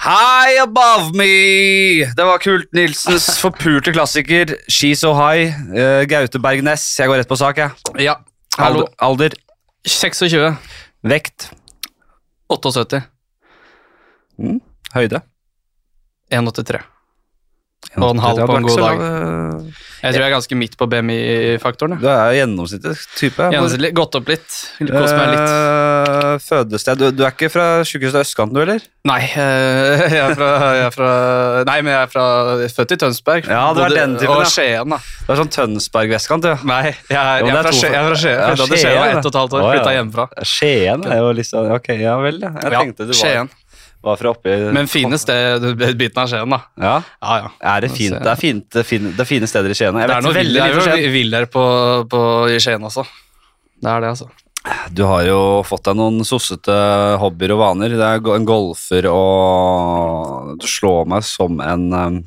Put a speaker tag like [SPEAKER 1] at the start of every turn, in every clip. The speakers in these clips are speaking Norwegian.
[SPEAKER 1] High Above Me! Det var Kult Nilsens forpulte klassiker She So High. eh, Gaute Bergnes. Jeg går rett på sak, jeg.
[SPEAKER 2] Ja. Hallo.
[SPEAKER 1] Alder, alder,
[SPEAKER 2] 26.
[SPEAKER 1] vekt,
[SPEAKER 2] 78.
[SPEAKER 1] høyde.
[SPEAKER 2] 183. Og en halv
[SPEAKER 1] Det var
[SPEAKER 2] på en
[SPEAKER 1] ikke så
[SPEAKER 2] god dag.
[SPEAKER 1] lav, eh,
[SPEAKER 2] Jeg tror jeg er ganske midt på BMI-faktoren. jeg.
[SPEAKER 1] Du er gjennomsnittlig type.
[SPEAKER 2] Gjennomsnittlig. Gått opp litt. Kost meg litt.
[SPEAKER 1] Eh, fødested du, du er ikke fra sykehuset Østkanten, du, eller?
[SPEAKER 2] Nei, eh, jeg er fra, jeg er fra Nei, men jeg er fra født i Tønsberg.
[SPEAKER 1] Ja, du er
[SPEAKER 2] Bodde-
[SPEAKER 1] den typen,
[SPEAKER 2] Og
[SPEAKER 1] ja.
[SPEAKER 2] Skien, da.
[SPEAKER 1] Det er sånn Tønsberg-vestkant, du.
[SPEAKER 2] Nei, jeg,
[SPEAKER 1] Jo, det
[SPEAKER 2] er- jeg
[SPEAKER 1] er
[SPEAKER 2] er fra
[SPEAKER 1] to-
[SPEAKER 2] Skien. Jeg er fra Skien.
[SPEAKER 1] Ja,
[SPEAKER 2] Jeg fødte i Skien,
[SPEAKER 1] Skien,
[SPEAKER 2] da.
[SPEAKER 1] ja.
[SPEAKER 2] Ett og et halvt år.
[SPEAKER 1] Å, ja.
[SPEAKER 2] Flytta hjemmefra.
[SPEAKER 1] Skien er jo liksom Ok, ja vel, ja. Jeg
[SPEAKER 2] Ja,
[SPEAKER 1] tenkte du var,
[SPEAKER 2] Skien.
[SPEAKER 1] var fra oppi
[SPEAKER 2] Men fine sted, biten av Skien, da.
[SPEAKER 1] Ja.
[SPEAKER 2] Ja, ja.
[SPEAKER 1] Er det, fint? Det, er fint, det, er fine, det er fine steder i Skien. Jeg
[SPEAKER 2] Det er
[SPEAKER 1] vet
[SPEAKER 2] noe vill-
[SPEAKER 1] veldig
[SPEAKER 2] det er
[SPEAKER 1] lite om
[SPEAKER 2] jo
[SPEAKER 1] Skien.
[SPEAKER 2] vill der på, på, i Skien også. Det er det, altså.
[SPEAKER 1] Du har jo fått deg noen sossete hobbyer og vaner. Det er go- en golfer og Du slår meg som en um,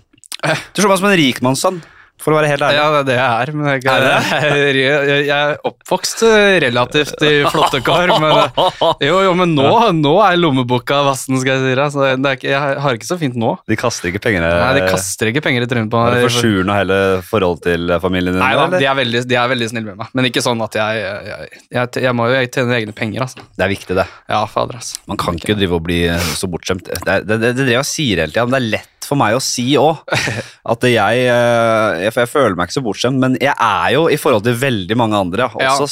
[SPEAKER 1] Du slår meg som en rikmannssønn, for å være helt ærlig.
[SPEAKER 2] Ja, det er det jeg er, men jeg,
[SPEAKER 1] Er
[SPEAKER 2] jeg, jeg, jeg er oppvokst eh, relativt i flotte kår. Men, eh, jo, jo, men nå, nå er lommeboka vassen, skal jeg si deg. Så det er ikke, jeg har ikke så fint nå.
[SPEAKER 1] De kaster ikke pengene
[SPEAKER 2] Nei, De kaster ikke penger i trynet på
[SPEAKER 1] Eh, Er
[SPEAKER 2] meg.
[SPEAKER 1] det for sjuren og hele forholdet til familien din?
[SPEAKER 2] Nei da,
[SPEAKER 1] eller?
[SPEAKER 2] de er, veldig, de er veldig snille med meg. Men ikke sånn at jeg Jeg, jeg, jeg må jo tjene egne penger, altså.
[SPEAKER 1] Det er viktig, det.
[SPEAKER 2] Ja, fader, altså.
[SPEAKER 1] Man kan ikke drive og bli eh, så bortskjemt. Det, er- det, det, det driver jeg og sier hele tida, men det er lett for meg å si òg. At jeg, eh, jeg For jeg føler meg ikke så bortskjemt, men jeg er jo i forhold til veldig mange andre også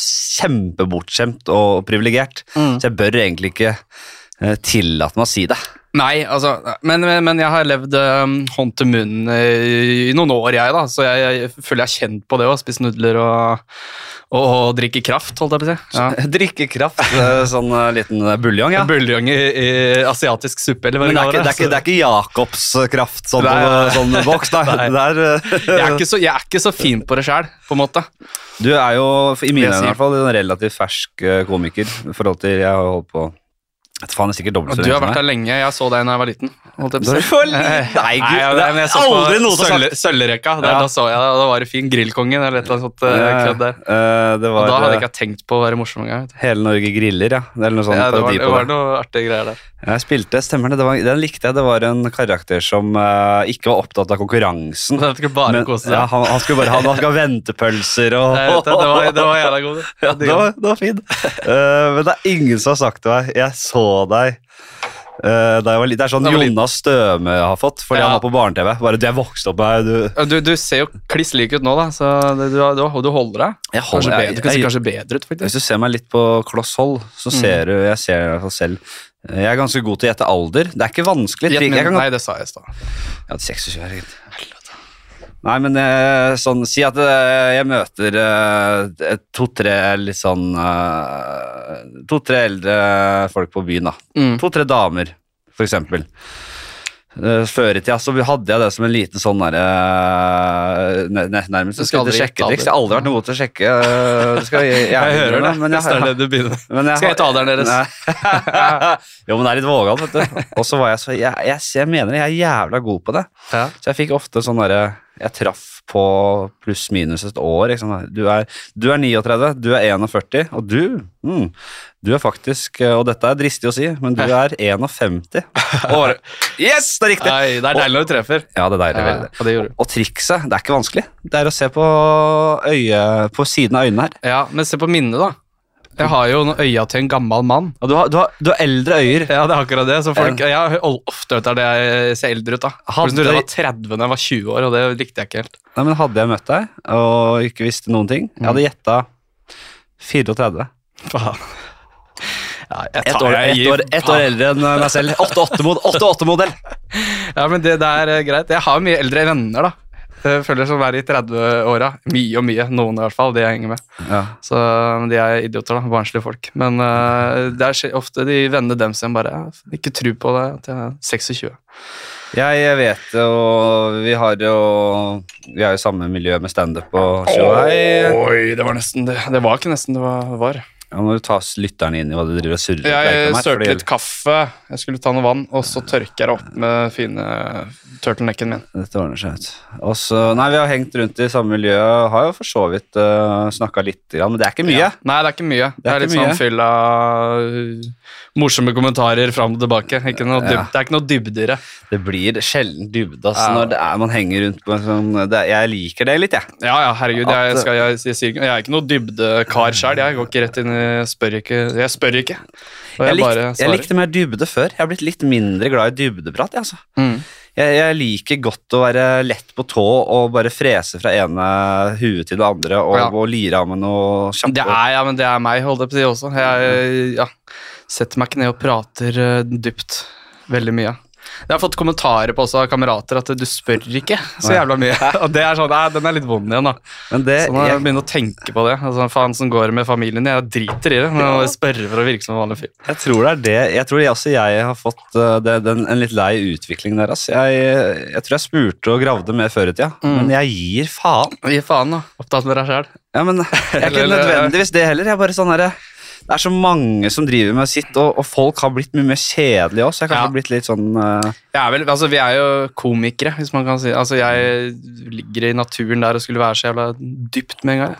[SPEAKER 1] kjempebortskjemt og privilegert.
[SPEAKER 2] Mm.
[SPEAKER 1] Så jeg bør egentlig ikke eh, tillate meg å si det.
[SPEAKER 2] Nei, altså, men, men- men jeg har levd øhm, hånd til munn i, i noen år, jeg, da. Så jeg, jeg føler jeg er kjent på det å spise nudler og, og, og drikke kraft, holdt jeg på å si. Ja.
[SPEAKER 1] Drikke kraft, eh, sånn eh, liten buljong, ja.
[SPEAKER 2] Buljong i, i asiatisk suppe, eller hva
[SPEAKER 1] Men det altså. er ikke, det
[SPEAKER 2] kaller
[SPEAKER 1] er ikke, det er ikke Jacobs kraft, sånn,
[SPEAKER 2] Nei.
[SPEAKER 1] sånn boks. Nei. Det er,
[SPEAKER 2] jeg,
[SPEAKER 1] eh,
[SPEAKER 2] er ikke så, jeg er ikke så fin på det sjæl, på en måte.
[SPEAKER 1] Du er jo, i mine øyne i
[SPEAKER 2] Jeg sier-
[SPEAKER 1] hvert fall, en relativt fersk eh, komiker. I forhold til, jeg har holdt på Vet faen, det er sikkert dobbelt
[SPEAKER 2] Og
[SPEAKER 1] så
[SPEAKER 2] du har
[SPEAKER 1] som
[SPEAKER 2] vært
[SPEAKER 1] meg.
[SPEAKER 2] der lenge. Jeg så deg da jeg var liten. Holdt jeg på å
[SPEAKER 1] Du er
[SPEAKER 2] si.
[SPEAKER 1] for liten. Nei, gud,
[SPEAKER 2] ja,
[SPEAKER 1] det er
[SPEAKER 2] men jeg så på
[SPEAKER 1] aldri noe som
[SPEAKER 2] Sølv- Sølvrekka. Der,
[SPEAKER 1] Ja.
[SPEAKER 2] Da så jeg deg, og da var det fin Grillkongen eller et eller annet sånt. eh, kødd der.
[SPEAKER 1] Eh, det
[SPEAKER 2] Og
[SPEAKER 1] var
[SPEAKER 2] da hadde
[SPEAKER 1] eh,
[SPEAKER 2] jeg ikke tenkt på å være morsom engang. vet du.
[SPEAKER 1] Hele Norge griller, ja. Det er noe sånn
[SPEAKER 2] Ja, det var,
[SPEAKER 1] parodi
[SPEAKER 2] det
[SPEAKER 1] på
[SPEAKER 2] var
[SPEAKER 1] det.
[SPEAKER 2] noe artige greier der.
[SPEAKER 1] Jeg spilte, stemmer det. det var, den likte jeg. Det var en karakter som eh, ikke var opptatt av konkurransen.
[SPEAKER 2] Det skulle bare
[SPEAKER 1] Men,
[SPEAKER 2] kose seg.
[SPEAKER 1] ja, han, han skulle bare ha han skulle ha ventepølser og
[SPEAKER 2] Nei, vet du, det, var, det var jævla god. du.
[SPEAKER 1] Ja, det var, det var fint. Eh, men det er ingen som har sagt til meg Jeg så deg eh, da jeg var liten. Det er sånn
[SPEAKER 2] Da jeg var liten.
[SPEAKER 1] Jonas Støme har fått fordi
[SPEAKER 2] Ja.
[SPEAKER 1] han var på barne-TV. Bare du, jeg vokste opp her, du.
[SPEAKER 2] Ja, Du, du ser jo kliss lik ut nå, da, så det, du, har- du, har- du holder deg.
[SPEAKER 1] Jeg
[SPEAKER 2] Kanskje
[SPEAKER 1] holder-
[SPEAKER 2] bedre, du kan
[SPEAKER 1] jeg-
[SPEAKER 2] se
[SPEAKER 1] jeg-
[SPEAKER 2] kanskje Mm. bedre ut, faktisk.
[SPEAKER 1] Hvis du ser meg litt på kloss hold, så ser du Jeg ser i hvert fall selv. Eh, Jeg er ganske god til å gjette alder. Det er ikke vanskelig.
[SPEAKER 2] Gjett
[SPEAKER 1] Jeg
[SPEAKER 2] min-
[SPEAKER 1] kan
[SPEAKER 2] Nei, det sa jeg i stad.
[SPEAKER 1] Ja, 26 er greit. Nei, men eh, sånn, si at eh, jeg møter eh, to-tre litt sånn eh, To-tre eldre folk på byen, da.
[SPEAKER 2] Mm.
[SPEAKER 1] To-tre damer, for eksempel. Eh, Før i tida så hadde jeg det som en liten sånn derre eh, ne- ne- Nærmest
[SPEAKER 2] Du
[SPEAKER 1] et lite
[SPEAKER 2] skal aldri gjette
[SPEAKER 1] sjekketriks. Jeg har aldri vært noe god til å sjekke. eh, det skal jeg,
[SPEAKER 2] Jeg
[SPEAKER 1] gjerne
[SPEAKER 2] hører det.
[SPEAKER 1] innrømme, men jeg
[SPEAKER 2] Hvis det
[SPEAKER 1] har-
[SPEAKER 2] er det du begynner.
[SPEAKER 1] men jeg
[SPEAKER 2] Skal jeg
[SPEAKER 1] har-
[SPEAKER 2] ta alderen deres?
[SPEAKER 1] Nei. jo, men det er litt vågalt, vet du. Og så var jeg så jeg, jeg, jeg mener jeg er jævla god på det.
[SPEAKER 2] Ja.
[SPEAKER 1] Så jeg fikk ofte sånn derre Jeg traff på pluss-minus et år. Ikke sant? Du, er, du er 39, du er 41, og du mm, Du er faktisk Og dette er dristig å si, men du er 51 år. Yes, det er riktig!
[SPEAKER 2] Nei, det er deilig når du treffer.
[SPEAKER 1] Ja, det er deilig.
[SPEAKER 2] Ja,
[SPEAKER 1] veldig.
[SPEAKER 2] og det gjorde du.
[SPEAKER 1] Og trikset, det er ikke vanskelig. Det er å se på, øye, på siden av øynene her.
[SPEAKER 2] Ja, men se på minnet, da. Jeg har jo noen øya til en gammel mann.
[SPEAKER 1] Og du har, du har, du har eldre øyer.
[SPEAKER 2] Ja, det er akkurat det. Så folk, jeg har ofte hørt at jeg ser eldre ut, da.
[SPEAKER 1] Hadde-
[SPEAKER 2] Plutselig trodde Jeg var 30 da jeg var 20 år, og det likte jeg ikke helt.
[SPEAKER 1] Nei, men Hadde jeg møtt deg og ikke visste noen ting Jeg hadde gjetta 34.
[SPEAKER 2] Faen. Ja, jeg
[SPEAKER 1] Ett
[SPEAKER 2] tar-
[SPEAKER 1] år,
[SPEAKER 2] jeg
[SPEAKER 1] ett
[SPEAKER 2] gir
[SPEAKER 1] år, ett år eldre enn meg selv. 88-modell.
[SPEAKER 2] Ja, men det, det er eh, greit. Jeg har mye eldre venner, da. Jeg føler som er i 30-åra. Mye og mye. Noen i hvert fall, de jeg henger med.
[SPEAKER 1] Ja.
[SPEAKER 2] Så men De er idioter, da. Barnslige folk. Men eh, det er skje- ofte de vennene dem som bare ja, ikke tror på det at jeg er 26.
[SPEAKER 1] Jeg vet jo Vi har jo Vi er jo i samme miljø med standup og show.
[SPEAKER 2] Oi, det var nesten det. Det var ikke nesten det var. var.
[SPEAKER 1] Ja, Nå må du ta lytterne inn i hva du driver og surrer
[SPEAKER 2] Jeg
[SPEAKER 1] med her,
[SPEAKER 2] sølte
[SPEAKER 1] fordi-
[SPEAKER 2] litt kaffe, jeg skulle ta noe vann, og så tørker jeg det opp med fine turtlenecken min.
[SPEAKER 1] Dette ordner seg ut. Og så- nei, vi har hengt rundt i samme miljø, har jo for så vidt uh, snakka lite grann, men det er ikke mye.
[SPEAKER 2] Ja. Nei, det er ikke mye. Det er,
[SPEAKER 1] ikke
[SPEAKER 2] litt sånn
[SPEAKER 1] mye.
[SPEAKER 2] fyll av uh, morsomme kommentarer fram og tilbake. Ikke noe dyb,
[SPEAKER 1] Ja.
[SPEAKER 2] Det er ikke noe dybdere.
[SPEAKER 1] Det blir sjelden dybde ass,
[SPEAKER 2] Ja.
[SPEAKER 1] når det er, man henger rundt på en sånn det, er- Jeg liker det litt, jeg.
[SPEAKER 2] Ja, ja, herregud,
[SPEAKER 1] At- eh,
[SPEAKER 2] jeg, skal, jeg, jeg, sier ikke- jeg er ikke noe dybdekar sjøl. Jeg går ikke rett inn i jeg spør ikke. Jeg spør ikke. Og
[SPEAKER 1] Jeg,
[SPEAKER 2] jeg,
[SPEAKER 1] likte,
[SPEAKER 2] bare
[SPEAKER 1] jeg
[SPEAKER 2] svarer.
[SPEAKER 1] likte mer dybde før. Jeg har blitt litt mindre glad i dybdeprat. Jeg, altså.
[SPEAKER 2] Mm.
[SPEAKER 1] jeg, jeg liker godt å være lett på tå og bare frese fra ene huet til det andre og,
[SPEAKER 2] Ja.
[SPEAKER 1] og lire av med noe kjapt.
[SPEAKER 2] Det er, ja, men det er meg, holdt jeg på å si også. Jeg ja, setter meg ikke ned og prater eh, dypt. Veldig mye. Jeg har fått kommentarer på også av kamerater at du spør ikke så jævla mye. Og det er sånn, nei, den er litt vond igjen, da.
[SPEAKER 1] Men det,
[SPEAKER 2] Så nå Eh, jeg
[SPEAKER 1] jeg,
[SPEAKER 2] begynner å tenke på sånn det. Altså, faen som går det med familien. Jeg driter i det, men jeg må spørre for å virke som en vanlig fyr.
[SPEAKER 1] jeg tror det er det Jeg tror jeg også jeg har fått uh, det, den, en litt lei utvikling der, ass. Jeg, jeg tror jeg spurte og gravde mer før i tida,
[SPEAKER 2] Mm.
[SPEAKER 1] men jeg gir faen.
[SPEAKER 2] Gi faen, da. Opptatt med deg sjæl.
[SPEAKER 1] Ja, men jeg er ikke
[SPEAKER 2] Eller- eh,
[SPEAKER 1] nødvendigvis det heller. Jeg er bare sånn herre det er så mange som driver med sitt, og, og folk har blitt mye mer kjedelige også. Jeg har kanskje
[SPEAKER 2] Ja.
[SPEAKER 1] blitt litt sånn eh,
[SPEAKER 2] Jeg er vel, altså Vi er jo komikere, hvis man kan si Altså Jeg ligger i naturen der og skulle være så jævla dypt med en gang.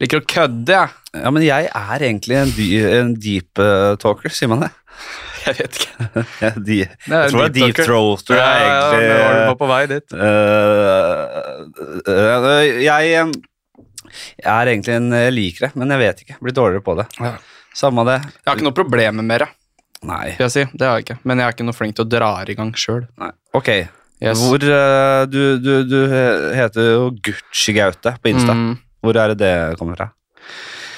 [SPEAKER 2] Jeg liker å kødde, jeg.
[SPEAKER 1] Ja, men jeg er egentlig en, dy, en deep eh, talker, sier man det?
[SPEAKER 2] Jeg vet ikke.
[SPEAKER 1] Jeg, de,
[SPEAKER 2] Det er
[SPEAKER 1] jeg tror det
[SPEAKER 2] en
[SPEAKER 1] er
[SPEAKER 2] deep
[SPEAKER 1] deep
[SPEAKER 2] talker.
[SPEAKER 1] throater jeg egentlig
[SPEAKER 2] Ja, ja, nå var du på vei dit.
[SPEAKER 1] eh, eh, eh, Jeg eh, jeg er egentlig en eh, liker det, men jeg vet ikke. Blir dårligere på det.
[SPEAKER 2] Ja.
[SPEAKER 1] Samme det.
[SPEAKER 2] Jeg har ikke noe problem med det,
[SPEAKER 1] Nei.
[SPEAKER 2] vil jeg si. Det har jeg ikke. Men jeg er ikke noe flink til å dra i gang sjøl.
[SPEAKER 1] Nei. Ok.
[SPEAKER 2] Yes.
[SPEAKER 1] Hvor eh, du, du, du he- heter jo Gucci Gaute på Insta.
[SPEAKER 2] Mm.
[SPEAKER 1] Hvor er det det kommer fra?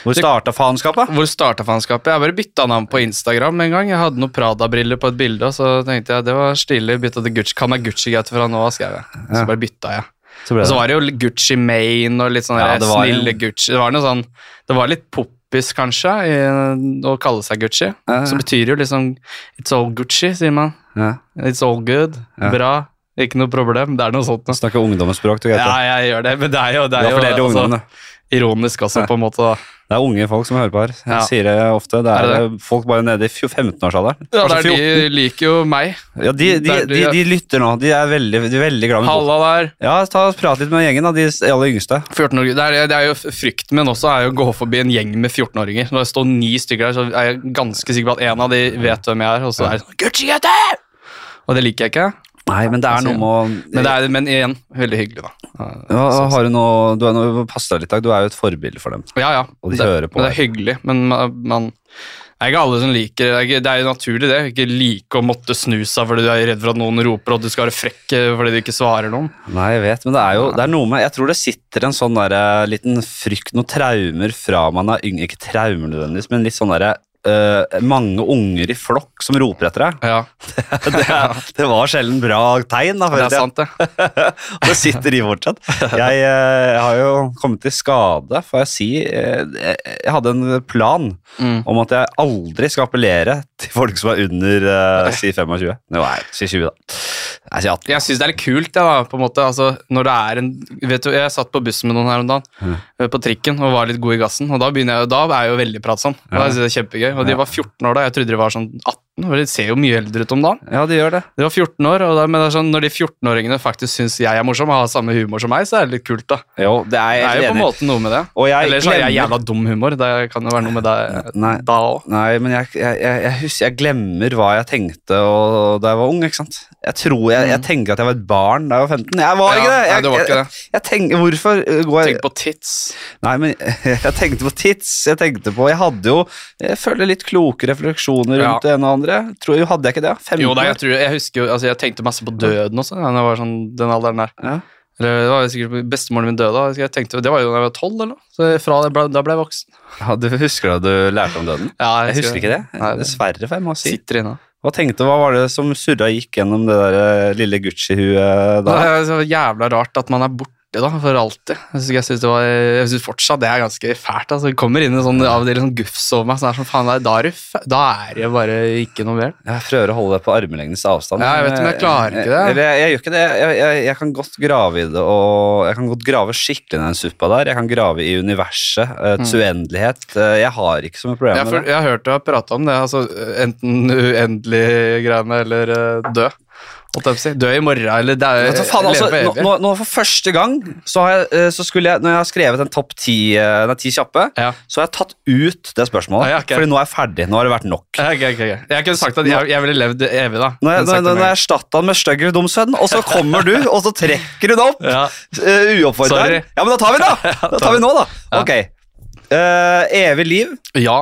[SPEAKER 1] Hvor
[SPEAKER 2] Det-
[SPEAKER 1] starta faenskapet?
[SPEAKER 2] Hvor starta faenskapet? Jeg bare bytta navn på Instagram en gang. Jeg hadde noen Prada-briller på et bilde, og så tenkte jeg det var stilig. Bytta til Gucci. Kan jeg Gucci-gaute fra nå av, skrev jeg. Så
[SPEAKER 1] Ja.
[SPEAKER 2] bare bytta jeg.
[SPEAKER 1] Så ble
[SPEAKER 2] Og så
[SPEAKER 1] det.
[SPEAKER 2] var det jo Gucci Maine og litt sånn
[SPEAKER 1] Ja,
[SPEAKER 2] der
[SPEAKER 1] det var en-
[SPEAKER 2] snille Gucci. Det var noe sånn Det var litt poppis, kanskje, i, å kalle seg Gucci.
[SPEAKER 1] Ja.
[SPEAKER 2] Så betyr jo liksom It's all Gucci, sier man.
[SPEAKER 1] Ja.
[SPEAKER 2] It's all good.
[SPEAKER 1] Ja.
[SPEAKER 2] Bra. Ikke noe problem. Det er noe sånt. da.
[SPEAKER 1] Snakke ungdomsspråk, du, Gaute.
[SPEAKER 2] Ja, jeg gjør det, men det er jo, det
[SPEAKER 1] Du
[SPEAKER 2] er
[SPEAKER 1] har
[SPEAKER 2] jo
[SPEAKER 1] flere
[SPEAKER 2] altså,
[SPEAKER 1] ungdommer.
[SPEAKER 2] ironisk også, på en måte. da.
[SPEAKER 1] Det er unge folk som hører på her. Jeg
[SPEAKER 2] Ja.
[SPEAKER 1] sier det ofte. Det er, eh,
[SPEAKER 2] Er
[SPEAKER 1] folk bare nede i fjo- 15-årsalderen.
[SPEAKER 2] Ja,
[SPEAKER 1] Kanskje
[SPEAKER 2] det er, de liker jo meg.
[SPEAKER 1] 14. ja, de, de,
[SPEAKER 2] der de-
[SPEAKER 1] de, de lytter nå. De er veldig, de er veldig glad med
[SPEAKER 2] Halla der.
[SPEAKER 1] Ja, ta og Prat litt med gjengen, da, de aller yngste.
[SPEAKER 2] 14-åringer, det, er- det er jo f- Frykten min også er jo å gå forbi en gjeng med 14-åringer. Når det står ni stykker der, så er jeg ganske sikker på at en av de vet hvem jeg er. Og så er det sånn Gucci Gaute! Og det liker jeg ikke.
[SPEAKER 1] Nei, men det er noe med å
[SPEAKER 2] Men, det er, men igjen, veldig hyggelig, da.
[SPEAKER 1] ja, har du noe, du, er noe, Pass deg litt, Dag. Du er jo et forbilde for dem.
[SPEAKER 2] Ja, ja.
[SPEAKER 1] Og de
[SPEAKER 2] det,
[SPEAKER 1] hører på
[SPEAKER 2] men det er hyggelig, men man, man det er ikke alle som liker det. er ikke- Det er jo naturlig, det. Ikke like å måtte snu seg fordi du er redd for at noen roper og du skal være frekk eh, fordi du ikke svarer noen.
[SPEAKER 1] Nei, jeg vet, men det er jo det er noe med Jeg tror det sitter en sånn der, eh, liten frykt, noen traumer fra man er yngre. Ikke traumer nødvendigvis, men litt sånn derre eh, mange unger i flokk som roper etter deg.
[SPEAKER 2] Ja,
[SPEAKER 1] Det, er- det var sjelden bra tegn. da. før i
[SPEAKER 2] det er
[SPEAKER 1] tida.
[SPEAKER 2] sant, det.
[SPEAKER 1] Og det sitter i fortsatt. Jeg eh, har jo kommet til skade, får jeg si. Eh, jeg hadde en plan
[SPEAKER 2] Mm.
[SPEAKER 1] om at jeg aldri skal appellere til folk som er under eh, si 25. Nå er jeg si 20, da. Nei, si 18.
[SPEAKER 2] Jeg syns det er litt kult, jeg, da, på en måte. Altså, når det er en Vet du, jeg satt på bussen med noen her om dagen, eh, på trikken, og var litt god i gassen. Og da begynner jeg jo Da er jeg jo veldig pratsom. Da synes jeg det er kjempegøy. Og de var 14 år da, jeg trodde de var sånn 18, for de ser jo mye eldre ut om dagen.
[SPEAKER 1] Ja, det gjør det.
[SPEAKER 2] De var 14 år, og da, men det er sånn, når de 14-åringene faktisk syns jeg er morsom, og har samme humor som meg, så er det litt kult, da.
[SPEAKER 1] Jo, det er
[SPEAKER 2] Det
[SPEAKER 1] jeg
[SPEAKER 2] er
[SPEAKER 1] helt
[SPEAKER 2] jo på en
[SPEAKER 1] enig i.
[SPEAKER 2] måte noe med det.
[SPEAKER 1] Og jeg
[SPEAKER 2] Ellers har jeg
[SPEAKER 1] glemmer-
[SPEAKER 2] jævla dum humor. Det kan jo være noe med deg
[SPEAKER 1] Nei.
[SPEAKER 2] da òg.
[SPEAKER 1] Nei, men jeg, jeg, jeg, jeg husker Jeg glemmer hva jeg tenkte og, da jeg var ung. ikke sant? Jeg tror jeg, jeg tenker at jeg var et barn da jeg var 15. Jeg var
[SPEAKER 2] Ja,
[SPEAKER 1] ikke det!
[SPEAKER 2] nei,
[SPEAKER 1] Jeg,
[SPEAKER 2] du var ikke
[SPEAKER 1] jeg, jeg, tenker, Hvorfor eh, går jeg
[SPEAKER 2] Tenk på tits.
[SPEAKER 1] Nei, men jeg tenkte på tids. Jeg tenkte på Jeg hadde jo Jeg føler litt kloke refleksjoner
[SPEAKER 2] Ja.
[SPEAKER 1] rundt det ene og andre. Tror jeg, Hadde jeg ikke det? 15?
[SPEAKER 2] Jo da, jeg, tror, jeg husker jo altså, Jeg tenkte masse på døden også da jeg var sånn den alderen der.
[SPEAKER 1] ja.
[SPEAKER 2] Eller det var jo sikkert Bestemoren min døde, da. jeg tenkte, det var jo da jeg var tolv, eller noe. Så fra det ble, da ble jeg voksen.
[SPEAKER 1] Ja, Du husker da du lærte om døden?
[SPEAKER 2] Ja,
[SPEAKER 1] Jeg husker ikke det.
[SPEAKER 2] Nei, det
[SPEAKER 1] Dessverre, for jeg må si.
[SPEAKER 2] sitter inne.
[SPEAKER 1] Hva tenkte Hva var det som surra gikk gjennom det der eh, lille Gucci-huet
[SPEAKER 2] Det
[SPEAKER 1] da?
[SPEAKER 2] er så jævla rart at man er borte borte da, for alltid. Jeg synes, jeg synes, det var, jeg synes fortsatt det er ganske fælt. Altså. Jeg kommer inn i sånn, av og til sånn gufs over meg. Sånn, her som faen, da er- da er, det f- da er det bare ikke noe mer.
[SPEAKER 1] Jeg prøver å holde det på armlengdes avstand.
[SPEAKER 2] Ja, jeg vet, men jeg klarer ikke det.
[SPEAKER 1] Eller Jeg, jeg, gjør ikke det. Jeg, jeg, jeg kan godt grave i det, og jeg kan godt grave skikkelig i den suppa der. Jeg kan grave i universet, eh,
[SPEAKER 2] Mm.
[SPEAKER 1] dets uendelighet. Eh, Jeg har ikke så mye
[SPEAKER 2] Jeg,
[SPEAKER 1] problemer
[SPEAKER 2] for,
[SPEAKER 1] med det.
[SPEAKER 2] jeg har hørt deg prate om det. Altså, enten uendelig-greiene eller eh, dø. Holdt jeg på å si. Dø i morgen eller dø,
[SPEAKER 1] Vet du faen, altså, nå,
[SPEAKER 2] leve Eh, for evig.
[SPEAKER 1] nå, nå for første gang så, har jeg, eh, så skulle jeg, når jeg har skrevet en topp ti, eh, nei, ti kjappe,
[SPEAKER 2] Ja.
[SPEAKER 1] så har jeg tatt ut det spørsmålet.
[SPEAKER 2] Ja, ja, ok.
[SPEAKER 1] Fordi nå er jeg ferdig. Nå har det vært nok.
[SPEAKER 2] Ja, ok, ok, ok. Jeg kunne sagt at jeg, jeg ville levd evig, da.
[SPEAKER 1] Nå
[SPEAKER 2] Kunne sagt det med en
[SPEAKER 1] har
[SPEAKER 2] gang.
[SPEAKER 1] jeg erstatta han med styggere dumsønn, og så kommer du, og så trekker du det opp.
[SPEAKER 2] Ja.
[SPEAKER 1] Uh, Uoppfordra.
[SPEAKER 2] Sorry.
[SPEAKER 1] Ja, men da tar vi det, da! Da tar vi nå, da.
[SPEAKER 2] Ja.
[SPEAKER 1] Ok. Eh, evig liv,
[SPEAKER 2] ja.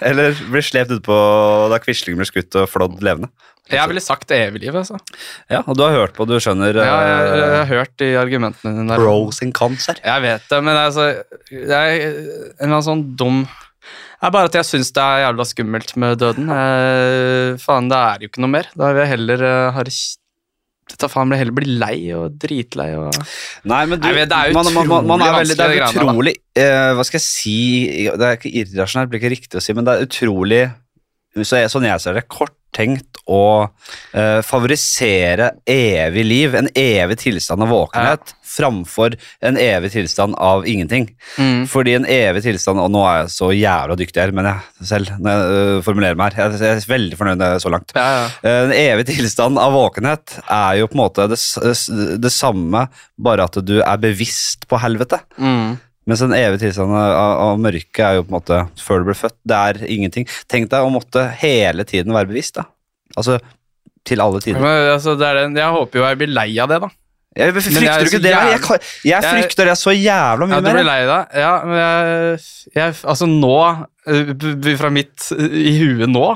[SPEAKER 1] eller bli slept utpå da Quisling blir skutt og flådd levende.
[SPEAKER 2] Jeg ville sagt evig liv, altså.
[SPEAKER 1] Ja, Og du har hørt på, du skjønner
[SPEAKER 2] Ja, jeg, jeg,
[SPEAKER 1] eh,
[SPEAKER 2] har hørt de argumentene dine der.
[SPEAKER 1] Bro sin cancer.
[SPEAKER 2] Jeg vet det, men altså Det er en eller annen sånn dum det er bare at jeg syns det er jævla skummelt med døden. Eh, faen, det er jo ikke noe mer. Da vil jeg heller eh, ha det kj- Dette faen blir heller bli lei og dritlei og
[SPEAKER 1] Nei, men du,
[SPEAKER 2] Nei, men det er
[SPEAKER 1] man, man, man, man er
[SPEAKER 2] utrolig
[SPEAKER 1] veldig, det er
[SPEAKER 2] vanskelige greiene,
[SPEAKER 1] utrolig eh, Hva skal jeg si Det er ikke irrasjonelt, det blir ikke riktig å si, men det er utrolig så jeg, Sånn jeg ser det, korttenkt å eh, favorisere evig liv, en evig tilstand av våkenhet, framfor en evig tilstand av ingenting.
[SPEAKER 2] mm.
[SPEAKER 1] Fordi en evig tilstand Og nå er jeg så jævla dyktig her, men jeg selv når jeg øh, formulerer meg her. Jeg, jeg er veldig fornøyd med det så langt.
[SPEAKER 2] Ja, ja.
[SPEAKER 1] En evig tilstand av våkenhet er jo på en måte det, s- s- det samme, bare at du er bevisst på helvete.
[SPEAKER 2] Mm.
[SPEAKER 1] Mens en evig tilstand av, av mørke er jo på en måte før du ble født. Det er ingenting. Tenk deg å måtte hele tiden være bevisst, da. Altså til alle tider.
[SPEAKER 2] Men, altså, det er det. Jeg håper jo jeg blir lei av det, da.
[SPEAKER 1] Jeg frykter
[SPEAKER 2] Men jeg er
[SPEAKER 1] du
[SPEAKER 2] så
[SPEAKER 1] ikke det. Jeg,
[SPEAKER 2] jævlig-
[SPEAKER 1] kan- jeg
[SPEAKER 2] Jeg-
[SPEAKER 1] frykter det så jævla
[SPEAKER 2] Ja,
[SPEAKER 1] mye
[SPEAKER 2] du blir
[SPEAKER 1] mer.
[SPEAKER 2] lei deg. Ja, men jeg, jeg Altså, nå eh, b- b- Fra mitt eh, I huet nå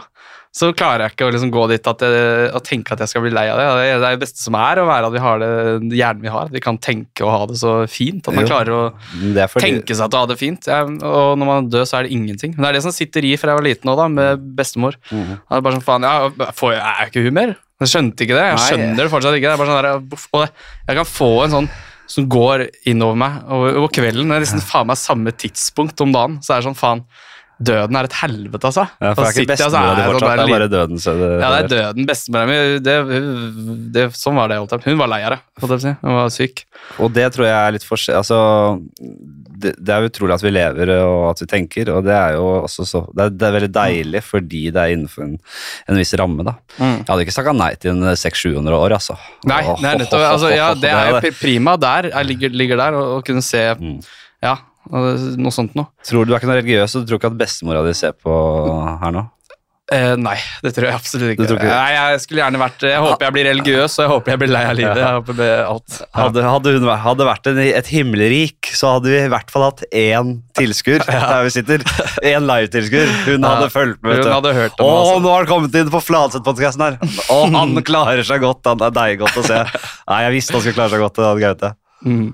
[SPEAKER 2] så klarer jeg ikke å liksom gå dit at jeg, å tenke at jeg skal bli lei av det. Det er det beste som er, å være at vi har det hjernen vi har. At vi kan tenke og ha det så fint. At man
[SPEAKER 1] Jo.
[SPEAKER 2] klarer å
[SPEAKER 1] Det er fordi-
[SPEAKER 2] tenke seg at å ha det fint. Jeg, og når man dør, så er det ingenting. Men det er det som sitter i fra jeg var liten òg, da, med bestemor.
[SPEAKER 1] Mhm.
[SPEAKER 2] Det er bare sånn, faen, ja, får jeg, er jo ikke hun mer? Jeg skjønte ikke det. Jeg
[SPEAKER 1] Nei.
[SPEAKER 2] skjønner det fortsatt ikke. Det er bare sånn der, buff, og det, jeg kan få en sånn som går innover meg over, over kvelden. Det er liksom faen meg samme tidspunkt om dagen. Så er det sånn, faen, døden er et helvete, altså.
[SPEAKER 1] Ja, for det er
[SPEAKER 2] Da
[SPEAKER 1] ikke
[SPEAKER 2] sitter jeg, så er
[SPEAKER 1] bestemora di
[SPEAKER 2] jeg sånn
[SPEAKER 1] fortsatt,
[SPEAKER 2] der
[SPEAKER 1] det er
[SPEAKER 2] liten-
[SPEAKER 1] bare døden. Så det,
[SPEAKER 2] ja, det er døden. Bestemora mi, det- det- sånn var det. holdt jeg på. Hun var lei av det. holdt jeg på å si. Hun var syk.
[SPEAKER 1] Og det tror jeg er litt for... Altså, det, det er utrolig at vi lever og at vi tenker, og det er jo også så... Det er, det er veldig deilig fordi det er innenfor en, en viss ramme, da. Jeg hadde ikke sagt nei til en 600-700 år, altså.
[SPEAKER 2] Mm. Nei,
[SPEAKER 1] Åh,
[SPEAKER 2] det er nettopp,
[SPEAKER 1] åh, åh,
[SPEAKER 2] altså,
[SPEAKER 1] åh,
[SPEAKER 2] ja,
[SPEAKER 1] åh,
[SPEAKER 2] det er jo
[SPEAKER 1] hadde-
[SPEAKER 2] pri- prima der, jeg ligger, ligger der og, og kunne se
[SPEAKER 1] Mm.
[SPEAKER 2] ja, og noe sånt noe.
[SPEAKER 1] Tror du er ikke noe religiøs, og du tror ikke at bestemora di ser på her nå?
[SPEAKER 2] Eh, nei, det tror jeg absolutt ikke.
[SPEAKER 1] Du tror ikke det?
[SPEAKER 2] Nei, jeg skulle gjerne vært, jeg håper jeg blir religiøs, og jeg håper jeg blir lei av livet. Jeg håper det blir alt. Ja.
[SPEAKER 1] Hadde, hadde hun væ- hadde vært en, et himmelrik, så hadde vi i hvert fall hatt én tilskuer der vi sitter. Én live-tilskuer. Hun
[SPEAKER 2] Ja.
[SPEAKER 1] hadde fulgt med. vet
[SPEAKER 2] Hun
[SPEAKER 1] du.
[SPEAKER 2] hadde hørt
[SPEAKER 1] Å,
[SPEAKER 2] om det. Altså.
[SPEAKER 1] nå har han kommet inn på Fladseth-podkasten her! Å, han klarer seg godt. Han er deilig godt å se. Nei, jeg visste han skulle klare seg godt. Han Gaute.
[SPEAKER 2] Mm.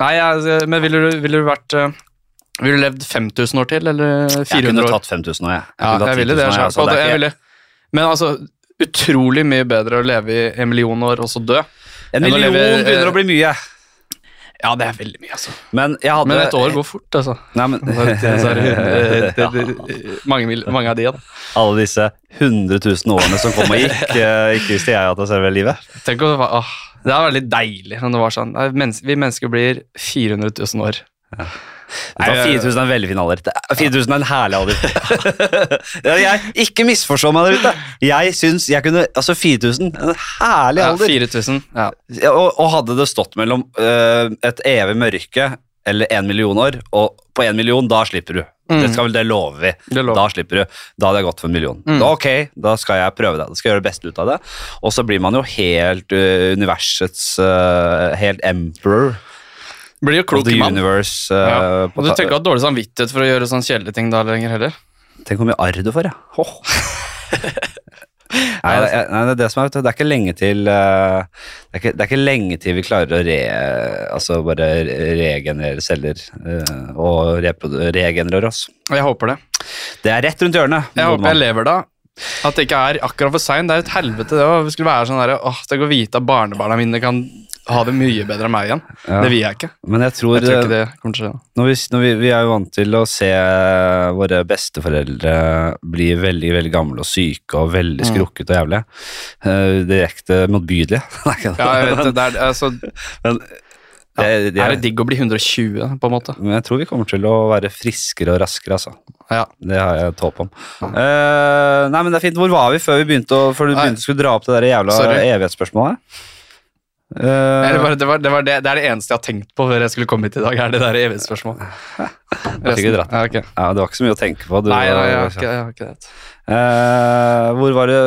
[SPEAKER 2] Nei, jeg, altså, men ville du, ville du vært, eh, ville du levd 5000 år til, eller 400 år?
[SPEAKER 1] Jeg kunne tatt 5000 nå, jeg.
[SPEAKER 2] Ja,
[SPEAKER 1] kunne tatt
[SPEAKER 2] jeg ville
[SPEAKER 1] 10 000
[SPEAKER 2] det.
[SPEAKER 1] nå,
[SPEAKER 2] selv.
[SPEAKER 1] altså, det
[SPEAKER 2] Og
[SPEAKER 1] er
[SPEAKER 2] jeg
[SPEAKER 1] ikke-
[SPEAKER 2] ville, men altså, utrolig mye bedre å leve i en million år og så dø.
[SPEAKER 1] En
[SPEAKER 2] enn å
[SPEAKER 1] million
[SPEAKER 2] leve, eh,
[SPEAKER 1] begynner å bli mye.
[SPEAKER 2] Ja, det er veldig mye, altså.
[SPEAKER 1] Men jeg hadde
[SPEAKER 2] Men et år går fort, altså.
[SPEAKER 1] Nei, men,
[SPEAKER 2] Så er det- så er det- det- det- det- mange, mil- mange av de, da.
[SPEAKER 1] alle disse 100 000 årene som kom og gikk, eh, ikke visste jeg at jeg selve livet.
[SPEAKER 2] Tenk om det var åh, Det er veldig deilig når det var sånn. Nei, mens- Vi mennesker blir 400 000 år.
[SPEAKER 1] Nei,
[SPEAKER 2] Nei, eh, jeg-
[SPEAKER 1] 4000 er en veldig fin alder. Det er- 4000 er en herlig alder. Ja, jeg, ikke misforstå meg der ute. Jeg syns jeg kunne Altså, 4000 en herlig
[SPEAKER 2] Ja,
[SPEAKER 1] alder.
[SPEAKER 2] 4000. Ja.
[SPEAKER 1] Ja, og, og hadde det stått mellom øh, et evig mørke eller en million år, og på en million, da slipper du.
[SPEAKER 2] Mm.
[SPEAKER 1] Det skal vel det lover vi.
[SPEAKER 2] Det lover.
[SPEAKER 1] Da slipper du. Da hadde jeg gått for en million.
[SPEAKER 2] Mm.
[SPEAKER 1] Da, ok, da skal jeg prøve det. Da skal jeg gjøre det beste ut av det. Og så blir man jo helt øh, universets øh, Helt emperor
[SPEAKER 2] Blir jo eh,
[SPEAKER 1] of
[SPEAKER 2] klok
[SPEAKER 1] the
[SPEAKER 2] mann.
[SPEAKER 1] universe. øh,
[SPEAKER 2] Ja.
[SPEAKER 1] på
[SPEAKER 2] Og du
[SPEAKER 1] ta-
[SPEAKER 2] tenker ikke å ha dårlig samvittighet for å gjøre sånne kjedelige ting da lenger heller?
[SPEAKER 1] Tenk hvor mye arr du får, ja. Åh. Nei, det, er- nei, det er det som er, vet du, det er ikke lenge til eh, det er ikke, det er ikke lenge til vi klarer å re, altså bare re- regenerere celler eh, og reprodu, regenerere oss.
[SPEAKER 2] Jeg håper det.
[SPEAKER 1] Det er rett rundt hjørnet.
[SPEAKER 2] Jeg
[SPEAKER 1] gode
[SPEAKER 2] håper jeg
[SPEAKER 1] mann.
[SPEAKER 2] lever da. At det ikke er akkurat for seint. Det er jo et helvete, det òg. Skulle være sånn derre Åh, tenk å vite at barnebarna mine kan ha det mye bedre enn meg igjen.
[SPEAKER 1] Ja.
[SPEAKER 2] Det vil jeg ikke.
[SPEAKER 1] Men jeg tror, eh,
[SPEAKER 2] Jeg tror ikke det kommer til å skje.
[SPEAKER 1] Når vi, når vi, vi er jo vant til å se eh, våre besteforeldre bli veldig veldig gamle og syke og veldig
[SPEAKER 2] Mm.
[SPEAKER 1] skrukket og jævlige. Eh, direkte motbydelige. Nei, ikke det.
[SPEAKER 2] Ja, jeg vet det. det er, altså,
[SPEAKER 1] Det, det,
[SPEAKER 2] er det digg å bli 120, på en måte?
[SPEAKER 1] men jeg tror vi kommer til å være friskere og raskere, altså.
[SPEAKER 2] Ja.
[SPEAKER 1] Det har jeg et håp om. Eh, nei, men det er fint. Hvor var vi før, vi begynte å, før du
[SPEAKER 2] Nei.
[SPEAKER 1] begynte å skulle dra opp det der jævla
[SPEAKER 2] Sorry.
[SPEAKER 1] evighetsspørsmålet? Eh,
[SPEAKER 2] Nei, Det, var, det, var, det, var det, det er det eneste jeg har tenkt på før jeg skulle komme hit i dag. er det der evighetsspørsmålet.
[SPEAKER 1] Jeg fikk ikke dratt.
[SPEAKER 2] Ja, ok.
[SPEAKER 1] ja, det var ikke så mye å tenke på. Du,
[SPEAKER 2] Nei, nei, jeg har ikke, jeg har ikke det.
[SPEAKER 1] Eh, hvor var det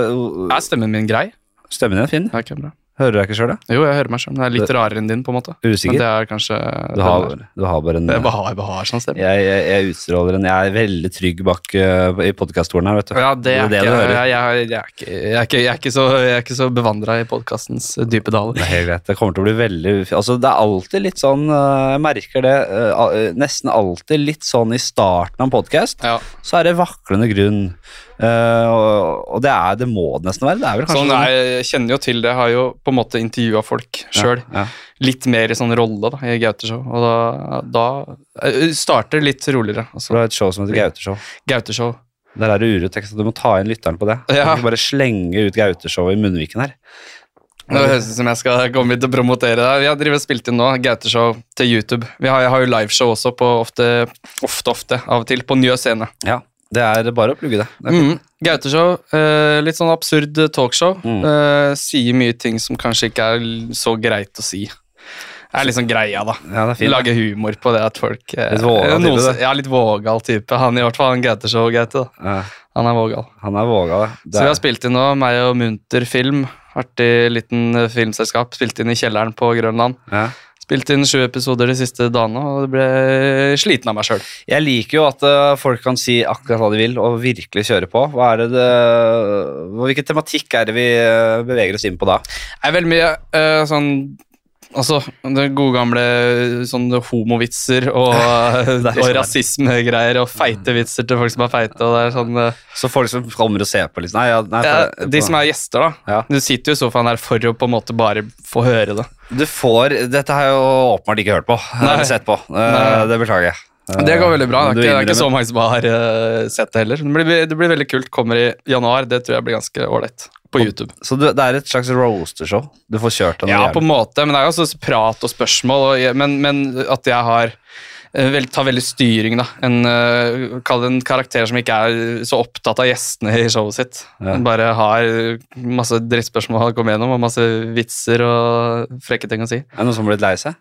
[SPEAKER 2] Er stemmen min grei?
[SPEAKER 1] Stemmen din er fin.
[SPEAKER 2] Ja, ok, bra.
[SPEAKER 1] Hører du deg ikke sjøl, da?
[SPEAKER 2] Jo, jeg hører meg sjøl. Den er litt rarere enn din, på en måte. Men
[SPEAKER 1] Usikker?
[SPEAKER 2] det er kanskje
[SPEAKER 1] Du har, du har bare en
[SPEAKER 2] Jeg bare har, jeg bare har sånn stemme.
[SPEAKER 1] jeg, jeg, jeg utstråler en Jeg er veldig trygg bak eh, i podkaststolen her, vet du.
[SPEAKER 2] Ja,
[SPEAKER 1] Det
[SPEAKER 2] det er
[SPEAKER 1] er det
[SPEAKER 2] ikke,
[SPEAKER 1] du hører.
[SPEAKER 2] jeg, jeg, jeg, er ikke, jeg, er ikke, jeg er ikke så, jeg er ikke så bevandra i podkastens dype daler.
[SPEAKER 1] Det er helt greit. Det kommer til å bli veldig Altså, det er alltid litt sånn eh, Jeg merker det eh, al- eh, nesten alltid litt sånn i starten av en podkast,
[SPEAKER 2] Ja,
[SPEAKER 1] så er det vaklende grunn. Eh, og, og det er Det må det nesten være. Det er vel kanskje
[SPEAKER 2] sånn, jeg, jeg kjenner jo til det. Jeg har jo på en måte intervjua folk sjøl.
[SPEAKER 1] Ja.
[SPEAKER 2] Litt mer i sånn rolle da, i Gauteshow. Og da, da eh, starter litt roligere.
[SPEAKER 1] Så
[SPEAKER 2] Altså,
[SPEAKER 1] det er et show som heter Gauteshow.
[SPEAKER 2] Gauteshow.
[SPEAKER 1] Der er det urotekst, og du må ta inn lytteren på det. Du
[SPEAKER 2] Ja.
[SPEAKER 1] kan ikke bare slenge ut Gauteshowet i munnviken her.
[SPEAKER 2] Det høres ut som jeg skal komme hit og promotere deg. Vi har drevet og spilt inn nå, Gauteshow til YouTube. Vi har, jeg har jo liveshow også, på ofte, ofte, ofte, av og til, på Njø scene.
[SPEAKER 1] Ja, det er bare å plugge det. det er fint.
[SPEAKER 2] Mm. Gauteshow, eh, litt sånn absurd talkshow.
[SPEAKER 1] Mm.
[SPEAKER 2] Eh, sier mye ting som kanskje ikke er l- så greit å si. Det er liksom greia, da.
[SPEAKER 1] Ja, det er fint.
[SPEAKER 2] Lage humor på det at folk eh,
[SPEAKER 1] Litt vågal
[SPEAKER 2] noen
[SPEAKER 1] type,
[SPEAKER 2] som-
[SPEAKER 1] det.
[SPEAKER 2] Ja, litt vågal type. Han i hvert fall, han Gauteshow, Gaute. da.
[SPEAKER 1] Ja,
[SPEAKER 2] Han er vågal.
[SPEAKER 1] han er våga, det.
[SPEAKER 2] Så vi
[SPEAKER 1] det.
[SPEAKER 2] har spilt inn nå, meg og Munter Film. Artig liten eh, filmselskap. Spilt inn i kjelleren på Grønland.
[SPEAKER 1] Er, ja.
[SPEAKER 2] Spilte inn sju episoder de siste dagene, og det ble sliten av meg sjøl.
[SPEAKER 1] Jeg liker jo at eh, folk kan si akkurat hva de vil, og virkelig kjøre på. Hva er det det hva- Hvilken tematikk er det vi eh, beveger oss inn på da?
[SPEAKER 2] Det er veldig mye eh, sånn Altså, det gode gamle sånne homovitser og, eh,
[SPEAKER 1] Det er
[SPEAKER 2] og
[SPEAKER 1] sånn.
[SPEAKER 2] rasismegreier og feite vitser til folk som er feite. og det er sånn... eh,
[SPEAKER 1] Så folk som kommer og ser på, liksom Nei, ja, nei
[SPEAKER 2] ja,
[SPEAKER 1] for-
[SPEAKER 2] de som er gjester, da.
[SPEAKER 1] Ja.
[SPEAKER 2] Du sitter jo i sofaen her for å på en måte bare få høre det.
[SPEAKER 1] Du får Dette har jeg jo åpenbart ikke hørt på.
[SPEAKER 2] Nei.
[SPEAKER 1] Eller sett på. Eh,
[SPEAKER 2] Nei.
[SPEAKER 1] Det beklager jeg. Eh,
[SPEAKER 2] Det går veldig bra. Det er,
[SPEAKER 1] men
[SPEAKER 2] ikke, det
[SPEAKER 1] du
[SPEAKER 2] er ikke så mange som har eh, sett det heller. Det blir, det blir veldig kult. Kommer i januar. Det tror jeg blir ganske ålreit på YouTube.
[SPEAKER 1] innrømmer- Så du, det er et slags roastershow? Du får kjørt den?
[SPEAKER 2] Ja,
[SPEAKER 1] jævlig.
[SPEAKER 2] på en måte, men det er jo også prat og spørsmål, og jeg, men, men at jeg har eh, vel, tar veldig styring, da. En, eh, kall det en karakter som ikke er så opptatt av gjestene i showet sitt.
[SPEAKER 1] Ja.
[SPEAKER 2] Bare har masse drittspørsmål å komme gjennom, og masse vitser og frekke ting å si.
[SPEAKER 1] Er det noen som har blitt lei seg?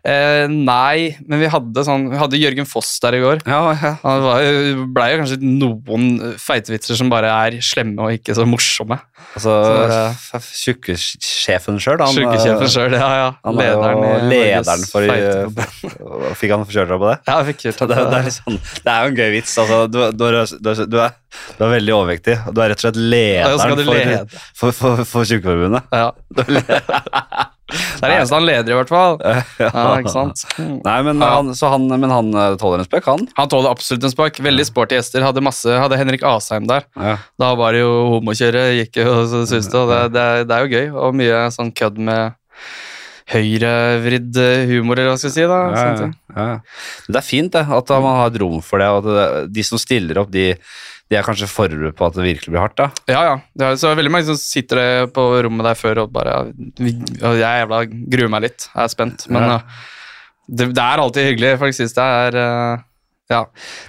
[SPEAKER 2] Eh, nei, men vi hadde, sånn, vi hadde Jørgen Foss der i går.
[SPEAKER 1] Ja, ja.
[SPEAKER 2] Han var jo- ble jo kanskje noen feitevitser som bare er slemme og ikke så morsomme.
[SPEAKER 1] Altså,
[SPEAKER 2] Så-
[SPEAKER 1] f- f- tjukkesjefen sjøl, han eh,
[SPEAKER 2] Sjukekjefen sjøl, ja ja.
[SPEAKER 1] Han er jo
[SPEAKER 2] i Norges
[SPEAKER 1] lederen for
[SPEAKER 2] feiteforbund.
[SPEAKER 1] Fikk han kjørt deg på det?
[SPEAKER 2] Ja, jeg fikk hørt
[SPEAKER 1] Så
[SPEAKER 2] at
[SPEAKER 1] Det, er- det, er litt sånn, det er jo en gøy vits. Altså, du, du, er- du, er- du, er, du er veldig overvektig. og Du er rett og slett
[SPEAKER 2] Ja,
[SPEAKER 1] lederen
[SPEAKER 2] skal du lede.
[SPEAKER 1] for, for, for, for Tjukkeforbundet.
[SPEAKER 2] Ja. Det er det eneste han leder i, hvert fall. Ja, ikke sant?
[SPEAKER 1] Nei, men
[SPEAKER 2] Ja.
[SPEAKER 1] han, så han, men han eh, tåler en spøk, han.
[SPEAKER 2] Han tåler absolutt en spark. Veldig sporty gjester. Hadde, masse, hadde Henrik Asheim der.
[SPEAKER 1] Ja.
[SPEAKER 2] Da var det jo homokjøret, gikk jo så det suste. Og det, det, er- det er jo gøy. Og mye sånn kødd med høyrevridd humor, eller hva skal jeg si. da.
[SPEAKER 1] Ja,
[SPEAKER 2] sånne
[SPEAKER 1] ja,
[SPEAKER 2] ting.
[SPEAKER 1] ja. Men Det er fint det, at man har et rom for det. Og at det, de som stiller opp, de, de er kanskje forberedt på at det virkelig blir hardt. da.
[SPEAKER 2] Ja, ja. Det er, så er det veldig mange som sitter eh, på rommet der før og bare ja, vi, ja, Jeg jævla gruer meg litt. Jeg er spent. Men
[SPEAKER 1] Ja.
[SPEAKER 2] eh, det, det er alltid hyggelig. Folk syns det er eh, Ja.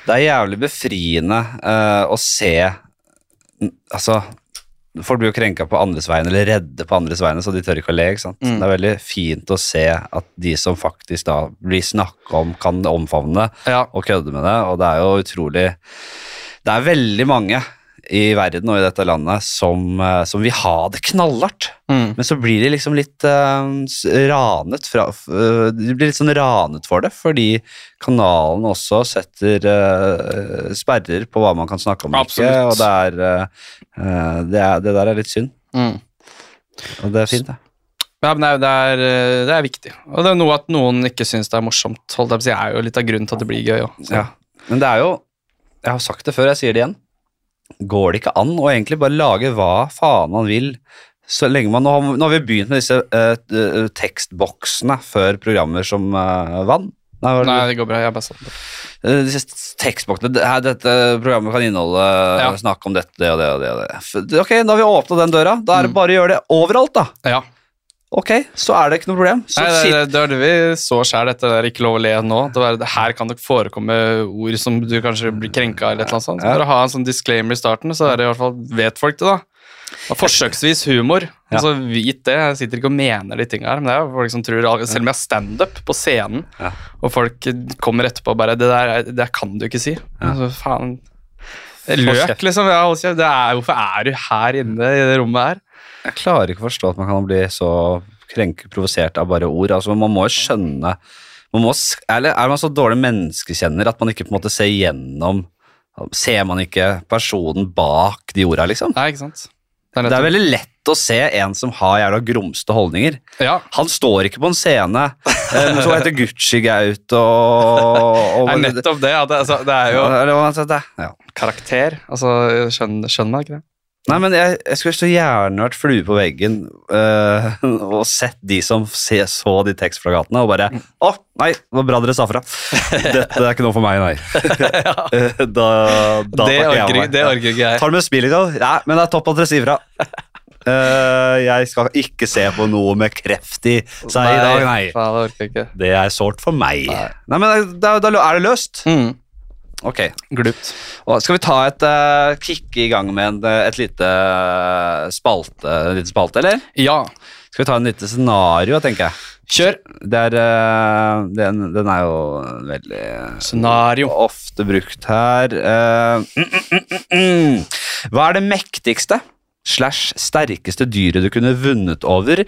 [SPEAKER 1] Det er jævlig befriende eh, å se n- Altså, folk blir jo krenka på andres vegne, eller redde på andres vegne, så de tør ikke å le. ikke sant?
[SPEAKER 2] Mm.
[SPEAKER 1] Det er veldig fint å se at de som faktisk da blir snakka om, kan omfavne det
[SPEAKER 2] ja.
[SPEAKER 1] og kødde med det, og det er jo utrolig Det er veldig mange i verden og i dette landet som, eh, som vil ha det knallhardt.
[SPEAKER 2] Mm.
[SPEAKER 1] Men så blir de liksom litt eh, s- ranet fra f- eh, De blir litt sånn ranet for det, fordi kanalen også setter eh, sperrer på hva man kan snakke om og ikke,
[SPEAKER 2] Absolutt.
[SPEAKER 1] og det er, eh, eh, det er Det der er litt synd,
[SPEAKER 2] Mm.
[SPEAKER 1] og det er fint, det.
[SPEAKER 2] Ja, men det er, det, er, eh, det er viktig. Og det er noe at noen ikke syns det er morsomt. Holdt jeg på å si, er jo litt av grunnen til at det blir gøy òg.
[SPEAKER 1] Ja. Men det er jo Jeg har sagt det før, jeg sier det igjen. Går det ikke an å egentlig bare lage hva faen man vil så lenge man, nå, har, nå har vi begynt med disse eh, eh, tekstboksene før programmer som eh, vann. Nei, hva er det
[SPEAKER 2] Nei,
[SPEAKER 1] du-
[SPEAKER 2] det går bra. Jeg bare sånn. satt på.
[SPEAKER 1] Eh, disse tekstboksene. Det her- Dette programmet kan inneholde eh,
[SPEAKER 2] Ja.
[SPEAKER 1] snakk om dette og det og det. Og det. F- Ok, Da har vi åpna den døra. Da er det
[SPEAKER 2] Mm.
[SPEAKER 1] bare å gjøre det overalt, da.
[SPEAKER 2] Ja.
[SPEAKER 1] Ok, så er det ikke noe problem. Så
[SPEAKER 2] Nei, det,
[SPEAKER 1] sitt-
[SPEAKER 2] det, det var det vi så sjæl, dette der ikke lov å le nå. Det var, det her kan nok forekomme ord som du kanskje blir krenka av, eller et eller annet sånt. Så
[SPEAKER 1] Ja.
[SPEAKER 2] Bare ha en sånn disclaimer i starten, så er det i hvert fall, vet folk det, da. Og forsøksvis humor.
[SPEAKER 1] Ja.
[SPEAKER 2] Altså, vit det. Jeg sitter ikke og mener de tinga her, men det er jo folk som tror Selv om jeg har standup på scenen,
[SPEAKER 1] Ja.
[SPEAKER 2] og folk kommer etterpå og bare Det der er- det kan du ikke si. Altså, faen. Løk, liksom. Ja, hold kjeft. det er, hvorfor er du her inne i det rommet her?
[SPEAKER 1] Jeg klarer ikke å forstå at man kan bli så krenk, provosert av bare ord. Altså, man må jo skjønne man må, s- Eller er man så dårlig menneskekjenner at man ikke på en måte ser gjennom Ser man ikke personen bak de orda, liksom?
[SPEAKER 2] Nei, ikke sant? Det er,
[SPEAKER 1] Det er
[SPEAKER 2] nettopp-
[SPEAKER 1] veldig lett å se en som har jævla grumste holdninger.
[SPEAKER 2] ja.
[SPEAKER 1] Han står ikke på en scene eh, med så heter Gucci-Gaut og, og
[SPEAKER 2] Det er nettopp det. At det, altså, det er jo
[SPEAKER 1] Eller hva han heter det? Ja.
[SPEAKER 2] karakter. Altså, skjønner, skjønner man ikke det?
[SPEAKER 1] Nei, men jeg, jeg skulle så gjerne vært flue på veggen eh, og sett de som se, så de tekstflagatene og bare Å, nei, det var bra dere sa fra. Dette er ikke noe for meg, nei. Eh, da da
[SPEAKER 2] det,
[SPEAKER 1] takker jeg
[SPEAKER 2] orker,
[SPEAKER 1] meg.
[SPEAKER 2] det orker ikke jeg.
[SPEAKER 1] Tar det med spill i dag? Nei, men det er topp at dere sier fra. Eh, jeg skal ikke se på noe med kreft i seg i dag, nei.
[SPEAKER 2] Faen, det orker jeg ikke.
[SPEAKER 1] Det er sårt for meg. Nei, men eh, da, da er det løst.
[SPEAKER 2] Mm.
[SPEAKER 1] Ok,
[SPEAKER 2] Glupt.
[SPEAKER 1] og skal vi ta et uh, kicke i gang med en, eh, et lite eh, spalte, en liten spalte, eller?
[SPEAKER 2] Ja,
[SPEAKER 1] Skal vi ta en liten scenario, tenker jeg.
[SPEAKER 2] kjør.
[SPEAKER 1] Det er, eh, den, den er jo veldig
[SPEAKER 2] Scenario.
[SPEAKER 1] ofte brukt her. Eh, mm, mm, mm, mm, mm. Hva er det mektigste slash sterkeste dyret du kunne vunnet over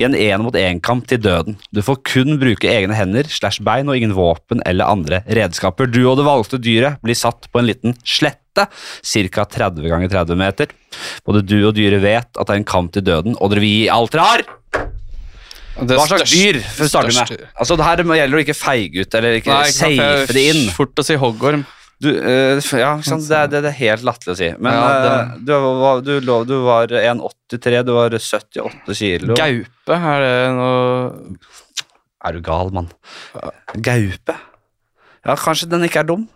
[SPEAKER 1] i en én-mot-én-kamp til døden? Du får kun bruke egne hender slash bein og ingen våpen eller andre redskaper. Du og det valgte dyret blir satt på en liten slette ca. 30 ganger 30 meter. Både du og dyret vet at det er en kamp til døden, og dere vil gi alt dere har!
[SPEAKER 2] Det
[SPEAKER 1] Hva slags
[SPEAKER 2] største-
[SPEAKER 1] dyr? For å starte med.
[SPEAKER 2] største-
[SPEAKER 1] Altså, det her gjelder å ikke feige ut eller ikke
[SPEAKER 2] Nei, ikke sant, for jeg
[SPEAKER 1] safe det inn.
[SPEAKER 2] Fort å si hoggorm.
[SPEAKER 1] Du, eh, f- ja, ikke sant? Det, er- det, det er helt latterlig å si. Men
[SPEAKER 2] Ja, det-
[SPEAKER 1] eh, du, var, du, lå- du var 1,83, du var 78 kilo.
[SPEAKER 2] Gaupe, er det noe
[SPEAKER 1] Er du gal, mann? Gaupe? Ja, kanskje den ikke er dum?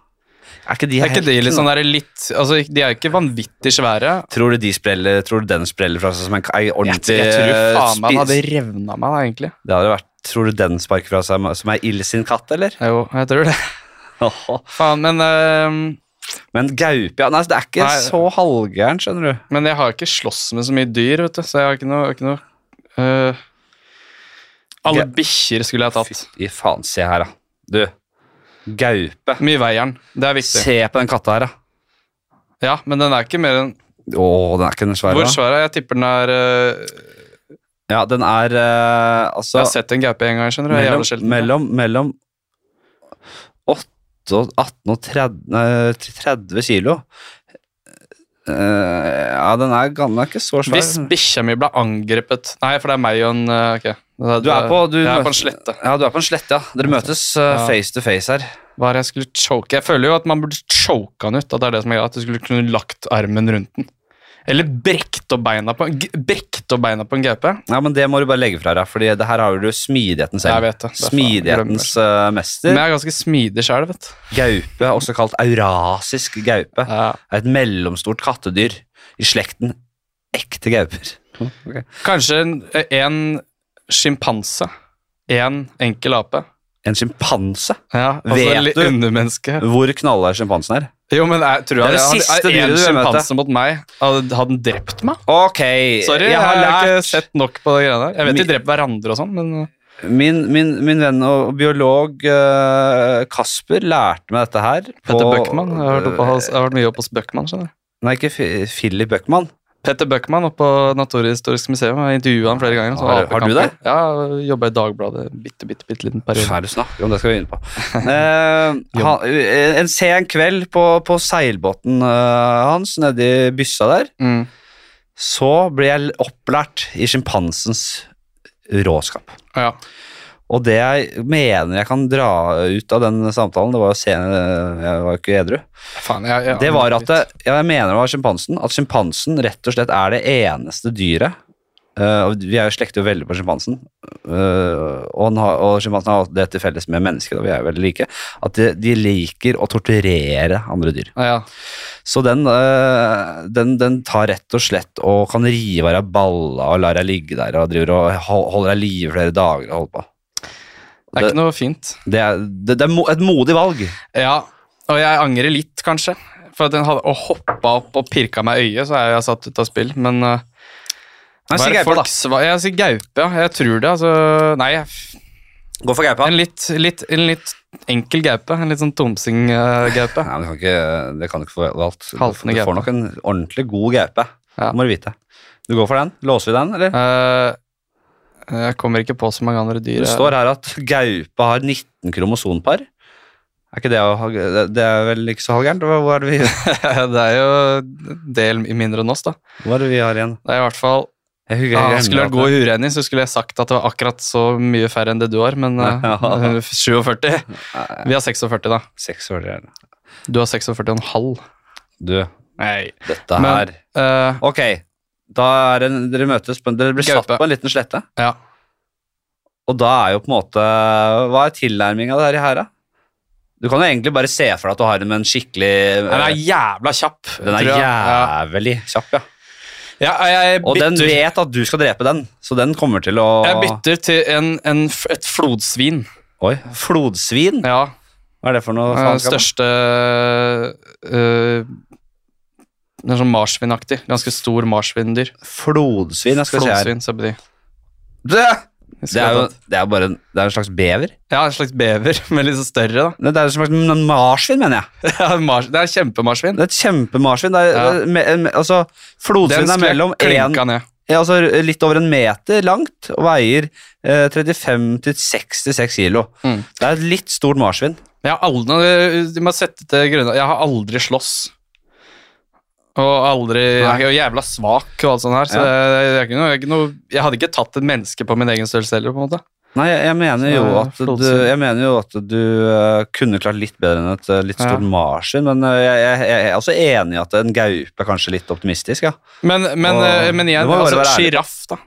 [SPEAKER 1] Er ikke de,
[SPEAKER 2] Er ikke de
[SPEAKER 1] heltene?
[SPEAKER 2] litt sånn der litt Altså, de er jo ikke vanvittig svære.
[SPEAKER 1] Tror du de spreller, tror du den spreller fra seg som en k- ei
[SPEAKER 2] Jeg,
[SPEAKER 1] ordentlig
[SPEAKER 2] jeg tror faen meg
[SPEAKER 1] eh,
[SPEAKER 2] han
[SPEAKER 1] spis-
[SPEAKER 2] hadde revna meg, da, egentlig.
[SPEAKER 1] Det hadde vært Tror du den sparker fra seg som er ild sin katt, eller?
[SPEAKER 2] Jo, jeg tror det. Faen, men ehm,
[SPEAKER 1] Men gaupe ja, Nei, altså, det er ikke
[SPEAKER 2] Nei.
[SPEAKER 1] så halvgæren, skjønner du.
[SPEAKER 2] Men jeg har ikke slåss med så mye dyr, vet du, så jeg har ikke noe, ikke noe øh, Alle
[SPEAKER 1] Ge-
[SPEAKER 2] bikkjer skulle jeg tatt.
[SPEAKER 1] I faen, se her, da. Du. Gaupe.
[SPEAKER 2] Mye veier den. Det er viktig.
[SPEAKER 1] Se på den katta her, da.
[SPEAKER 2] Ja, men den er ikke mer enn
[SPEAKER 1] Å, den er ikke den svære,
[SPEAKER 2] Hvor
[SPEAKER 1] da?
[SPEAKER 2] svær er den? Jeg tipper den er øh,
[SPEAKER 1] Ja, den er eh,
[SPEAKER 2] Jeg
[SPEAKER 1] altså
[SPEAKER 2] har sett en gaupe en gang, skjønner du. Det er
[SPEAKER 1] mellom,
[SPEAKER 2] jævlig sjelden.
[SPEAKER 1] mellom, mellom 8 og 18 og 30, nei, 30 kilo. Eh, ja, den er, gan- den er ikke så svær.
[SPEAKER 2] Hvis bikkja mi ble angrepet Nei, for det er meg og en øh, Ok. Det-
[SPEAKER 1] Du er på, du
[SPEAKER 2] jeg er på
[SPEAKER 1] møter-
[SPEAKER 2] en slette.
[SPEAKER 1] Ja, du er på en slette, ja. Dere møtes eh,
[SPEAKER 2] Ja.
[SPEAKER 1] face to face her.
[SPEAKER 2] Hva er det jeg skulle choke? Jeg føler jo at man burde choke han ut. At det er det som er greia, at du skulle kunne lagt armen rundt den. Eller brekt opp beina på, g- brekt opp beina på en gaupe.
[SPEAKER 1] Ja, men det må du bare legge fra deg, Fordi det her har du smidigheten selv.
[SPEAKER 2] Jeg vet det. Det er faen-
[SPEAKER 1] Smidighetens eh, mester.
[SPEAKER 2] Men jeg er ganske smidig sjøl, vet du.
[SPEAKER 1] Gaupe, også kalt eurasisk gaupe,
[SPEAKER 2] Ja.
[SPEAKER 1] er et mellomstort kattedyr i slekten ekte gauper.
[SPEAKER 2] Kanskje en, en sjimpanse. En enkel ape.
[SPEAKER 1] En sjimpanse?
[SPEAKER 2] Ja,
[SPEAKER 1] Vet
[SPEAKER 2] altså litt
[SPEAKER 1] du?
[SPEAKER 2] undermenneske.
[SPEAKER 1] Hvor knalla er sjimpansen her?
[SPEAKER 2] Jo, men jeg tror
[SPEAKER 1] Det er
[SPEAKER 2] jeg,
[SPEAKER 1] det siste
[SPEAKER 2] hadde,
[SPEAKER 1] dyret
[SPEAKER 2] en
[SPEAKER 1] du vil møte.
[SPEAKER 2] sjimpanse mot meg, hadde, hadde den drept meg?
[SPEAKER 1] Ok,
[SPEAKER 2] Sorry, jeg har, ikke sett nok på det greiene der. Jeg vet de dreper hverandre og sånn, men
[SPEAKER 1] Min, min, min venn og biolog eh, Kasper lærte meg dette her. Eh,
[SPEAKER 2] Petter Bøckmann Jeg har vært, oppe, hos- jeg har vært mye oppe hos Bøckmann, skjønner du.
[SPEAKER 1] Nei, ikke Fi- Philip Bøckmann.
[SPEAKER 2] Petter Bøckmann oppe på Naturhistorisk museum. Jeg intervjua han flere ganger. så
[SPEAKER 1] Har- har du det?
[SPEAKER 2] apekamper. Ja, jobba i Dagbladet bitte, bitte, bitte liten
[SPEAKER 1] Hva
[SPEAKER 2] periode.
[SPEAKER 1] er det du snakker om? Det skal vi inn på. Eh, han, en sen kveld på, på seilbåten eh, hans nedi byssa der,
[SPEAKER 2] Mm.
[SPEAKER 1] så ble jeg opplært i sjimpansens råskap.
[SPEAKER 2] Ja.
[SPEAKER 1] Og det jeg mener jeg kan dra ut av den samtalen, det var jo sen, jeg var jo ikke edru,
[SPEAKER 2] Faen, jeg, jeg,
[SPEAKER 1] det var at det, ja, jeg mener det var sjimpansen, at sjimpansen rett og slett er det eneste dyret Eh, og vi er jo slekter jo veldig på sjimpansen, Eh, og, han har- og sjimpansen har det til felles med mennesker, og vi er jo veldig like, at de, de liker å torturere andre dyr.
[SPEAKER 2] Ja, ja.
[SPEAKER 1] Så den, eh, den, den tar rett og slett og kan rive av deg balla og lar deg ligge der og driver og hol- holder deg i live flere dager og holder på.
[SPEAKER 2] Det er ikke noe fint.
[SPEAKER 1] Det er, det, det er mo- et modig valg.
[SPEAKER 2] Ja, og jeg angrer litt, kanskje. For at den hadde og hoppa opp og pirka meg i øyet, så er jeg satt ut av spill. Men eh,
[SPEAKER 1] Nei,
[SPEAKER 2] hva
[SPEAKER 1] si
[SPEAKER 2] er det
[SPEAKER 1] gaupe,
[SPEAKER 2] folk sva- Jeg sier gaupe, ja. Jeg tror det. Altså, nei, jeg-
[SPEAKER 1] da. Gå for gaupa.
[SPEAKER 2] en litt, litt, en litt enkel gaupe. En litt sånn tomsing-gaupe.
[SPEAKER 1] Nei, men det kan ikke, det kan du ikke få valgt. Du,
[SPEAKER 2] Haltende
[SPEAKER 1] du får
[SPEAKER 2] gaupe.
[SPEAKER 1] nok en ordentlig god gaupe.
[SPEAKER 2] Ja.
[SPEAKER 1] Det må du vite. Du går for den? Låser vi den, eller?
[SPEAKER 2] Eh, jeg kommer ikke på så mange andre dyr. eh.
[SPEAKER 1] Det står her at gaupe har 19 kromosonpar. Er ikke det, å ha- det- det er vel ikke så halvgærent? Hva, hva, er det vi-
[SPEAKER 2] det er jo en del mindre enn oss, da.
[SPEAKER 1] hva er det vi har igjen?
[SPEAKER 2] Det er i hvert fall
[SPEAKER 1] Jeg husker-
[SPEAKER 2] Ja,
[SPEAKER 1] jeg glemmer
[SPEAKER 2] skulle jeg vært god i uregning, så skulle jeg sagt at det var akkurat så mye færre enn det du har, men eh,
[SPEAKER 1] Ja.
[SPEAKER 2] 47. Vi har 46, da.
[SPEAKER 1] at- Seks år igjen.
[SPEAKER 2] Du har 46,5.
[SPEAKER 1] Du,
[SPEAKER 2] Nei.
[SPEAKER 1] dette her
[SPEAKER 2] Men- Eh,
[SPEAKER 1] Ok, da er det, dere møtes på, Dere blir satt
[SPEAKER 2] Gaupe.
[SPEAKER 1] på en liten slette
[SPEAKER 2] ja.
[SPEAKER 1] Og da er jo på en måte Hva er tilnærmingen der i her da? Du kan jo egentlig bare se for deg at du har den med en skikkelig øh,
[SPEAKER 2] Den er jævla kjapp.
[SPEAKER 1] Den er
[SPEAKER 2] tror jeg.
[SPEAKER 1] jævlig kjapp, ja
[SPEAKER 2] Ja. Ja, jeg, jeg,
[SPEAKER 1] Og den
[SPEAKER 2] bytter,
[SPEAKER 1] vet at du skal drepe den Så den kommer til å
[SPEAKER 2] jeg bytter til en, en, f- et flodsvin.
[SPEAKER 1] Oi, flodsvin
[SPEAKER 2] Ja.
[SPEAKER 1] Hva er det for noe
[SPEAKER 2] eh,
[SPEAKER 1] faenskap?
[SPEAKER 2] Største eh, Det er sånn marsvinaktig. Ganske stor marsvindyr.
[SPEAKER 1] Flodsvin, jeg skal
[SPEAKER 2] Flodsvin, se på de.
[SPEAKER 1] se her det,
[SPEAKER 2] Jeg
[SPEAKER 1] det
[SPEAKER 2] skulle
[SPEAKER 1] er jo
[SPEAKER 2] tatt-
[SPEAKER 1] det er bare en, det er en slags bever
[SPEAKER 2] Ja, en slags bever, men litt så større, da.
[SPEAKER 1] Nei, Det er en slags marsvin, mener jeg
[SPEAKER 2] Ja, mars, det er kjempemarsvin.
[SPEAKER 1] Det er et kjempemarsvin. Det er,
[SPEAKER 2] Ja.
[SPEAKER 1] me, me, altså, flodsvin er mellom en,
[SPEAKER 2] klinka ned.
[SPEAKER 1] ja, altså, litt over en meter langt og veier eh, 35-66 kilo.
[SPEAKER 2] Mm.
[SPEAKER 1] Det er et litt stort marsvin.
[SPEAKER 2] Jeg har aldri, du må sette til grunne, jeg har aldri slåss. Og aldri Jeg er jo jævla svak og alt sånt her, så
[SPEAKER 1] Ja.
[SPEAKER 2] det, det er ikke noe, det er ikke noe Jeg hadde ikke tatt et menneske på min egen størrelse heller, på en måte.
[SPEAKER 1] Nei, jeg, jeg, mener jo
[SPEAKER 2] Så,
[SPEAKER 1] at du,
[SPEAKER 2] flodsvin.
[SPEAKER 1] jeg mener jo at du eh, kunne klart litt bedre enn et eh, litt
[SPEAKER 2] Ja.
[SPEAKER 1] stort marsvin, men eh, jeg, jeg, jeg er også enig i at en gaupe er kanskje litt optimistisk, ja.
[SPEAKER 2] Men, men,
[SPEAKER 1] Åh,
[SPEAKER 2] eh, men igjen,
[SPEAKER 1] du må bare
[SPEAKER 2] altså,
[SPEAKER 1] være ærlig.
[SPEAKER 2] sjiraff, da.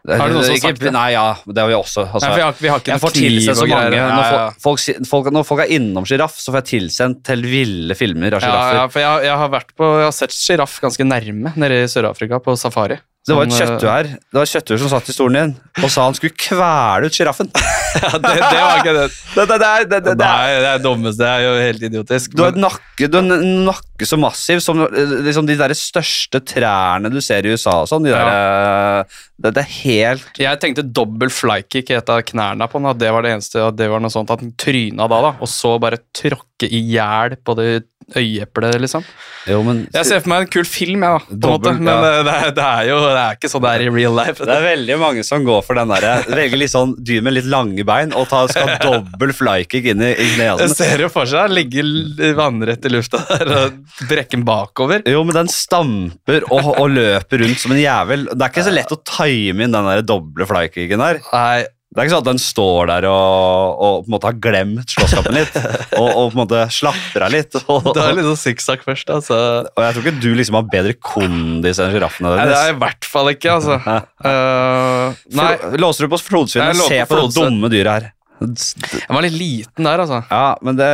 [SPEAKER 2] Har du noen som har sagt det?
[SPEAKER 1] Nei, ja, det har vi også. Altså,
[SPEAKER 2] Nei, for vi har, vi har ikke
[SPEAKER 1] Jeg
[SPEAKER 2] noe
[SPEAKER 1] får tilsendt
[SPEAKER 2] kniv
[SPEAKER 1] så
[SPEAKER 2] og
[SPEAKER 1] mange.
[SPEAKER 2] greier.
[SPEAKER 1] Når
[SPEAKER 2] Ja, ja,
[SPEAKER 1] folk, folk, si- folk, når folk er innom sjiraff, så får jeg tilsendt til ville filmer av
[SPEAKER 2] ja, ja,
[SPEAKER 1] sjiraffer.
[SPEAKER 2] for jeg, jeg, har vært på, jeg har sett sjiraff ganske nærme nede i Sør-Afrika, på safari.
[SPEAKER 1] Det var et
[SPEAKER 2] Sånn, eh,
[SPEAKER 1] kjøttur her Det var et kjøttur som satt i stolen din og sa han skulle kvele ut sjiraffen. Det,
[SPEAKER 2] eh, Ja, det, det var ikke det.
[SPEAKER 1] det, det, er- det, det, det er-
[SPEAKER 2] Nei, det er dummest. Det er jo helt idiotisk.
[SPEAKER 1] du har
[SPEAKER 2] men-
[SPEAKER 1] en nakke, du har en nakke så massiv som eh, liksom, de der største trærne du ser i USA og sånn. De der, eh, det, det er helt
[SPEAKER 2] Jeg tenkte dobbel flykick i et av knærne på den, at det var det eneste, at det var noe sånt, at den tryna da, da, og så bare tråkke i hjel på det øyeeplet, liksom.
[SPEAKER 1] Jo, men
[SPEAKER 2] Jeg ser for meg en kul film, jeg, da, på en måte,
[SPEAKER 1] Dobbel,
[SPEAKER 2] men
[SPEAKER 1] ja.
[SPEAKER 2] eh, det, er- det er jo det er ikke sånn det er i real life.
[SPEAKER 1] Det er veldig mange som går for den derre Velger litt sånn dyr med litt lange bein og tar, skal ha dobbel flykick inn i, i
[SPEAKER 2] Jeg
[SPEAKER 1] nesen.
[SPEAKER 2] ser jo for seg han ligger l- vannrett i lufta der og brekker den bakover.
[SPEAKER 1] Jo, men den stamper og, og løper rundt som en jævel. Det er ikke så lett å time inn den der doble flykicken der.
[SPEAKER 2] Nei,
[SPEAKER 1] Det er ikke sånn at den står der og, og på en måte har glemt slåsskampen litt, og, og på en måte slapper av litt. Og, og
[SPEAKER 2] det er litt sånn sikksakk først, altså.
[SPEAKER 1] jeg tror ikke du liksom har bedre kondis enn sjiraffene
[SPEAKER 2] Nei, det er
[SPEAKER 1] deres.
[SPEAKER 2] jeg i hvert fall ikke, altså. Eh, nei,
[SPEAKER 1] Fro- Låser du på
[SPEAKER 2] Jeg
[SPEAKER 1] flodsvinet?
[SPEAKER 2] låser
[SPEAKER 1] Se
[SPEAKER 2] på
[SPEAKER 1] på det
[SPEAKER 2] flodsvin.
[SPEAKER 1] dumme dyret her.
[SPEAKER 2] jeg var litt liten der, altså.
[SPEAKER 1] Ja, men det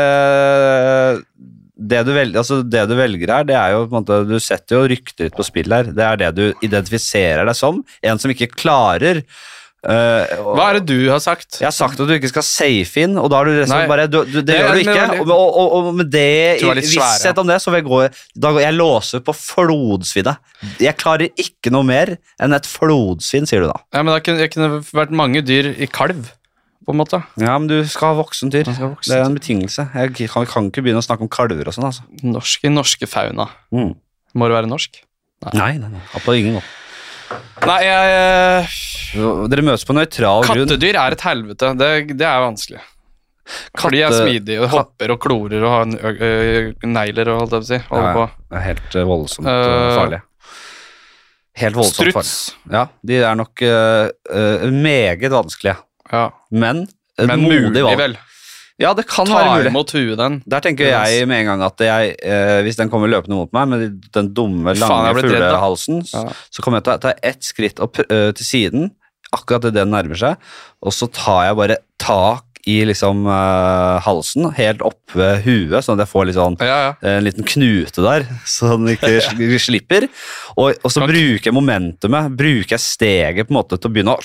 [SPEAKER 1] det du, velger, altså det du velger her, det er jo på en måte, du setter jo ryktet ditt på spill her. Det er det du identifiserer deg som. En som ikke klarer eh, og-
[SPEAKER 2] Hva er det du har sagt?
[SPEAKER 1] Jeg har sagt at du ikke skal safe inn, og da har du resten
[SPEAKER 2] Nei.
[SPEAKER 1] bare du, du, Det
[SPEAKER 2] Nei,
[SPEAKER 1] gjør du
[SPEAKER 2] men-
[SPEAKER 1] ikke. Og, og, og, og med det
[SPEAKER 2] Du er litt
[SPEAKER 1] i
[SPEAKER 2] svær,
[SPEAKER 1] visshet om det, så vil jeg gå Da går jeg låser på flodsvinnet. Jeg klarer ikke noe mer enn et flodsvinn, sier du da.
[SPEAKER 2] Ja, men det kunne, jeg kunne vært mange dyr i kalv, på en måte.
[SPEAKER 1] Ja, men du skal ha voksen dyr.
[SPEAKER 2] Man skal vokse
[SPEAKER 1] Det er en betingelse. Jeg kan, kan ikke begynne å snakke om kalver og sånn, altså.
[SPEAKER 2] til norsk, I norske fauna.
[SPEAKER 1] Mm.
[SPEAKER 2] Må det være norsk?
[SPEAKER 1] Nei, nei, nei. På ingen måte.
[SPEAKER 2] Nei, jeg, eh,
[SPEAKER 1] Dere møtes på nøytral grunn.
[SPEAKER 2] kattedyr er et helvete. Det, det er vanskelig. For de er
[SPEAKER 1] Katte-
[SPEAKER 2] smidige og hopper og klorer og har ø- ø- negler og holdt jeg på å si.
[SPEAKER 1] Ja,
[SPEAKER 2] Holder
[SPEAKER 1] ja.
[SPEAKER 2] på.
[SPEAKER 1] Det er helt eh, voldsomt uh,
[SPEAKER 2] Eh,
[SPEAKER 1] farlig. Helt voldsomt
[SPEAKER 2] Struts.
[SPEAKER 1] farlig. Ja, de er nok eh, eh, meget vanskelige.
[SPEAKER 2] Ja.
[SPEAKER 1] Men et
[SPEAKER 2] Men
[SPEAKER 1] modig
[SPEAKER 2] mulig,
[SPEAKER 1] valg.
[SPEAKER 2] vel.
[SPEAKER 1] Ja, det kan være
[SPEAKER 2] Tar
[SPEAKER 1] mulig.
[SPEAKER 2] imot huet den.
[SPEAKER 1] Der tenker
[SPEAKER 2] Ja,
[SPEAKER 1] jeg med en gang at jeg, eh, hvis den kommer løpende mot meg med den dumme,
[SPEAKER 2] Faen,
[SPEAKER 1] lange
[SPEAKER 2] jeg ble redd, da.
[SPEAKER 1] fuglehalsen, s-
[SPEAKER 2] Ja.
[SPEAKER 1] så kommer jeg til å ta ett skritt opp eh, til siden, akkurat det den nærmer seg, og så tar jeg bare tak i liksom eh, halsen, helt opp ved huet, sånn at jeg får litt sånn
[SPEAKER 2] Ja, ja.
[SPEAKER 1] en liten knute der, så den ikke sl- slipper. Og, og så
[SPEAKER 2] Kan-
[SPEAKER 1] bruker jeg momentumet, bruker jeg steget på en måte til å begynne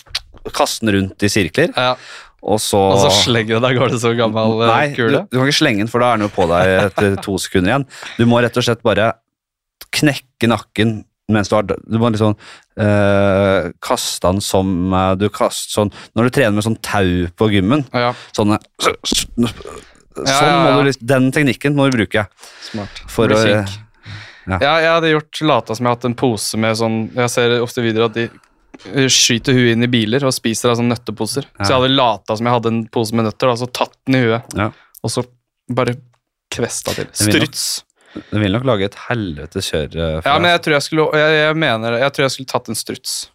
[SPEAKER 1] å kaste den rundt i sirkler,
[SPEAKER 2] ja.
[SPEAKER 1] og så
[SPEAKER 2] Og så slenger du deg, går det så gammel eh,
[SPEAKER 1] Nei, du,
[SPEAKER 2] kule?
[SPEAKER 1] du kan ikke slenge den, for da er den jo på deg etter to sekunder igjen. Du må rett og slett bare knekke nakken mens du har Du må liksom eh, kaste den som eh, du kaster sånn Når du trener med sånn tau på gymmen,
[SPEAKER 2] Ja,
[SPEAKER 1] sånn Sånn
[SPEAKER 2] ja,
[SPEAKER 1] må
[SPEAKER 2] ja.
[SPEAKER 1] du liksom Den teknikken må du bruke
[SPEAKER 2] smart.
[SPEAKER 1] for
[SPEAKER 2] Blir
[SPEAKER 1] å eh,
[SPEAKER 2] synk.
[SPEAKER 1] ja.
[SPEAKER 2] Ja, jeg hadde gjort lata som jeg hadde hatt en pose med sånn Jeg ser ofte videoer at de eh, skyter huet inn i biler og spiser av sånne nøtteposer.
[SPEAKER 1] Ja.
[SPEAKER 2] Så jeg hadde lata som jeg hadde en pose med nøtter, da, så tatt den i huet,
[SPEAKER 1] Ja.
[SPEAKER 2] og så bare kvesta til.
[SPEAKER 1] vil nok-
[SPEAKER 2] Struts.
[SPEAKER 1] Den vil nok lage et helvete kjør. eh, for
[SPEAKER 2] Ja,
[SPEAKER 1] deg.
[SPEAKER 2] men jeg tror jeg skulle Jeg, jeg mener det. Jeg tror jeg skulle tatt en struts.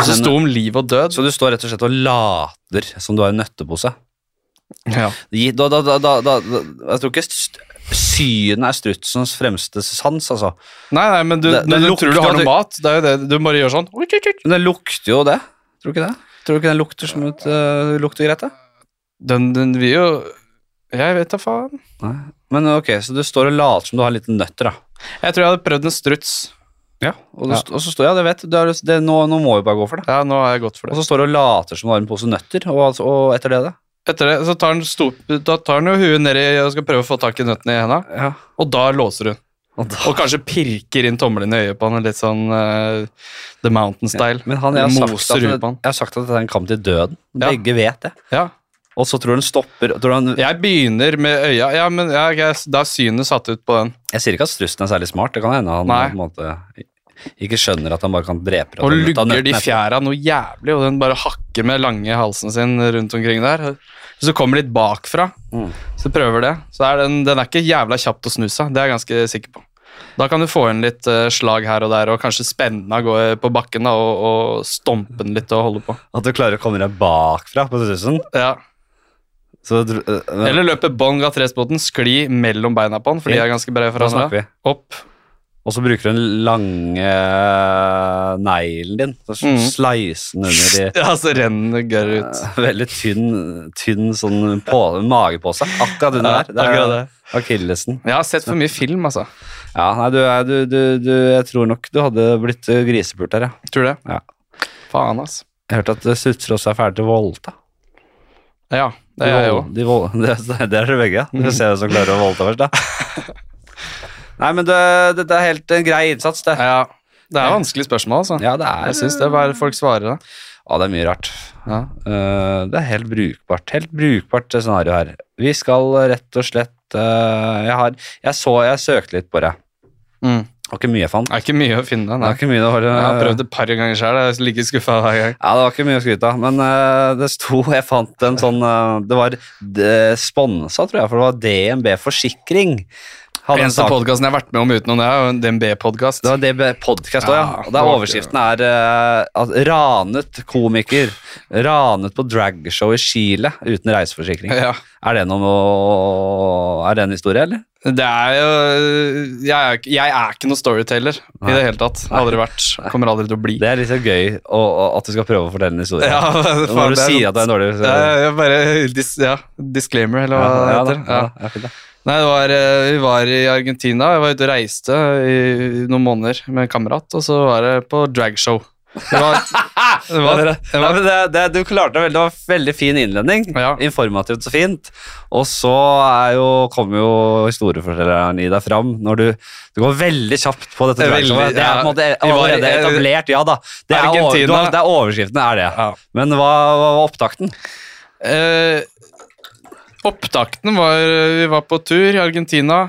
[SPEAKER 2] Og så
[SPEAKER 1] Men-
[SPEAKER 2] sto om liv og død.
[SPEAKER 1] Så du står rett og slett og later som du har en nøttepose?
[SPEAKER 2] Ja.
[SPEAKER 1] Gi- Da, da, da, da, da, da, jeg tror ikke st- synet er strutsens fremste sans, altså.
[SPEAKER 2] Nei, nei, men du,
[SPEAKER 1] Det-
[SPEAKER 2] men
[SPEAKER 1] det
[SPEAKER 2] du tror du
[SPEAKER 1] lukter
[SPEAKER 2] har
[SPEAKER 1] at
[SPEAKER 2] noe
[SPEAKER 1] du-
[SPEAKER 2] mat. Det er jo det. Du bare gjør sånn. Ut, ut, ut.
[SPEAKER 1] Men den lukter jo det. Tror du ikke det? Tror du ikke den lukter som et øh, lukter greit, det?
[SPEAKER 2] Den, den vil jo Jeg vet da faen.
[SPEAKER 1] Nei. Men ok, så du står og later som du har en liten nøtter, da.
[SPEAKER 2] Jeg tror jeg hadde prøvd en struts.
[SPEAKER 1] Og, du,
[SPEAKER 2] Ja.
[SPEAKER 1] st- og så står jeg, det vet du, er, det, nå, nå må vi bare gå for det.
[SPEAKER 2] Ja, nå har jeg gått for
[SPEAKER 1] Og så
[SPEAKER 2] det.
[SPEAKER 1] står du og later som du har en pose nøtter, og, altså- og etter det, da?
[SPEAKER 2] Etter det, så tar den stop, Da tar den jo huet nedi og skal prøve å få tak i nøttene i henda,
[SPEAKER 1] Ja.
[SPEAKER 2] og da låser hun.
[SPEAKER 1] Og da,
[SPEAKER 2] Og kanskje pirker inn tommelen i øyet på han, litt sånn eh, The Mountain-style.
[SPEAKER 1] men han, jeg, har sagt
[SPEAKER 2] moser
[SPEAKER 1] at,
[SPEAKER 2] ut på han.
[SPEAKER 1] jeg har sagt at det er en kamp til døden.
[SPEAKER 2] Ja.
[SPEAKER 1] Begge vet det.
[SPEAKER 2] Ja.
[SPEAKER 1] Og så tror du den stopper tror du han,
[SPEAKER 2] Jeg begynner med øya Ja, men ja, ok, da er synet satt ut på den.
[SPEAKER 1] Jeg sier ikke at strussen er særlig smart. Det kan hende han på
[SPEAKER 2] Nei.
[SPEAKER 1] en måte ikke skjønner at han bare kan drepe
[SPEAKER 2] Og
[SPEAKER 1] rett av
[SPEAKER 2] lugger de
[SPEAKER 1] nøttene.
[SPEAKER 2] fjæra noe jævlig, og den bare hakker med lange halsen sin rundt omkring der. Så kommer de litt bakfra,
[SPEAKER 1] Mm.
[SPEAKER 2] så prøver det. Så er den, den er ikke jævla kjapt å snu seg, det er jeg ganske sikker på. Da kan du få inn litt eh, slag her og der, og kanskje spenne av gårde på bakken da, og, og stompe den litt og holde på.
[SPEAKER 1] At du klarer å komme deg bakfra på strussen.
[SPEAKER 2] Ja.
[SPEAKER 1] Så, dr- øh, øh,
[SPEAKER 2] Eller løpe bånn av trespoten, skli mellom beina på den, for de er ganske brede
[SPEAKER 1] hva
[SPEAKER 2] hverandre.
[SPEAKER 1] snakker vi?
[SPEAKER 2] Opp.
[SPEAKER 1] Og så bruker du den lange øh, neglen din. Så
[SPEAKER 2] Mm.
[SPEAKER 1] sleiser den under i øh,
[SPEAKER 2] Ja, så renner det gørr ut.
[SPEAKER 1] Veldig tynn, tynn sånn på, magepose. Akkurat under
[SPEAKER 2] Ja,
[SPEAKER 1] der. Det er
[SPEAKER 2] akkurat det.
[SPEAKER 1] akillesen.
[SPEAKER 2] Jeg har sett for mye film, altså.
[SPEAKER 1] Ja, nei, du, er- du, du, du Jeg tror nok du hadde blitt øh, grisepult der, ja.
[SPEAKER 2] Tror du det?
[SPEAKER 1] Ja.
[SPEAKER 2] Faen, altså.
[SPEAKER 1] Jeg hørte at øh, strutser også er ferdig til voldta.
[SPEAKER 2] Ja, det
[SPEAKER 1] De
[SPEAKER 2] er jeg jo.
[SPEAKER 1] vold- de vold- det, det er det begge, ja. Du ser hvem som klarer å voldta først, da. Nei, men det, dette er helt en grei innsats, det.
[SPEAKER 2] Ja, det er vanskelig spørsmål, altså.
[SPEAKER 1] Ja, det er
[SPEAKER 2] Jeg syns det er hva folk svarer, da.
[SPEAKER 1] Ja, det er mye rart.
[SPEAKER 2] Ja.
[SPEAKER 1] Eh, det er helt brukbart. Helt brukbart scenario her. Vi skal rett og slett eh, Jeg har Jeg så Jeg søkte litt på det.
[SPEAKER 2] Mm.
[SPEAKER 1] Det var ikke mye jeg fant.
[SPEAKER 2] Det er ikke mye å finne.
[SPEAKER 1] Det
[SPEAKER 2] Nei.
[SPEAKER 1] var ikke mye det var, eh,
[SPEAKER 2] Jeg har prøvd det et par ganger sjøl, jeg er like skuffa hver gang.
[SPEAKER 1] Ja, det var ikke mye å skryte av, men eh, det sto Jeg fant en sånn eh, Det var eh, sponsa, tror jeg, for det var DNB Forsikring. Hadde en
[SPEAKER 2] Eneste
[SPEAKER 1] sak
[SPEAKER 2] podkasten jeg har vært med om utenom det, er jo en DNB-podkast.
[SPEAKER 1] Det var det podcast også, ja.
[SPEAKER 2] Ja,
[SPEAKER 1] Og der overskriften er eh, at ranet komiker. Ranet på dragshow i Chile uten reiseforsikring.
[SPEAKER 2] Ja.
[SPEAKER 1] Er det noe Er det en historie, eller?
[SPEAKER 2] Det er jo Jeg er, ikke- jeg er ikke noen storyteller i det hele tatt. Har Aldri vært. Kommer aldri til å bli.
[SPEAKER 1] Det er litt så gøy å, å- at du skal prøve å fortelle en historie.
[SPEAKER 2] Ja, faen,
[SPEAKER 1] Når du
[SPEAKER 2] det er
[SPEAKER 1] sier
[SPEAKER 2] sant.
[SPEAKER 1] at det er en dårlig
[SPEAKER 2] Ja, jeg bare dis, ja, disclaimer, eller
[SPEAKER 1] Ja,
[SPEAKER 2] hva
[SPEAKER 1] ja,
[SPEAKER 2] det
[SPEAKER 1] da,
[SPEAKER 2] heter.
[SPEAKER 1] ja,
[SPEAKER 2] Ja.
[SPEAKER 1] ja, fint, da.
[SPEAKER 2] Nei, det var, eh, vi var i Argentina. Jeg var ute og reiste i noen måneder med en kamerat, og så var det på dragshow. Det var, det var, det
[SPEAKER 1] Nei,
[SPEAKER 2] var,
[SPEAKER 1] men det, det, du klarte det veldig. Det var veldig fin innledning.
[SPEAKER 2] Ja.
[SPEAKER 1] Informativt og fint. Og så er jo, kommer jo historiefortelleren i deg fram når du, du går veldig kjapt på dette.
[SPEAKER 2] Veldig,
[SPEAKER 1] dragshowet. det er på en måte
[SPEAKER 2] ja. Vi var-
[SPEAKER 1] allerede etablert, ja da. Det er, over,
[SPEAKER 2] Argentina.
[SPEAKER 1] du har- det er overskriften, er det.
[SPEAKER 2] Ja.
[SPEAKER 1] Men hva hva var opptakten?
[SPEAKER 2] eh, opptakten var Vi var på eh, tur i Argentina,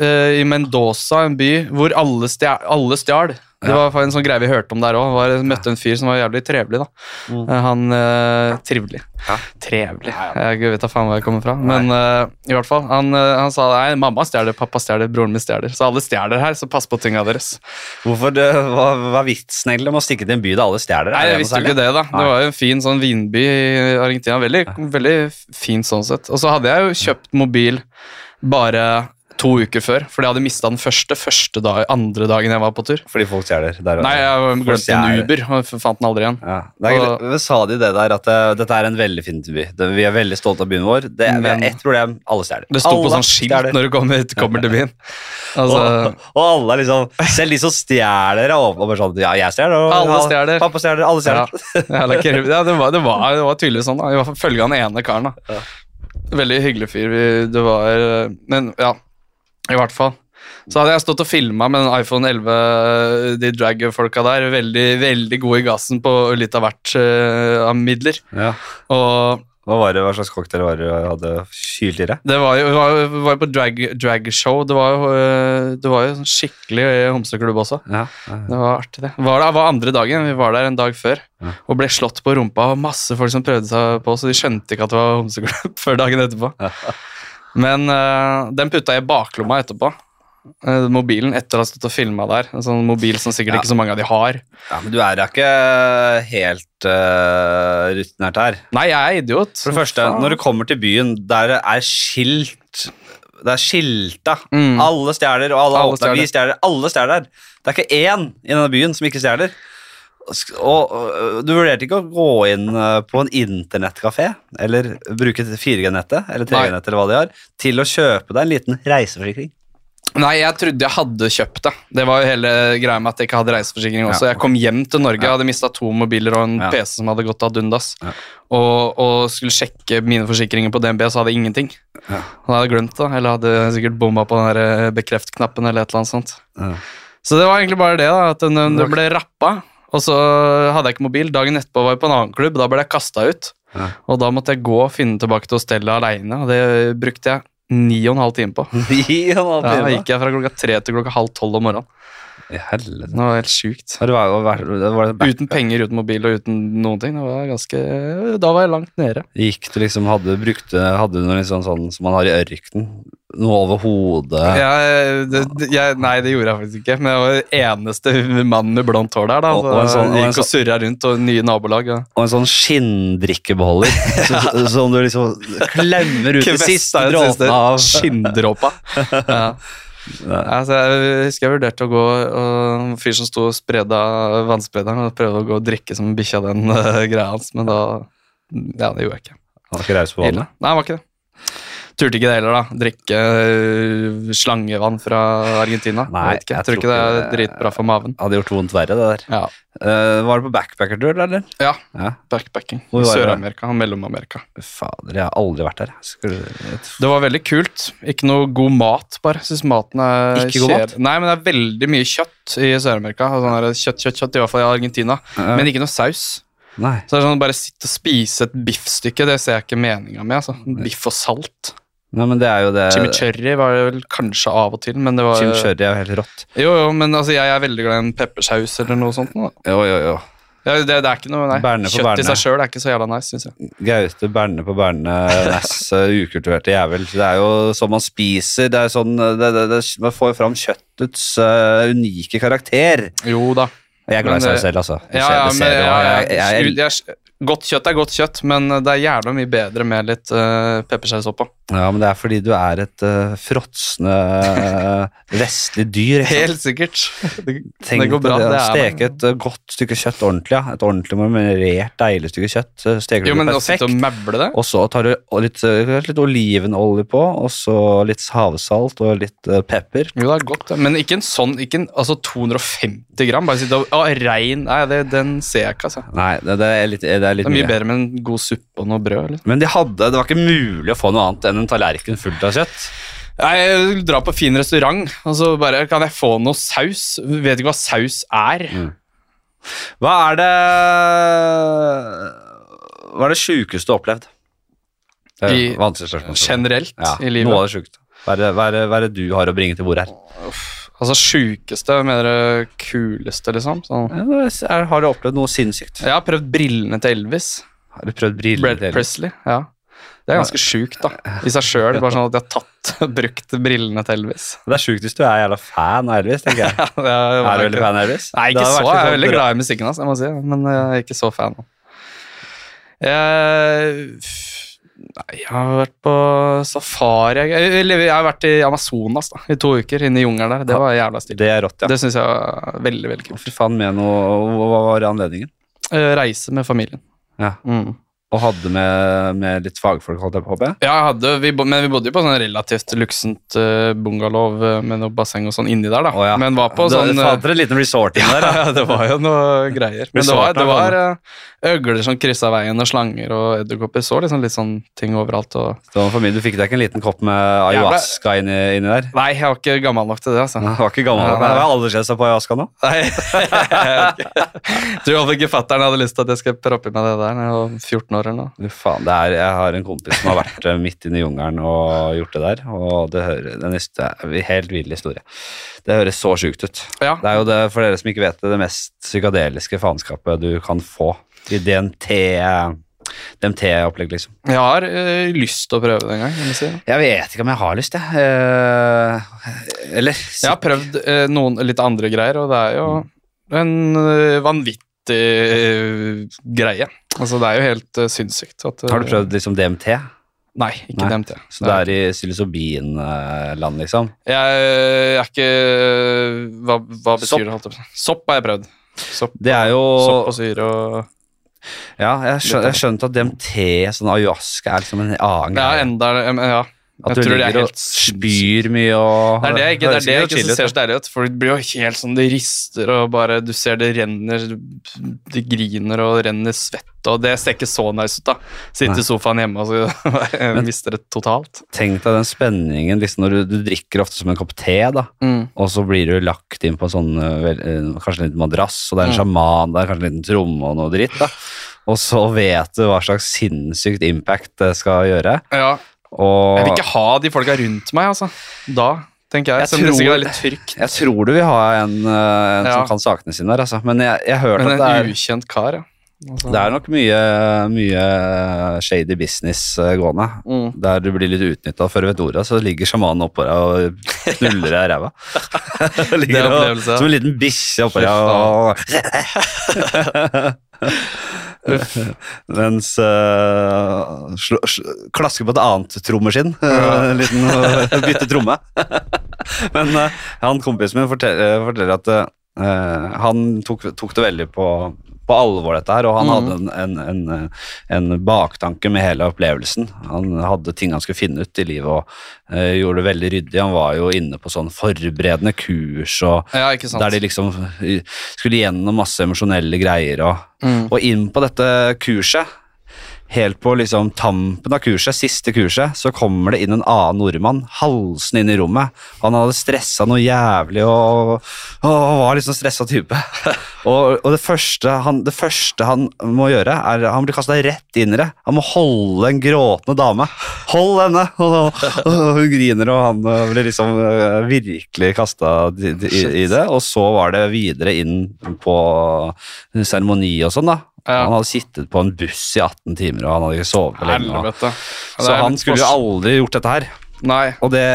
[SPEAKER 2] eh, i Mendoza, en by hvor alle stjal. Alle stjal. Det var en sånn greie vi hørte om der òg. Møtte en fyr som var jævlig trevelig. da.
[SPEAKER 1] Mm.
[SPEAKER 2] Eh, Han eh, Trivelig.
[SPEAKER 1] Ja.
[SPEAKER 2] Trevelig. Jeg vet da faen hvor jeg kommer fra. Men eh, i hvert fall, han, eh, han sa nei, mamma stjeler, pappa stjeler, broren min stjeler. Så alle stjeler her, så pass på tinga deres.
[SPEAKER 1] Hvorfor det, hva, hva er vitsen egentlig med å stikke til en by der alle stjeler?
[SPEAKER 2] Nei,
[SPEAKER 1] Er det
[SPEAKER 2] jeg
[SPEAKER 1] noe
[SPEAKER 2] visste jo
[SPEAKER 1] særlig?
[SPEAKER 2] ikke det, da. Det var jo en fin sånn vinby i Argentina. Veldig, veldig fint sånn sett. Og så hadde jeg jo kjøpt mobil bare to uker før, fordi jeg hadde mista den første, første dag, andre dagen jeg var på tur.
[SPEAKER 1] Fordi folk stjeler der og
[SPEAKER 2] Nei, jeg
[SPEAKER 1] Folk
[SPEAKER 2] glemte en
[SPEAKER 1] stjeler.
[SPEAKER 2] Uber og f- fant den aldri igjen.
[SPEAKER 1] Ja. Det er,
[SPEAKER 2] Og-
[SPEAKER 1] gre- sa de det der at eh, dette er en veldig fin by? Det, vi er veldig stolte av byen vår. Det er, vi
[SPEAKER 2] Men-
[SPEAKER 1] har ett problem. Alle stjeler.
[SPEAKER 2] Det sto på
[SPEAKER 1] Alle
[SPEAKER 2] sånn skilt
[SPEAKER 1] stjeler.
[SPEAKER 2] når du kommer, kommer til byen. Altså,
[SPEAKER 1] og, og alle er liksom Selv de som stjeler, er åpne og bare sånn Ja, jeg stjeler. og-
[SPEAKER 2] Alle stjeler.
[SPEAKER 1] Pappa stjeler. Alle
[SPEAKER 2] ja,
[SPEAKER 1] stjeler.
[SPEAKER 2] jævla krim. ja, det, var, det, var, det var tydeligvis sånn, da. I hvert fall følge han ene karen. da.
[SPEAKER 1] Ja.
[SPEAKER 2] Veldig hyggelig fyr. vi- Det var eh, Men ja, i hvert fall. Så hadde jeg stått og filma med den iPhone 11, de drag-folka der. Veldig, veldig gode i gassen på litt av hvert eh, av midler.
[SPEAKER 1] Ja.
[SPEAKER 2] Og
[SPEAKER 1] Hva, var det, hva slags cocktail var det du hadde kylt i deg?
[SPEAKER 2] det var jo, det var jo, det var jo på drag- drag-show. det var jo, eh, det var jo sånn skikkelig eh, homseklubb også.
[SPEAKER 1] Ja.
[SPEAKER 2] Det var artig, det. Var det var andre dagen. Vi var der en dag før
[SPEAKER 1] Ja.
[SPEAKER 2] og ble slått på rumpa av masse folk som prøvde seg på, så de skjønte ikke at det var homseklubb før dagen etterpå. Men eh, den putta jeg i baklomma etterpå. Eh, mobilen etter å ha stått og filma der. En sånn mobil som
[SPEAKER 1] Ja.
[SPEAKER 2] sikkert ikke så mange av de har.
[SPEAKER 1] ja, men du er da ikke helt uh, rutinert her.
[SPEAKER 2] Nei, jeg er idiot.
[SPEAKER 1] For det første, når du kommer til byen der det er skilt Det er skilta.
[SPEAKER 2] Mm.
[SPEAKER 1] Alle stjeler, og alle,
[SPEAKER 2] Alle
[SPEAKER 1] alle åpner. Vi stjeler. Alle stjeler. Det er ikke én i denne byen som ikke stjeler. Sk- Og øh, du vurderte ikke å gå inn øh, på en internettkafé eller bruke 4G-nettet eller 3G-nettet eller hva de har, til å kjøpe deg en liten reiseforsikring.
[SPEAKER 2] Nei, jeg trodde jeg hadde kjøpt det. Det var jo hele greia med at jeg ikke hadde reiseforsikring også.
[SPEAKER 1] Ja,
[SPEAKER 2] Jeg kom hjem til Norge, jeg hadde mista to mobiler og en
[SPEAKER 1] Ja.
[SPEAKER 2] PC som hadde gått ad undas.
[SPEAKER 1] Ja.
[SPEAKER 2] Og, og skulle sjekke mine forsikringer på DNB, så hadde jeg ingenting.
[SPEAKER 1] Ja.
[SPEAKER 2] Han hadde jeg glemt det, eller hadde sikkert bomma på den der eh, bekreft-knappen eller et eller annet sånt.
[SPEAKER 1] Ja.
[SPEAKER 2] Så det var egentlig bare det, da, at den, den ble rappa. Og så hadde jeg ikke mobil. Dagen etterpå var jeg på en annen klubb, da ble jeg kasta ut.
[SPEAKER 1] Ja.
[SPEAKER 2] Og da måtte jeg gå og finne tilbake til hostellet aleine, og det brukte jeg ni og en halv time på.
[SPEAKER 1] I en annen
[SPEAKER 2] Ja, da
[SPEAKER 1] time.
[SPEAKER 2] gikk jeg fra klokka tre til klokka halv tolv om morgenen.
[SPEAKER 1] I helvete.
[SPEAKER 2] Det var helt sjukt.
[SPEAKER 1] Har du vært- vært- var det back-
[SPEAKER 2] Uten penger, uten mobil og uten noen ting. Det var ganske, da var jeg langt nede.
[SPEAKER 1] Gikk du liksom, hadde, brukte, hadde du noe litt sånn, sånn som man har i ørkenen? Noe over hodet?
[SPEAKER 2] Jeg, det, det- jeg, nei, det gjorde jeg faktisk ikke. Men jeg var den eneste mannen med blondt hår der. Da.
[SPEAKER 1] Og- og en
[SPEAKER 2] Så
[SPEAKER 1] sånn- og en
[SPEAKER 2] jeg gikk og surra rundt, og nye nabolag. Ja.
[SPEAKER 1] og en sånn skinndrikkebeholder så, så, som du liksom klemmer ut de
[SPEAKER 2] Kvesta
[SPEAKER 1] siste
[SPEAKER 2] den siste
[SPEAKER 1] dråpene av.
[SPEAKER 2] Skinndråpa. Ja. Altså, jeg husker jeg vurderte å gå og en fyr som sto og spreda vannsprederen, og prøvde å gå og drikke som en bikkje av den eh, greia hans, men da Ja, det gjorde jeg ikke.
[SPEAKER 1] Han var ikke raus på
[SPEAKER 2] Ille.
[SPEAKER 1] vannet.
[SPEAKER 2] Nei, han var ikke det. Turte ikke det heller, da. Drikke øh, slangevann fra Argentina.
[SPEAKER 1] Nei,
[SPEAKER 2] jeg, vet ikke.
[SPEAKER 1] jeg
[SPEAKER 2] jeg tror ikke det
[SPEAKER 1] tror
[SPEAKER 2] er
[SPEAKER 1] ikke det-
[SPEAKER 2] dritbra for maven.
[SPEAKER 1] Hadde gjort vondt verre, det der.
[SPEAKER 2] Ja,
[SPEAKER 1] Eh, var det på backpackertur, eller?
[SPEAKER 2] ja
[SPEAKER 1] Ja.
[SPEAKER 2] backpacking.
[SPEAKER 1] Hvor var det?
[SPEAKER 2] Sør-Amerika og Mellom-Amerika.
[SPEAKER 1] Fader, jeg har aldri vært der. Skulle,
[SPEAKER 2] Det var veldig kult. Ikke noe god mat, bare. Syns maten er
[SPEAKER 1] Ikke god mat?
[SPEAKER 2] kjedelig. Nei, men det er veldig mye kjøtt i Sør-Amerika. Altså, sånn der kjøtt, kjøtt, kjøtt, i hvert fall i Argentina.
[SPEAKER 1] Ja.
[SPEAKER 2] Men ikke noe saus.
[SPEAKER 1] Eh, nei.
[SPEAKER 2] Så det er sånn Bare sitte og spise et biffstykke, det ser jeg ikke meninga med. Altså. Biff og salt.
[SPEAKER 1] nei, men det er jo det
[SPEAKER 2] Chimichurri var det vel kanskje av og til, men det var
[SPEAKER 1] Eh, Chimichurri er jo helt rått.
[SPEAKER 2] Jo, jo, men altså, jeg er veldig glad i en peppersaus eller noe sånt. nå, Da.
[SPEAKER 1] Jo, jo, jo.
[SPEAKER 2] Ja, det, det er ikke noe, nei.
[SPEAKER 1] Berne for
[SPEAKER 2] Kjøtt
[SPEAKER 1] berne.
[SPEAKER 2] i seg sjøl er ikke så jævla nice, syns jeg.
[SPEAKER 1] Gaute Berne på Berne Næss, eh, ukultiverte jævel. Det er jo sånn man spiser. Det er sånn, eh, det, det, det, Man får fram kjøttets eh, unike karakter.
[SPEAKER 2] Jo da.
[SPEAKER 1] Jeg er glad i seg
[SPEAKER 2] Men,
[SPEAKER 1] selv, altså. Det
[SPEAKER 2] Ja, ja,
[SPEAKER 1] ser
[SPEAKER 2] men,
[SPEAKER 1] du,
[SPEAKER 2] ja,
[SPEAKER 1] og
[SPEAKER 2] ja,
[SPEAKER 1] jeg- jeg- jeg-
[SPEAKER 2] jeg- godt kjøtt er godt kjøtt, men det er jævla mye bedre med litt eh, peppersaus oppå.
[SPEAKER 1] Ja, men det er fordi du er et uh, fråtsende eh, vestlig dyr. ikke sant?
[SPEAKER 2] Helt sikkert. Det,
[SPEAKER 1] Tenk
[SPEAKER 2] det går bra.
[SPEAKER 1] på
[SPEAKER 2] Det
[SPEAKER 1] det, å
[SPEAKER 2] er
[SPEAKER 1] steke et eh, godt stykke kjøtt ordentlig, ja. Et ordentlig marinert, deilig stykke kjøtt. eh, Steker du
[SPEAKER 2] Jo, men
[SPEAKER 1] det
[SPEAKER 2] å sitte
[SPEAKER 1] perfekt.
[SPEAKER 2] og mævle det
[SPEAKER 1] Og så tar du og litt, eh, litt olivenolje på, og så litt havsalt og litt eh, pepper.
[SPEAKER 2] Jo, det er godt, det. men ikke en sånn ikke en, Altså 250 gram. Bare sitte og Å, rein Nei, det, den ser jeg ikke, altså.
[SPEAKER 1] Nei, det, det er litt, det er litt
[SPEAKER 2] Det er mye
[SPEAKER 1] mye.
[SPEAKER 2] bedre med en god suppe og noe brød. Eller?
[SPEAKER 1] Men de hadde, det var ikke mulig å få noe annet enn en tallerken full av kjøtt.
[SPEAKER 2] Jeg drar på fin restaurant, og så bare Kan jeg få noe saus? Vet ikke hva saus er.
[SPEAKER 1] Hva er det Hva er det sjukeste du har opplevd? Det er
[SPEAKER 2] I-
[SPEAKER 1] et Vanskelig spørsmål.
[SPEAKER 2] Generelt
[SPEAKER 1] Ja,
[SPEAKER 2] i livet.
[SPEAKER 1] Noe av det sjukeste. Hva er det, hva, er det, hva er det du har å bringe til bordet her?
[SPEAKER 2] Altså sjukeste, mener du kuleste, liksom? Sånn.
[SPEAKER 1] Ja, det er- har du opplevd noe sinnssykt?
[SPEAKER 2] Jeg har prøvd brillene til Elvis.
[SPEAKER 1] Har du prøvd briller?
[SPEAKER 2] Brad
[SPEAKER 1] til-
[SPEAKER 2] Presley. Ja. Det er ganske sjukt, da. I seg sjøl. Bare sånn at de har tatt brukt brillene til Elvis.
[SPEAKER 1] Det er sjukt hvis du er jævla fan av Elvis, tenker jeg.
[SPEAKER 2] Det er,
[SPEAKER 1] Er du veldig fan av Elvis?
[SPEAKER 2] Nei,
[SPEAKER 1] Det
[SPEAKER 2] ikke
[SPEAKER 1] hadde vært litt
[SPEAKER 2] så. Jeg er
[SPEAKER 1] sånn
[SPEAKER 2] veldig glad i musikken hans, jeg må si. Men eh, jeg er ikke så fan. av Jeg- Nei, jeg har vært på safari jeg- Eller jeg har vært i Amazonas da, i to uker, inne i jungelen der. Det var jævla stilig.
[SPEAKER 1] Det er sånn rått, ja.
[SPEAKER 2] Det syns jeg var veldig veldig kult.
[SPEAKER 1] Fy faen, med noe Hva var anledningen?
[SPEAKER 2] Eh, Reise med familien.
[SPEAKER 1] Ja.
[SPEAKER 2] Mm.
[SPEAKER 1] Og hadde med, med litt fagfolk, holdt jeg på å håpe?
[SPEAKER 2] Ja, jeg hadde, vi, bo- men vi bodde jo på sånn relativt luksent eh, bungalow eh, med noe basseng og sånn inni der, da.
[SPEAKER 1] Å, ja.
[SPEAKER 2] Men var på
[SPEAKER 1] Da-
[SPEAKER 2] sånn
[SPEAKER 1] Du
[SPEAKER 2] eh,
[SPEAKER 1] fant dere en liten resort inn der, da.
[SPEAKER 2] Ja, det var jo noe greier. Men det var, det var eh, øgler som kryssa veien, og slanger og edderkopper. Så liksom litt sånn ting overalt. Og...
[SPEAKER 1] Så det var for mye. Du fikk deg ikke en liten kopp med
[SPEAKER 2] Jævla-
[SPEAKER 1] ayahuasca inni, inni der?
[SPEAKER 2] Nei, jeg var ikke gammel nok til det, altså.
[SPEAKER 1] Det var ikke gammel
[SPEAKER 2] Nei,
[SPEAKER 1] nok.
[SPEAKER 2] nei.
[SPEAKER 1] Det var aldersgrensa på ayahuasca nå.
[SPEAKER 2] Nei, jeg vet ikke. Tror iallfall ikke fatter'n hadde lyst til at jeg skal proppe i meg det der når jeg var 14 år eller noe.
[SPEAKER 1] Du faen, det er, Jeg har en kompis som har vært eh, midt inne i jungelen og gjort det der. Og det hører, det er nesten- det er en helt vill historie. Det høres så sjukt ut.
[SPEAKER 2] Ja,
[SPEAKER 1] Det er jo det, for dere som ikke vet det, det mest psykadeliske faenskapet du kan få i DMT, DMT-opplegg, liksom.
[SPEAKER 2] jeg har eh, lyst til å prøve det en gang. kan du si.
[SPEAKER 1] Jeg vet ikke om jeg har lyst, jeg. Eh, eller
[SPEAKER 2] Jeg har prøvd eh, noen litt andre greier, og det er jo
[SPEAKER 1] Mm.
[SPEAKER 2] en eh, vanvittig eh, greie. Altså, det er jo helt eh, sinnssykt. At, eh,
[SPEAKER 1] Har du prøvd liksom DMT?
[SPEAKER 2] Nei, ikke
[SPEAKER 1] Nei.
[SPEAKER 2] DMT.
[SPEAKER 1] Så det er i psilocybin-land, liksom?
[SPEAKER 2] Jeg er ikke eh, Hva, hva
[SPEAKER 1] Sopp.
[SPEAKER 2] betyr det? holdt jeg på å si? Sopp har jeg prøvd. Sopp,
[SPEAKER 1] Det er jo
[SPEAKER 2] sopp og syre og
[SPEAKER 1] Ja, jeg har skjønt, jeg skjønt at DMT, sånn ayahuasca, er liksom en annen
[SPEAKER 2] Ja,
[SPEAKER 1] greie.
[SPEAKER 2] enda em, Ja.
[SPEAKER 1] At
[SPEAKER 2] jeg
[SPEAKER 1] du
[SPEAKER 2] tror det er
[SPEAKER 1] ligger og
[SPEAKER 2] helt
[SPEAKER 1] spyr mye og
[SPEAKER 2] Det er det jeg ikke, det er
[SPEAKER 1] høres
[SPEAKER 2] det jeg ikke
[SPEAKER 1] chill
[SPEAKER 2] som
[SPEAKER 1] ut,
[SPEAKER 2] ser så deilig ut. For det blir jo helt sånn Det rister og bare Du ser det renner Det griner og renner svett og Det ser ikke så nice ut, da. Sitte
[SPEAKER 1] Nei.
[SPEAKER 2] i sofaen hjemme og så bare mister det totalt.
[SPEAKER 1] Tenk deg den spenningen liksom når du, du drikker ofte som en kopp te, da. Og så blir du lagt inn på en sånn eh, vel- eh, kanskje en liten madrass, og det er en
[SPEAKER 2] Mm.
[SPEAKER 1] sjaman, det er kanskje en liten tromme og noe dritt. da. Og så vet du hva slags sinnssykt impact det skal gjøre.
[SPEAKER 2] Ja.
[SPEAKER 1] Og
[SPEAKER 2] Jeg vil ikke ha de folka rundt meg, altså. Da, tenker jeg.
[SPEAKER 1] Jeg
[SPEAKER 2] Selv om det
[SPEAKER 1] tror-
[SPEAKER 2] sikkert er litt trygt.
[SPEAKER 1] jeg tror du vil ha en, eh, en
[SPEAKER 2] Ja.
[SPEAKER 1] som kan sakene sine der, altså. Men jeg, jeg har hørt
[SPEAKER 2] Men
[SPEAKER 1] at det
[SPEAKER 2] en
[SPEAKER 1] er,
[SPEAKER 2] ukjent kar, ja. Altså-
[SPEAKER 1] det er nok mye, mye shady business eh, gående.
[SPEAKER 2] Mm.
[SPEAKER 1] Der du blir litt utnytta før du vet ordet, så ligger sjamanen oppå deg og knuller deg i ræva. Ligger og-
[SPEAKER 2] opplevelse.
[SPEAKER 1] Som en liten bikkje oppå deg og Mens øh, slå, sl- klasker på et annet trommeskinn. øh, En liten øh, bytte tromme. Men øh, han kompisen min forteller, forteller at øh, han tok, tok det veldig på, på alvor, dette her. Og han
[SPEAKER 2] Mhm.
[SPEAKER 1] hadde en, en, en, øh, en baktanke med hele opplevelsen. Han hadde ting han skulle finne ut i livet, og øh, gjorde det veldig ryddig. Han var jo inne på sånn forberedende kurs og
[SPEAKER 2] Ja, ikke sant.
[SPEAKER 1] der de liksom øh, skulle gjennom masse emosjonelle greier og
[SPEAKER 2] Mm.
[SPEAKER 1] og inn på dette kurset, helt på liksom tampen av kurset, siste kurset, så kommer det inn en annen nordmann, halsen inn i rommet. Han hadde stressa noe jævlig og, og han var liksom stressa type. Og, og det, første han, det første han må gjøre, er han blir kasta rett inn i det. Han må holde en gråtende dame. Hold henne! Og, og, og hun griner, og han øh, blir liksom øh, virkelig kasta i, i det. Og så var det videre inn på seremoni og sånn, da.
[SPEAKER 2] Ja.
[SPEAKER 1] Han hadde sittet på en buss i 18 timer, og han hadde ikke sovet lenge. Og,
[SPEAKER 2] Helvete. Ja, det
[SPEAKER 1] så
[SPEAKER 2] er
[SPEAKER 1] han
[SPEAKER 2] litt
[SPEAKER 1] skulle jo
[SPEAKER 2] fors-
[SPEAKER 1] aldri gjort dette her.
[SPEAKER 2] Nei.
[SPEAKER 1] Og det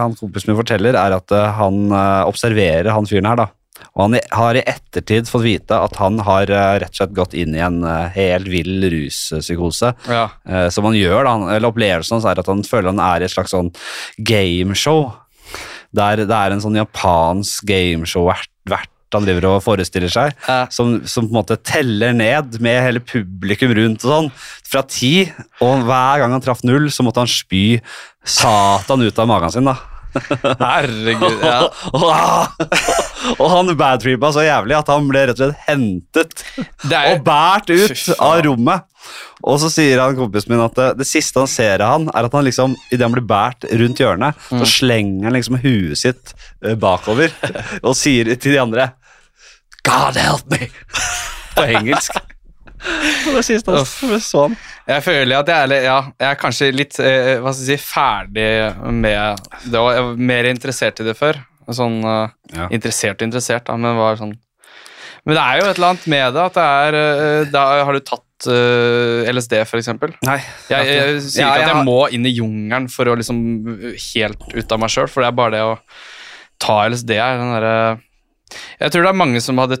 [SPEAKER 1] han kompisen min forteller, er at eh, han eh, observerer han fyren her, da. Og han i- har i ettertid fått vite at han har eh, rett og slett gått inn i en eh, helt vill ruspsykose.
[SPEAKER 2] Ja.
[SPEAKER 1] Eh, Som han gjør, da. Han- Eller opplevelsen hans er at han føler han er i et slags sånn gameshow. Der det er en sånn japansk gameshow-vert vert han driver og forestiller seg
[SPEAKER 2] Ja.
[SPEAKER 1] som, som på en måte teller ned med hele publikum rundt og sånn, fra ti, og hver gang han traff null, så måtte han spy satan ut av magen sin, da.
[SPEAKER 2] Herregud. Ja.
[SPEAKER 1] og, og han badtripa så jævlig at han ble rett og slett hentet
[SPEAKER 2] Det er,
[SPEAKER 1] og båret ut
[SPEAKER 2] Fy faen.
[SPEAKER 1] av rommet. Og så sier han kompisen min at eh, det, det siste han ser av han, er at han liksom, idet han blir båret rundt hjørnet,
[SPEAKER 2] Mm.
[SPEAKER 1] så slenger han liksom huet sitt eh, bakover og sier til de andre God help me! På engelsk. Og det siste han så- så han.
[SPEAKER 2] jeg føler at jeg er, litt- ja, jeg er kanskje litt eh, hva skal jeg si, ferdig med det. Og jeg var mer interessert i det før. Sånn eh,
[SPEAKER 1] Ja.
[SPEAKER 2] interessert og interessert, da, men var sånn Men det er jo et eller annet med det at det er eh, da Har du tatt eh, LSD, for eksempel?
[SPEAKER 1] Nei.
[SPEAKER 2] Jeg, jeg, sier
[SPEAKER 1] Ja,
[SPEAKER 2] ikke at
[SPEAKER 1] har-
[SPEAKER 2] jeg må inn i jungelen for å liksom helt ut av meg sjøl, for det er bare det å ta LSD er den derre Jeg tror det er mange som hadde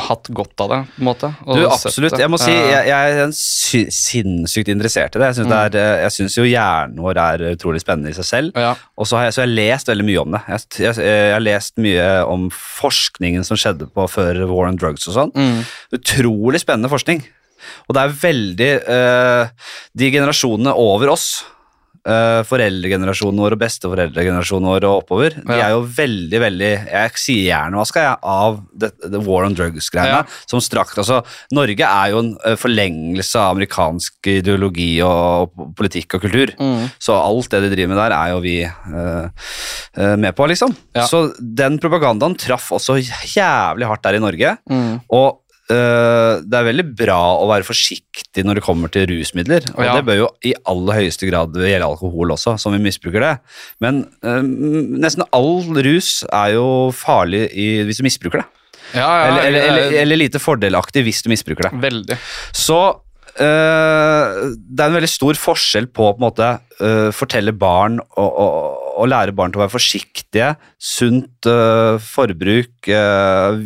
[SPEAKER 2] hatt godt av det, på en måte. og
[SPEAKER 1] Du,
[SPEAKER 2] sett
[SPEAKER 1] absolutt.
[SPEAKER 2] det.
[SPEAKER 1] Jeg må si,
[SPEAKER 2] Eh,
[SPEAKER 1] jeg, jeg er en sy sinnssykt interessert i det. Jeg syns, det er, eh, jeg syns jo hjernen vår er utrolig spennende i seg selv.
[SPEAKER 2] Mm. ja.
[SPEAKER 1] Og så har jeg, så jeg har lest veldig mye om det. Jeg, jeg, jeg har lest mye om forskningen som skjedde på før War on Drugs og sånn.
[SPEAKER 2] Mm.
[SPEAKER 1] Utrolig spennende forskning. Og det er veldig eh, De generasjonene over oss, eh, foreldregenerasjonen vår og besteforeldregenerasjonen vår og oppover, de er
[SPEAKER 2] Ja.
[SPEAKER 1] jo veldig, veldig Jeg sier hjernevaska jeg, av det, det War on drugs-greiene.
[SPEAKER 2] Ja.
[SPEAKER 1] som strakt, altså, Norge er jo en eh, forlengelse av amerikansk ideologi og og politikk og kultur.
[SPEAKER 2] Mm.
[SPEAKER 1] Så alt det de driver med der, er jo vi eh, eh, med på, liksom.
[SPEAKER 2] Ja.
[SPEAKER 1] Så den propagandaen traff også jævlig hardt der i Norge.
[SPEAKER 2] Mm.
[SPEAKER 1] Og øh, det er veldig bra å være forsiktig når det kommer til rusmidler. Og
[SPEAKER 2] Ja.
[SPEAKER 1] det bør jo i aller høyeste grad gjelde alkohol også, som vi misbruker det. Men øhm, nesten all rus er jo farlig i, hvis du misbruker det.
[SPEAKER 2] ja, ja,
[SPEAKER 1] eller, eller,
[SPEAKER 2] jeg-
[SPEAKER 1] eller, eller lite fordelaktig hvis du misbruker det.
[SPEAKER 2] Veldig.
[SPEAKER 1] Så øh, det er en veldig stor forskjell på å på en måte øh, fortelle barn og, og, og lære barn til å være forsiktige, sunt øh, forbruk, øh,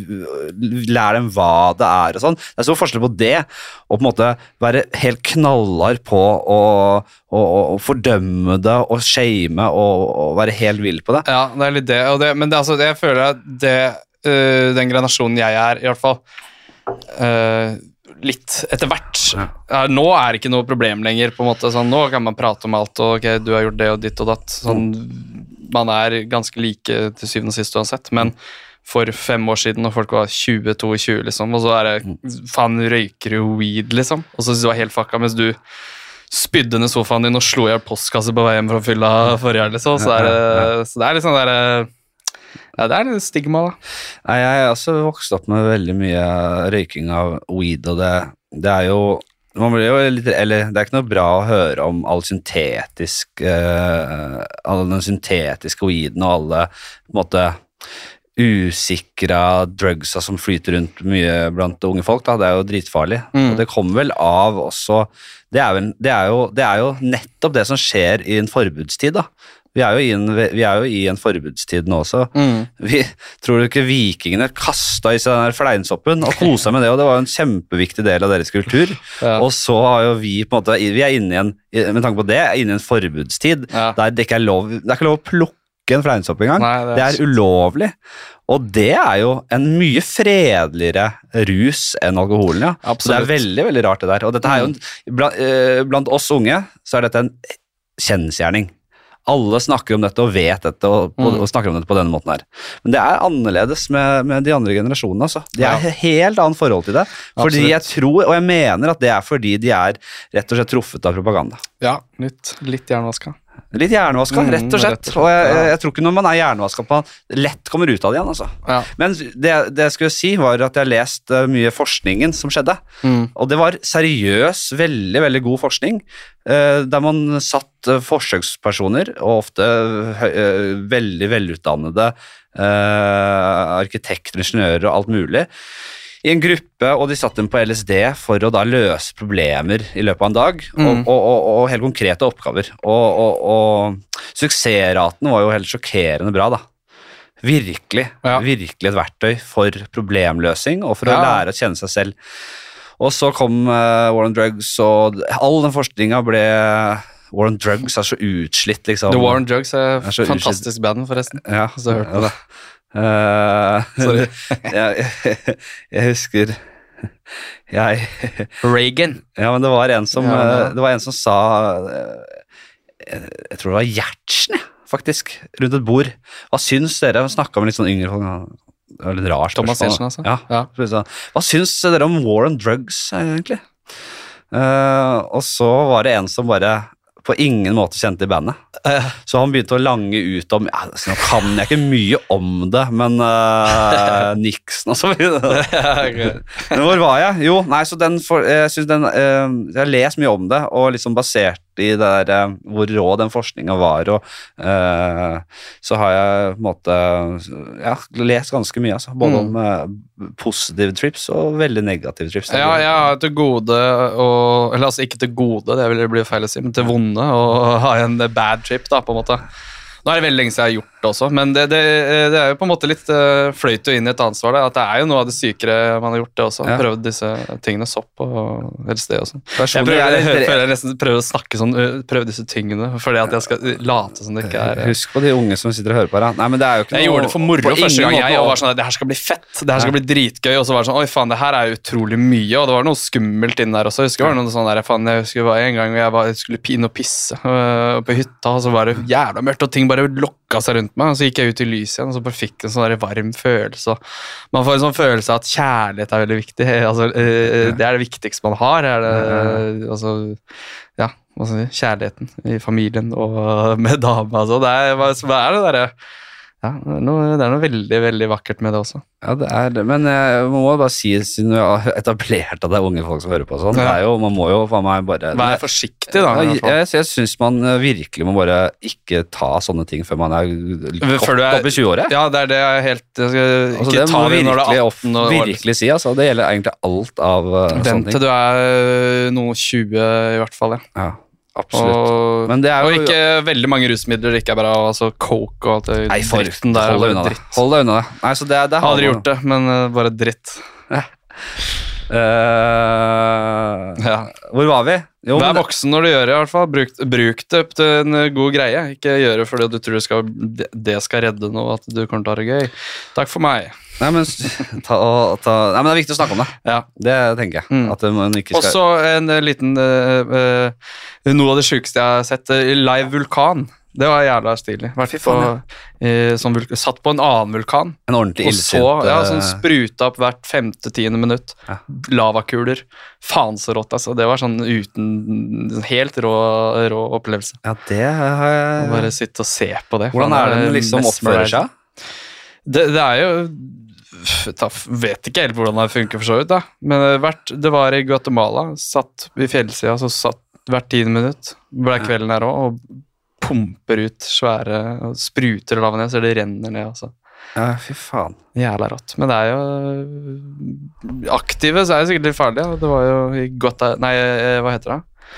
[SPEAKER 1] lære dem hva det er og sånn. Det er stor forskjell på det og på en måte være helt knallhard på å, å, å fordømme det og shame og, og være helt vill på det.
[SPEAKER 2] Ja, det er litt det. Og det men det, altså, jeg føler at det, øh, den generasjonen jeg er, i hvert fall øh, Litt etter hvert. Ja, nå er det ikke noe problem lenger. på en måte. Sånn, nå kan man prate om alt, og ok, du har gjort det og ditt og datt. Sånn, man er ganske like til syvende og sist uansett, men for fem år siden, når folk var 20-22, liksom, og så er det faen røyker du weed, liksom, og så synes du det var helt fucka, mens du spydde ned sofaen din og slo i hjel postkasse på vei hjem fra fylla forrige helg, liksom. Så, er det- så det er litt sånn der Ja, det er litt stigma, da.
[SPEAKER 1] Nei, jeg er også vokst opp med veldig mye røyking av weed, og det, det er jo man blir jo litt, eller Det er ikke noe bra å høre om all syntetisk eh, all den syntetiske weeden og alle på en måte usikra drugsa som flyter rundt mye blant unge folk. Da. Det er jo dritfarlig.
[SPEAKER 2] Mm.
[SPEAKER 1] Og det kommer vel av også det er, vel, det, er jo, det er jo nettopp det som skjer i en forbudstid, da. Vi er jo i en, vi er jo i en forbudstid nå også.
[SPEAKER 2] Mm,
[SPEAKER 1] Vi, tror du ikke vikingene kasta i seg den der fleinsoppen og kosa med det, og det var jo en kjempeviktig del av deres kultur.
[SPEAKER 2] Ja.
[SPEAKER 1] Og så har jo vi på en måte, vi er inne i en, med tanke på det, er inne i en forbudstid
[SPEAKER 2] Ja.
[SPEAKER 1] der det ikke er lov, det er ikke lov å plukke en fleinsopp engang.
[SPEAKER 2] Nei, det er
[SPEAKER 1] det er ulovlig. Og det er jo en mye fredeligere rus enn alkoholen, ja. Så det
[SPEAKER 2] Absolutt. Mm.
[SPEAKER 1] er veldig, veldig rart det der. Og dette er jo en, blant, eh, blant oss unge så er dette en kjensgjerning. Alle snakker om dette og vet dette og, og,
[SPEAKER 2] Mm.
[SPEAKER 1] og snakker om dette på denne måten her. Men det er annerledes med, med de andre generasjonene. Altså. De
[SPEAKER 2] Ja.
[SPEAKER 1] er et helt annet forhold til det. Fordi
[SPEAKER 2] Absolutt.
[SPEAKER 1] jeg tror, og jeg mener at det er fordi de er rett og slett truffet av propaganda.
[SPEAKER 2] Ja, litt, litt jernvaska.
[SPEAKER 1] Litt hjernevaska,
[SPEAKER 2] Mm,
[SPEAKER 1] rett og slett.
[SPEAKER 2] rett og slett,
[SPEAKER 1] Og jeg, jeg,
[SPEAKER 2] ja.
[SPEAKER 1] jeg tror ikke når man er hjernevaska, at man lett kommer ut av det igjen. Altså.
[SPEAKER 2] Ja.
[SPEAKER 1] Men det, det jeg skulle si, var at jeg har lest eh, mye forskningen som skjedde.
[SPEAKER 2] Mm.
[SPEAKER 1] Og det var seriøs, veldig veldig god forskning, eh, der man satt eh, forsøkspersoner, og ofte hø- eh, veldig velutdannede eh, arkitekter, ingeniører og alt mulig, i en gruppe, og de satt dem på LSD for å da løse problemer i løpet av en dag,
[SPEAKER 2] Mm.
[SPEAKER 1] og, og, og, og helt konkrete oppgaver. Og, og, og suksessraten var jo helt sjokkerende bra, da. Virkelig.
[SPEAKER 2] Ja.
[SPEAKER 1] Virkelig et verktøy for problemløsing, og for å
[SPEAKER 2] Ja.
[SPEAKER 1] lære å kjenne seg selv. Og så kom eh, War on Drugs, og all den forskninga ble War on Drugs er så utslitt, liksom.
[SPEAKER 2] The War on Drugs er
[SPEAKER 1] er så
[SPEAKER 2] fantastisk band, forresten.
[SPEAKER 1] Ja,
[SPEAKER 2] Så hørte
[SPEAKER 1] ja da. Eh,
[SPEAKER 2] Sorry.
[SPEAKER 1] jeg, jeg, jeg husker jeg,
[SPEAKER 2] Reagan.
[SPEAKER 1] Ja, men det var en som,
[SPEAKER 2] Ja, ja.
[SPEAKER 1] eh, det var en som sa eh, jeg, jeg tror det var Gjertsen, jeg, faktisk, rundt et bord. Hva syns dere? Snakka med litt sånn yngre folk. Det var litt rart.
[SPEAKER 2] Thomas
[SPEAKER 1] spørsmål,
[SPEAKER 2] Gjertsen, altså.
[SPEAKER 1] da. Ja,
[SPEAKER 2] Ja.
[SPEAKER 1] så sa han, Hva syns dere om war on drugs, eh, egentlig? Eh, og så var det en som bare på ingen måte kjente i bandet. Så han begynte å lange ut om ja, altså, Nå kan jeg ikke mye om det, men eh, Nixon og så videre. eh, Men hvor var jeg? Jo, nei, så den for, jeg synes den eh, Jeg har lest mye om det, og liksom basert i det der, eh, hvor rå den forskninga var, og eh, så har jeg på en måte ja, lest ganske mye, altså.
[SPEAKER 2] Mm.
[SPEAKER 1] Både om eh, positive trips og veldig negative trips.
[SPEAKER 2] Ja, jeg har til gode å Eller altså ikke til gode, det vil bli feil å si, men til vonde å ha en bad trip, da, på en måte. Nå er det veldig lenge siden jeg har gjort det også, men det, det, det er jo på en måte litt eh, fløyt jo inn i et ansvar. Det, at det er jo noe av det sykere man har gjort, det også.
[SPEAKER 1] Ja.
[SPEAKER 2] Prøvd disse tingene sopp og helst det og sånn. Jeg
[SPEAKER 1] Personlig
[SPEAKER 2] prøver,
[SPEAKER 1] er
[SPEAKER 2] jeg,
[SPEAKER 1] det-
[SPEAKER 2] føler jeg nesten prøver å snakke sånn eh, Prøve disse tingene fordi at jeg skal late som det ikke er eh.
[SPEAKER 1] Husk på de unge som sitter og hører på her. da. Nei, men det er jo ikke
[SPEAKER 2] Jeg
[SPEAKER 1] noe-
[SPEAKER 2] gjorde det for moro
[SPEAKER 1] på ingen
[SPEAKER 2] første gang.
[SPEAKER 1] måte
[SPEAKER 2] Jeg og
[SPEAKER 1] å-
[SPEAKER 2] var sånn, Det her skal bli fett. Det her skal bli dritgøy. Og så var det sånn Oi, faen, det her er jo utrolig mye. Og det var noe skummelt inni der også. Jeg husker det var noe sånn der, faen, jeg husker det var en gang jeg, var, jeg skulle inn og pisse øh, på hytta, og så var det jævla mørkt, og ting bare lokka seg rundt meg. Og så gikk jeg ut i lyset igjen, og så bare fikk jeg en sånn der varm følelse. og Man får en sånn følelse av at kjærlighet er veldig viktig. Altså, øh, det er det viktigste man har. Er det, altså, ja, hva skal jeg si, kjærligheten i familien og med dama. Altså. Det er, hva, hva er det derre ja, det er, noe, det er noe veldig veldig vakkert med det også.
[SPEAKER 1] Ja, det er det. Men jeg må bare si, siden vi har etablert at det er unge folk som hører på og sånn, det
[SPEAKER 2] Ja.
[SPEAKER 1] er jo, man må jo faen meg bare
[SPEAKER 2] Vær forsiktig, da. i
[SPEAKER 1] jeg,
[SPEAKER 2] hvert fall.
[SPEAKER 1] jeg, jeg syns man eh, virkelig må bare ikke ta sånne ting før man er godt
[SPEAKER 2] Før du er-
[SPEAKER 1] opp i 20-året.
[SPEAKER 2] Ja, det er det jeg er helt jeg skal
[SPEAKER 1] Altså,
[SPEAKER 2] Ikke
[SPEAKER 1] det
[SPEAKER 2] ta
[SPEAKER 1] må
[SPEAKER 2] det når du er
[SPEAKER 1] virkelig,
[SPEAKER 2] 18 og
[SPEAKER 1] virkelig si. Altså. Det gjelder egentlig alt av eh,
[SPEAKER 2] Vent
[SPEAKER 1] sånne
[SPEAKER 2] til
[SPEAKER 1] ting.
[SPEAKER 2] du er eh, noe 20, i hvert fall. Ja.
[SPEAKER 1] Ja, absolutt.
[SPEAKER 2] Og,
[SPEAKER 1] Men det er
[SPEAKER 2] og
[SPEAKER 1] jo-
[SPEAKER 2] ikke veldig mange rusmidler. Det ikke er bra, altså coke og alt det
[SPEAKER 1] Nei, for
[SPEAKER 2] dritten der.
[SPEAKER 1] hold deg
[SPEAKER 2] er
[SPEAKER 1] unna
[SPEAKER 2] bare
[SPEAKER 1] det.
[SPEAKER 2] dritt.
[SPEAKER 1] Hold deg unna det. Nei, så det, det
[SPEAKER 2] Jeg har aldri
[SPEAKER 1] man-
[SPEAKER 2] gjort det, men eh, bare dritt.
[SPEAKER 1] Eh,
[SPEAKER 2] Ja.
[SPEAKER 1] hvor var vi? Jo, men
[SPEAKER 2] Vær
[SPEAKER 1] det-
[SPEAKER 2] voksen når du gjør det, i hvert fall. Bruk, bruk det opp til en eh, god greie. Ikke gjør det fordi du tror det skal, det skal redde noe, at du kommer til å ha det gøy. Takk for meg.
[SPEAKER 1] Nei, men, ta, og- ta, nei, men det er viktig å snakke om det.
[SPEAKER 2] Ja.
[SPEAKER 1] Det tenker jeg.
[SPEAKER 2] Mm.
[SPEAKER 1] At man ikke skal
[SPEAKER 2] Også en eh, liten eh, eh, Noe av det sjukeste jeg har sett. eh, Live vulkan. Det var jævla stilig. Vært på, eh, sånn vulk- satt på en annen vulkan,
[SPEAKER 1] En ordentlig
[SPEAKER 2] og så
[SPEAKER 1] illsint
[SPEAKER 2] ja,
[SPEAKER 1] eh,
[SPEAKER 2] sånn spruta opp hvert femte-tiende minutt.
[SPEAKER 1] Ja.
[SPEAKER 2] Lavakuler. Faen så rått, altså. Det var sånn uten sånn Helt rå, rå opplevelse.
[SPEAKER 1] Ja, det har
[SPEAKER 2] Å
[SPEAKER 1] jeg
[SPEAKER 2] Bare sitte og se på det.
[SPEAKER 1] Eh, Hvordan
[SPEAKER 2] Faen,
[SPEAKER 1] er det den
[SPEAKER 2] det
[SPEAKER 1] liksom
[SPEAKER 2] mesmerizing.
[SPEAKER 1] oppfører seg?
[SPEAKER 2] Det, det er jo Taff, Vet ikke helt hvordan det funker, for så vidt. da Men det, har vært, det var i Guatemala. Satt i fjellsida, så satt hvert tiende minutt. Ble kvelden her òg, og pumper ut svære og Spruter lava ned, så det renner ned. altså
[SPEAKER 1] Ja, fy faen.
[SPEAKER 2] Jævla rått. Men det er jo Aktive så er det sikkert litt farlig. Ja. Det var jo i Guata... Nei, eh, hva heter det?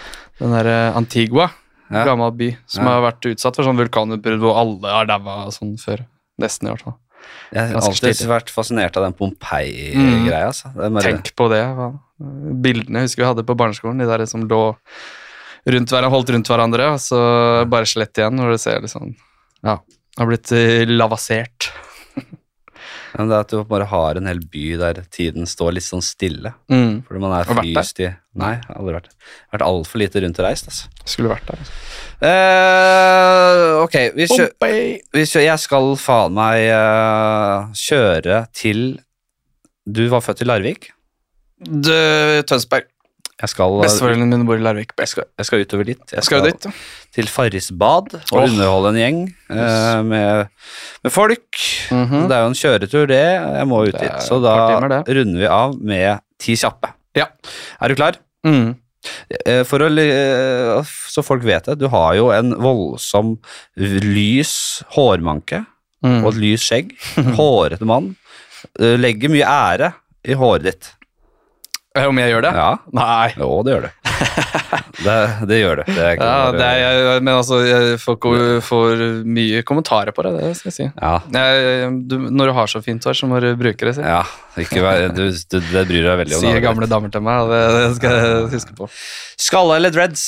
[SPEAKER 2] Den derre Antigua.
[SPEAKER 1] Ja.
[SPEAKER 2] Gammel by som
[SPEAKER 1] Ja.
[SPEAKER 2] har vært utsatt for sånn vulkanutbrudd hvor alle har daua og sånn før. Nesten, i hvert fall.
[SPEAKER 1] Jeg har
[SPEAKER 2] Ganske
[SPEAKER 1] alltid
[SPEAKER 2] stilig.
[SPEAKER 1] vært fascinert av den
[SPEAKER 2] Mm.
[SPEAKER 1] Pompeii-greia. Altså. Det er bare-
[SPEAKER 2] Tenk på det. hva- Bildene jeg husker vi hadde på barneskolen, de der som lå rundt hverandre, holdt rundt hverandre, og så bare skjelett igjen, når du ser liksom Ja. Har blitt eh, lavasert.
[SPEAKER 1] Men det er at du bare har en hel by der tiden står litt sånn stille.
[SPEAKER 2] Mm.
[SPEAKER 1] Fordi man er
[SPEAKER 2] Har du vært der?
[SPEAKER 1] fryst i Nei, jeg har aldri vært der. Jeg har Vært altfor lite rundt og reist, altså.
[SPEAKER 2] Skulle vært der. altså.
[SPEAKER 1] Eh, ok, vi kjører
[SPEAKER 2] Bombay!
[SPEAKER 1] hvis jeg, jeg skal faen meg eh, kjøre til Du var født i Larvik.
[SPEAKER 2] Du, Tønsberg.
[SPEAKER 1] Jeg skal,
[SPEAKER 2] Besteforeldrene mine bor i Larvik.
[SPEAKER 1] jeg skal, jeg skal utover dit. Jeg
[SPEAKER 2] Skal du dit?
[SPEAKER 1] til Farrisbad og
[SPEAKER 2] Åh.
[SPEAKER 1] underholde en gjeng eh, med, med folk.
[SPEAKER 2] Mhm.
[SPEAKER 1] Det er jo en kjøretur, det. Jeg må ut
[SPEAKER 2] Det er
[SPEAKER 1] dit. Så
[SPEAKER 2] et
[SPEAKER 1] da
[SPEAKER 2] par timer,
[SPEAKER 1] runder vi av med ti kjappe.
[SPEAKER 2] Ja.
[SPEAKER 1] Er du klar?
[SPEAKER 2] Mm.
[SPEAKER 1] Eh, For å, li- eh, så folk vet det, du har jo en voldsom lys hårmanke
[SPEAKER 2] Mm.
[SPEAKER 1] og et lys skjegg. Hårete mann. Eh, Legger mye ære i håret ditt.
[SPEAKER 2] Eh, Om jeg gjør det?
[SPEAKER 1] Ja,
[SPEAKER 2] Nei.
[SPEAKER 1] jo, det gjør du. Det, det gjør du. Det kan
[SPEAKER 2] Ja,
[SPEAKER 1] du-
[SPEAKER 2] det er, jeg- men altså, jeg får, ko- får mye kommentarer på det, det skal jeg si.
[SPEAKER 1] ja.
[SPEAKER 2] Jeg, du, når du har så fint hår, så må du bruke det, si.
[SPEAKER 1] Ja, ikke vær, du, du, det bryr deg veldig om.
[SPEAKER 2] Sier
[SPEAKER 1] det.
[SPEAKER 2] gamle damer til meg, og det, det skal jeg huske på.
[SPEAKER 1] Skalle eller dreads?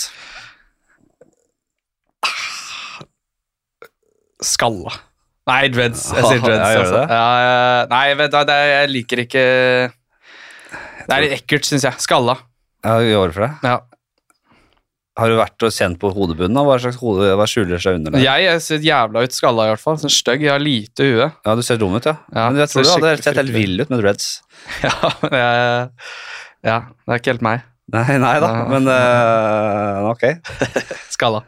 [SPEAKER 2] Skalla. Nei, dreads. Jeg sier dreads.
[SPEAKER 1] Ja, gjør du
[SPEAKER 2] altså.
[SPEAKER 1] det?
[SPEAKER 2] Ja, jeg- nei, vet du, hva, det, jeg liker ikke Det er litt ekkelt, syns jeg. Skalla.
[SPEAKER 1] Ja, vi går for det.
[SPEAKER 2] Ja.
[SPEAKER 1] Har du vært og kjent på hodebunnen? da? Hva slags hode, hva skjuler seg under der? Ja,
[SPEAKER 2] Jeg, jeg ser jævla ut skalla, i hvert fall. Sånn stygg. Jeg har lite hue.
[SPEAKER 1] du ser dum ut, ja.
[SPEAKER 2] Ja,
[SPEAKER 1] Men jeg tror du
[SPEAKER 2] ser
[SPEAKER 1] hadde
[SPEAKER 2] skikkelig
[SPEAKER 1] sett helt
[SPEAKER 2] fryktelig
[SPEAKER 1] vill ut med dreads.
[SPEAKER 2] Ja, men jeg, ja, det er ikke helt meg.
[SPEAKER 1] Nei, nei da,
[SPEAKER 2] Nei.
[SPEAKER 1] men eh, ok.
[SPEAKER 2] Skalla.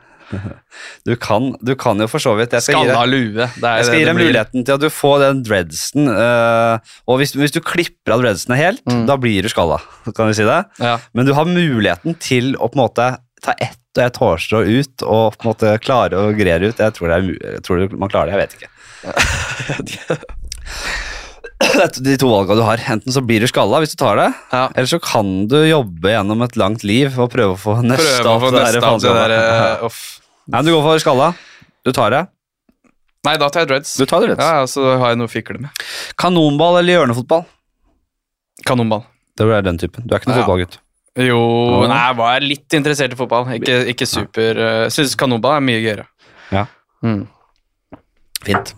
[SPEAKER 1] Du kan, du kan jo for så vidt. Jeg skal gi deg-
[SPEAKER 2] Skalla lue. Det er
[SPEAKER 1] Jeg skal
[SPEAKER 2] det
[SPEAKER 1] gi
[SPEAKER 2] det
[SPEAKER 1] deg
[SPEAKER 2] blir.
[SPEAKER 1] muligheten til at du får den dreadsen. eh, og hvis, hvis du klipper av dreadsene helt,
[SPEAKER 2] Mm.
[SPEAKER 1] da blir du skalla. Kan vi si det?
[SPEAKER 2] Ja.
[SPEAKER 1] Men du har muligheten til å på en måte ta ett og et hårstrå ut og på en måte klare å grere ut. Jeg tror, det er, mu- jeg tror man klarer det, jeg vet ikke. Det er de to valgene du har. Enten så blir du skalla hvis du tar det,
[SPEAKER 2] Ja.
[SPEAKER 1] eller så kan du jobbe gjennom et langt liv og prøve å få nøsta
[SPEAKER 2] Prøve å få
[SPEAKER 1] opp det der
[SPEAKER 2] neste av det
[SPEAKER 1] faenskapet.
[SPEAKER 2] der eh, off.
[SPEAKER 1] Nei, men du går for skalla. Du tar det.
[SPEAKER 2] Nei, da tar jeg dreads.
[SPEAKER 1] Du tar det
[SPEAKER 2] Ja, ja, så har jeg noe å fikle med.
[SPEAKER 1] Kanonball eller hjørnefotball?
[SPEAKER 2] Kanonball.
[SPEAKER 1] Det er den typen. Du er ikke noen
[SPEAKER 2] Ja.
[SPEAKER 1] fotballgutt.
[SPEAKER 2] Jo,
[SPEAKER 1] Ja.
[SPEAKER 2] nei, jeg var litt interessert i fotball. Ikke, ikke super. Uh, Syns kanonball er mye gøyere.
[SPEAKER 1] Ja.
[SPEAKER 2] Mm.
[SPEAKER 1] Fint.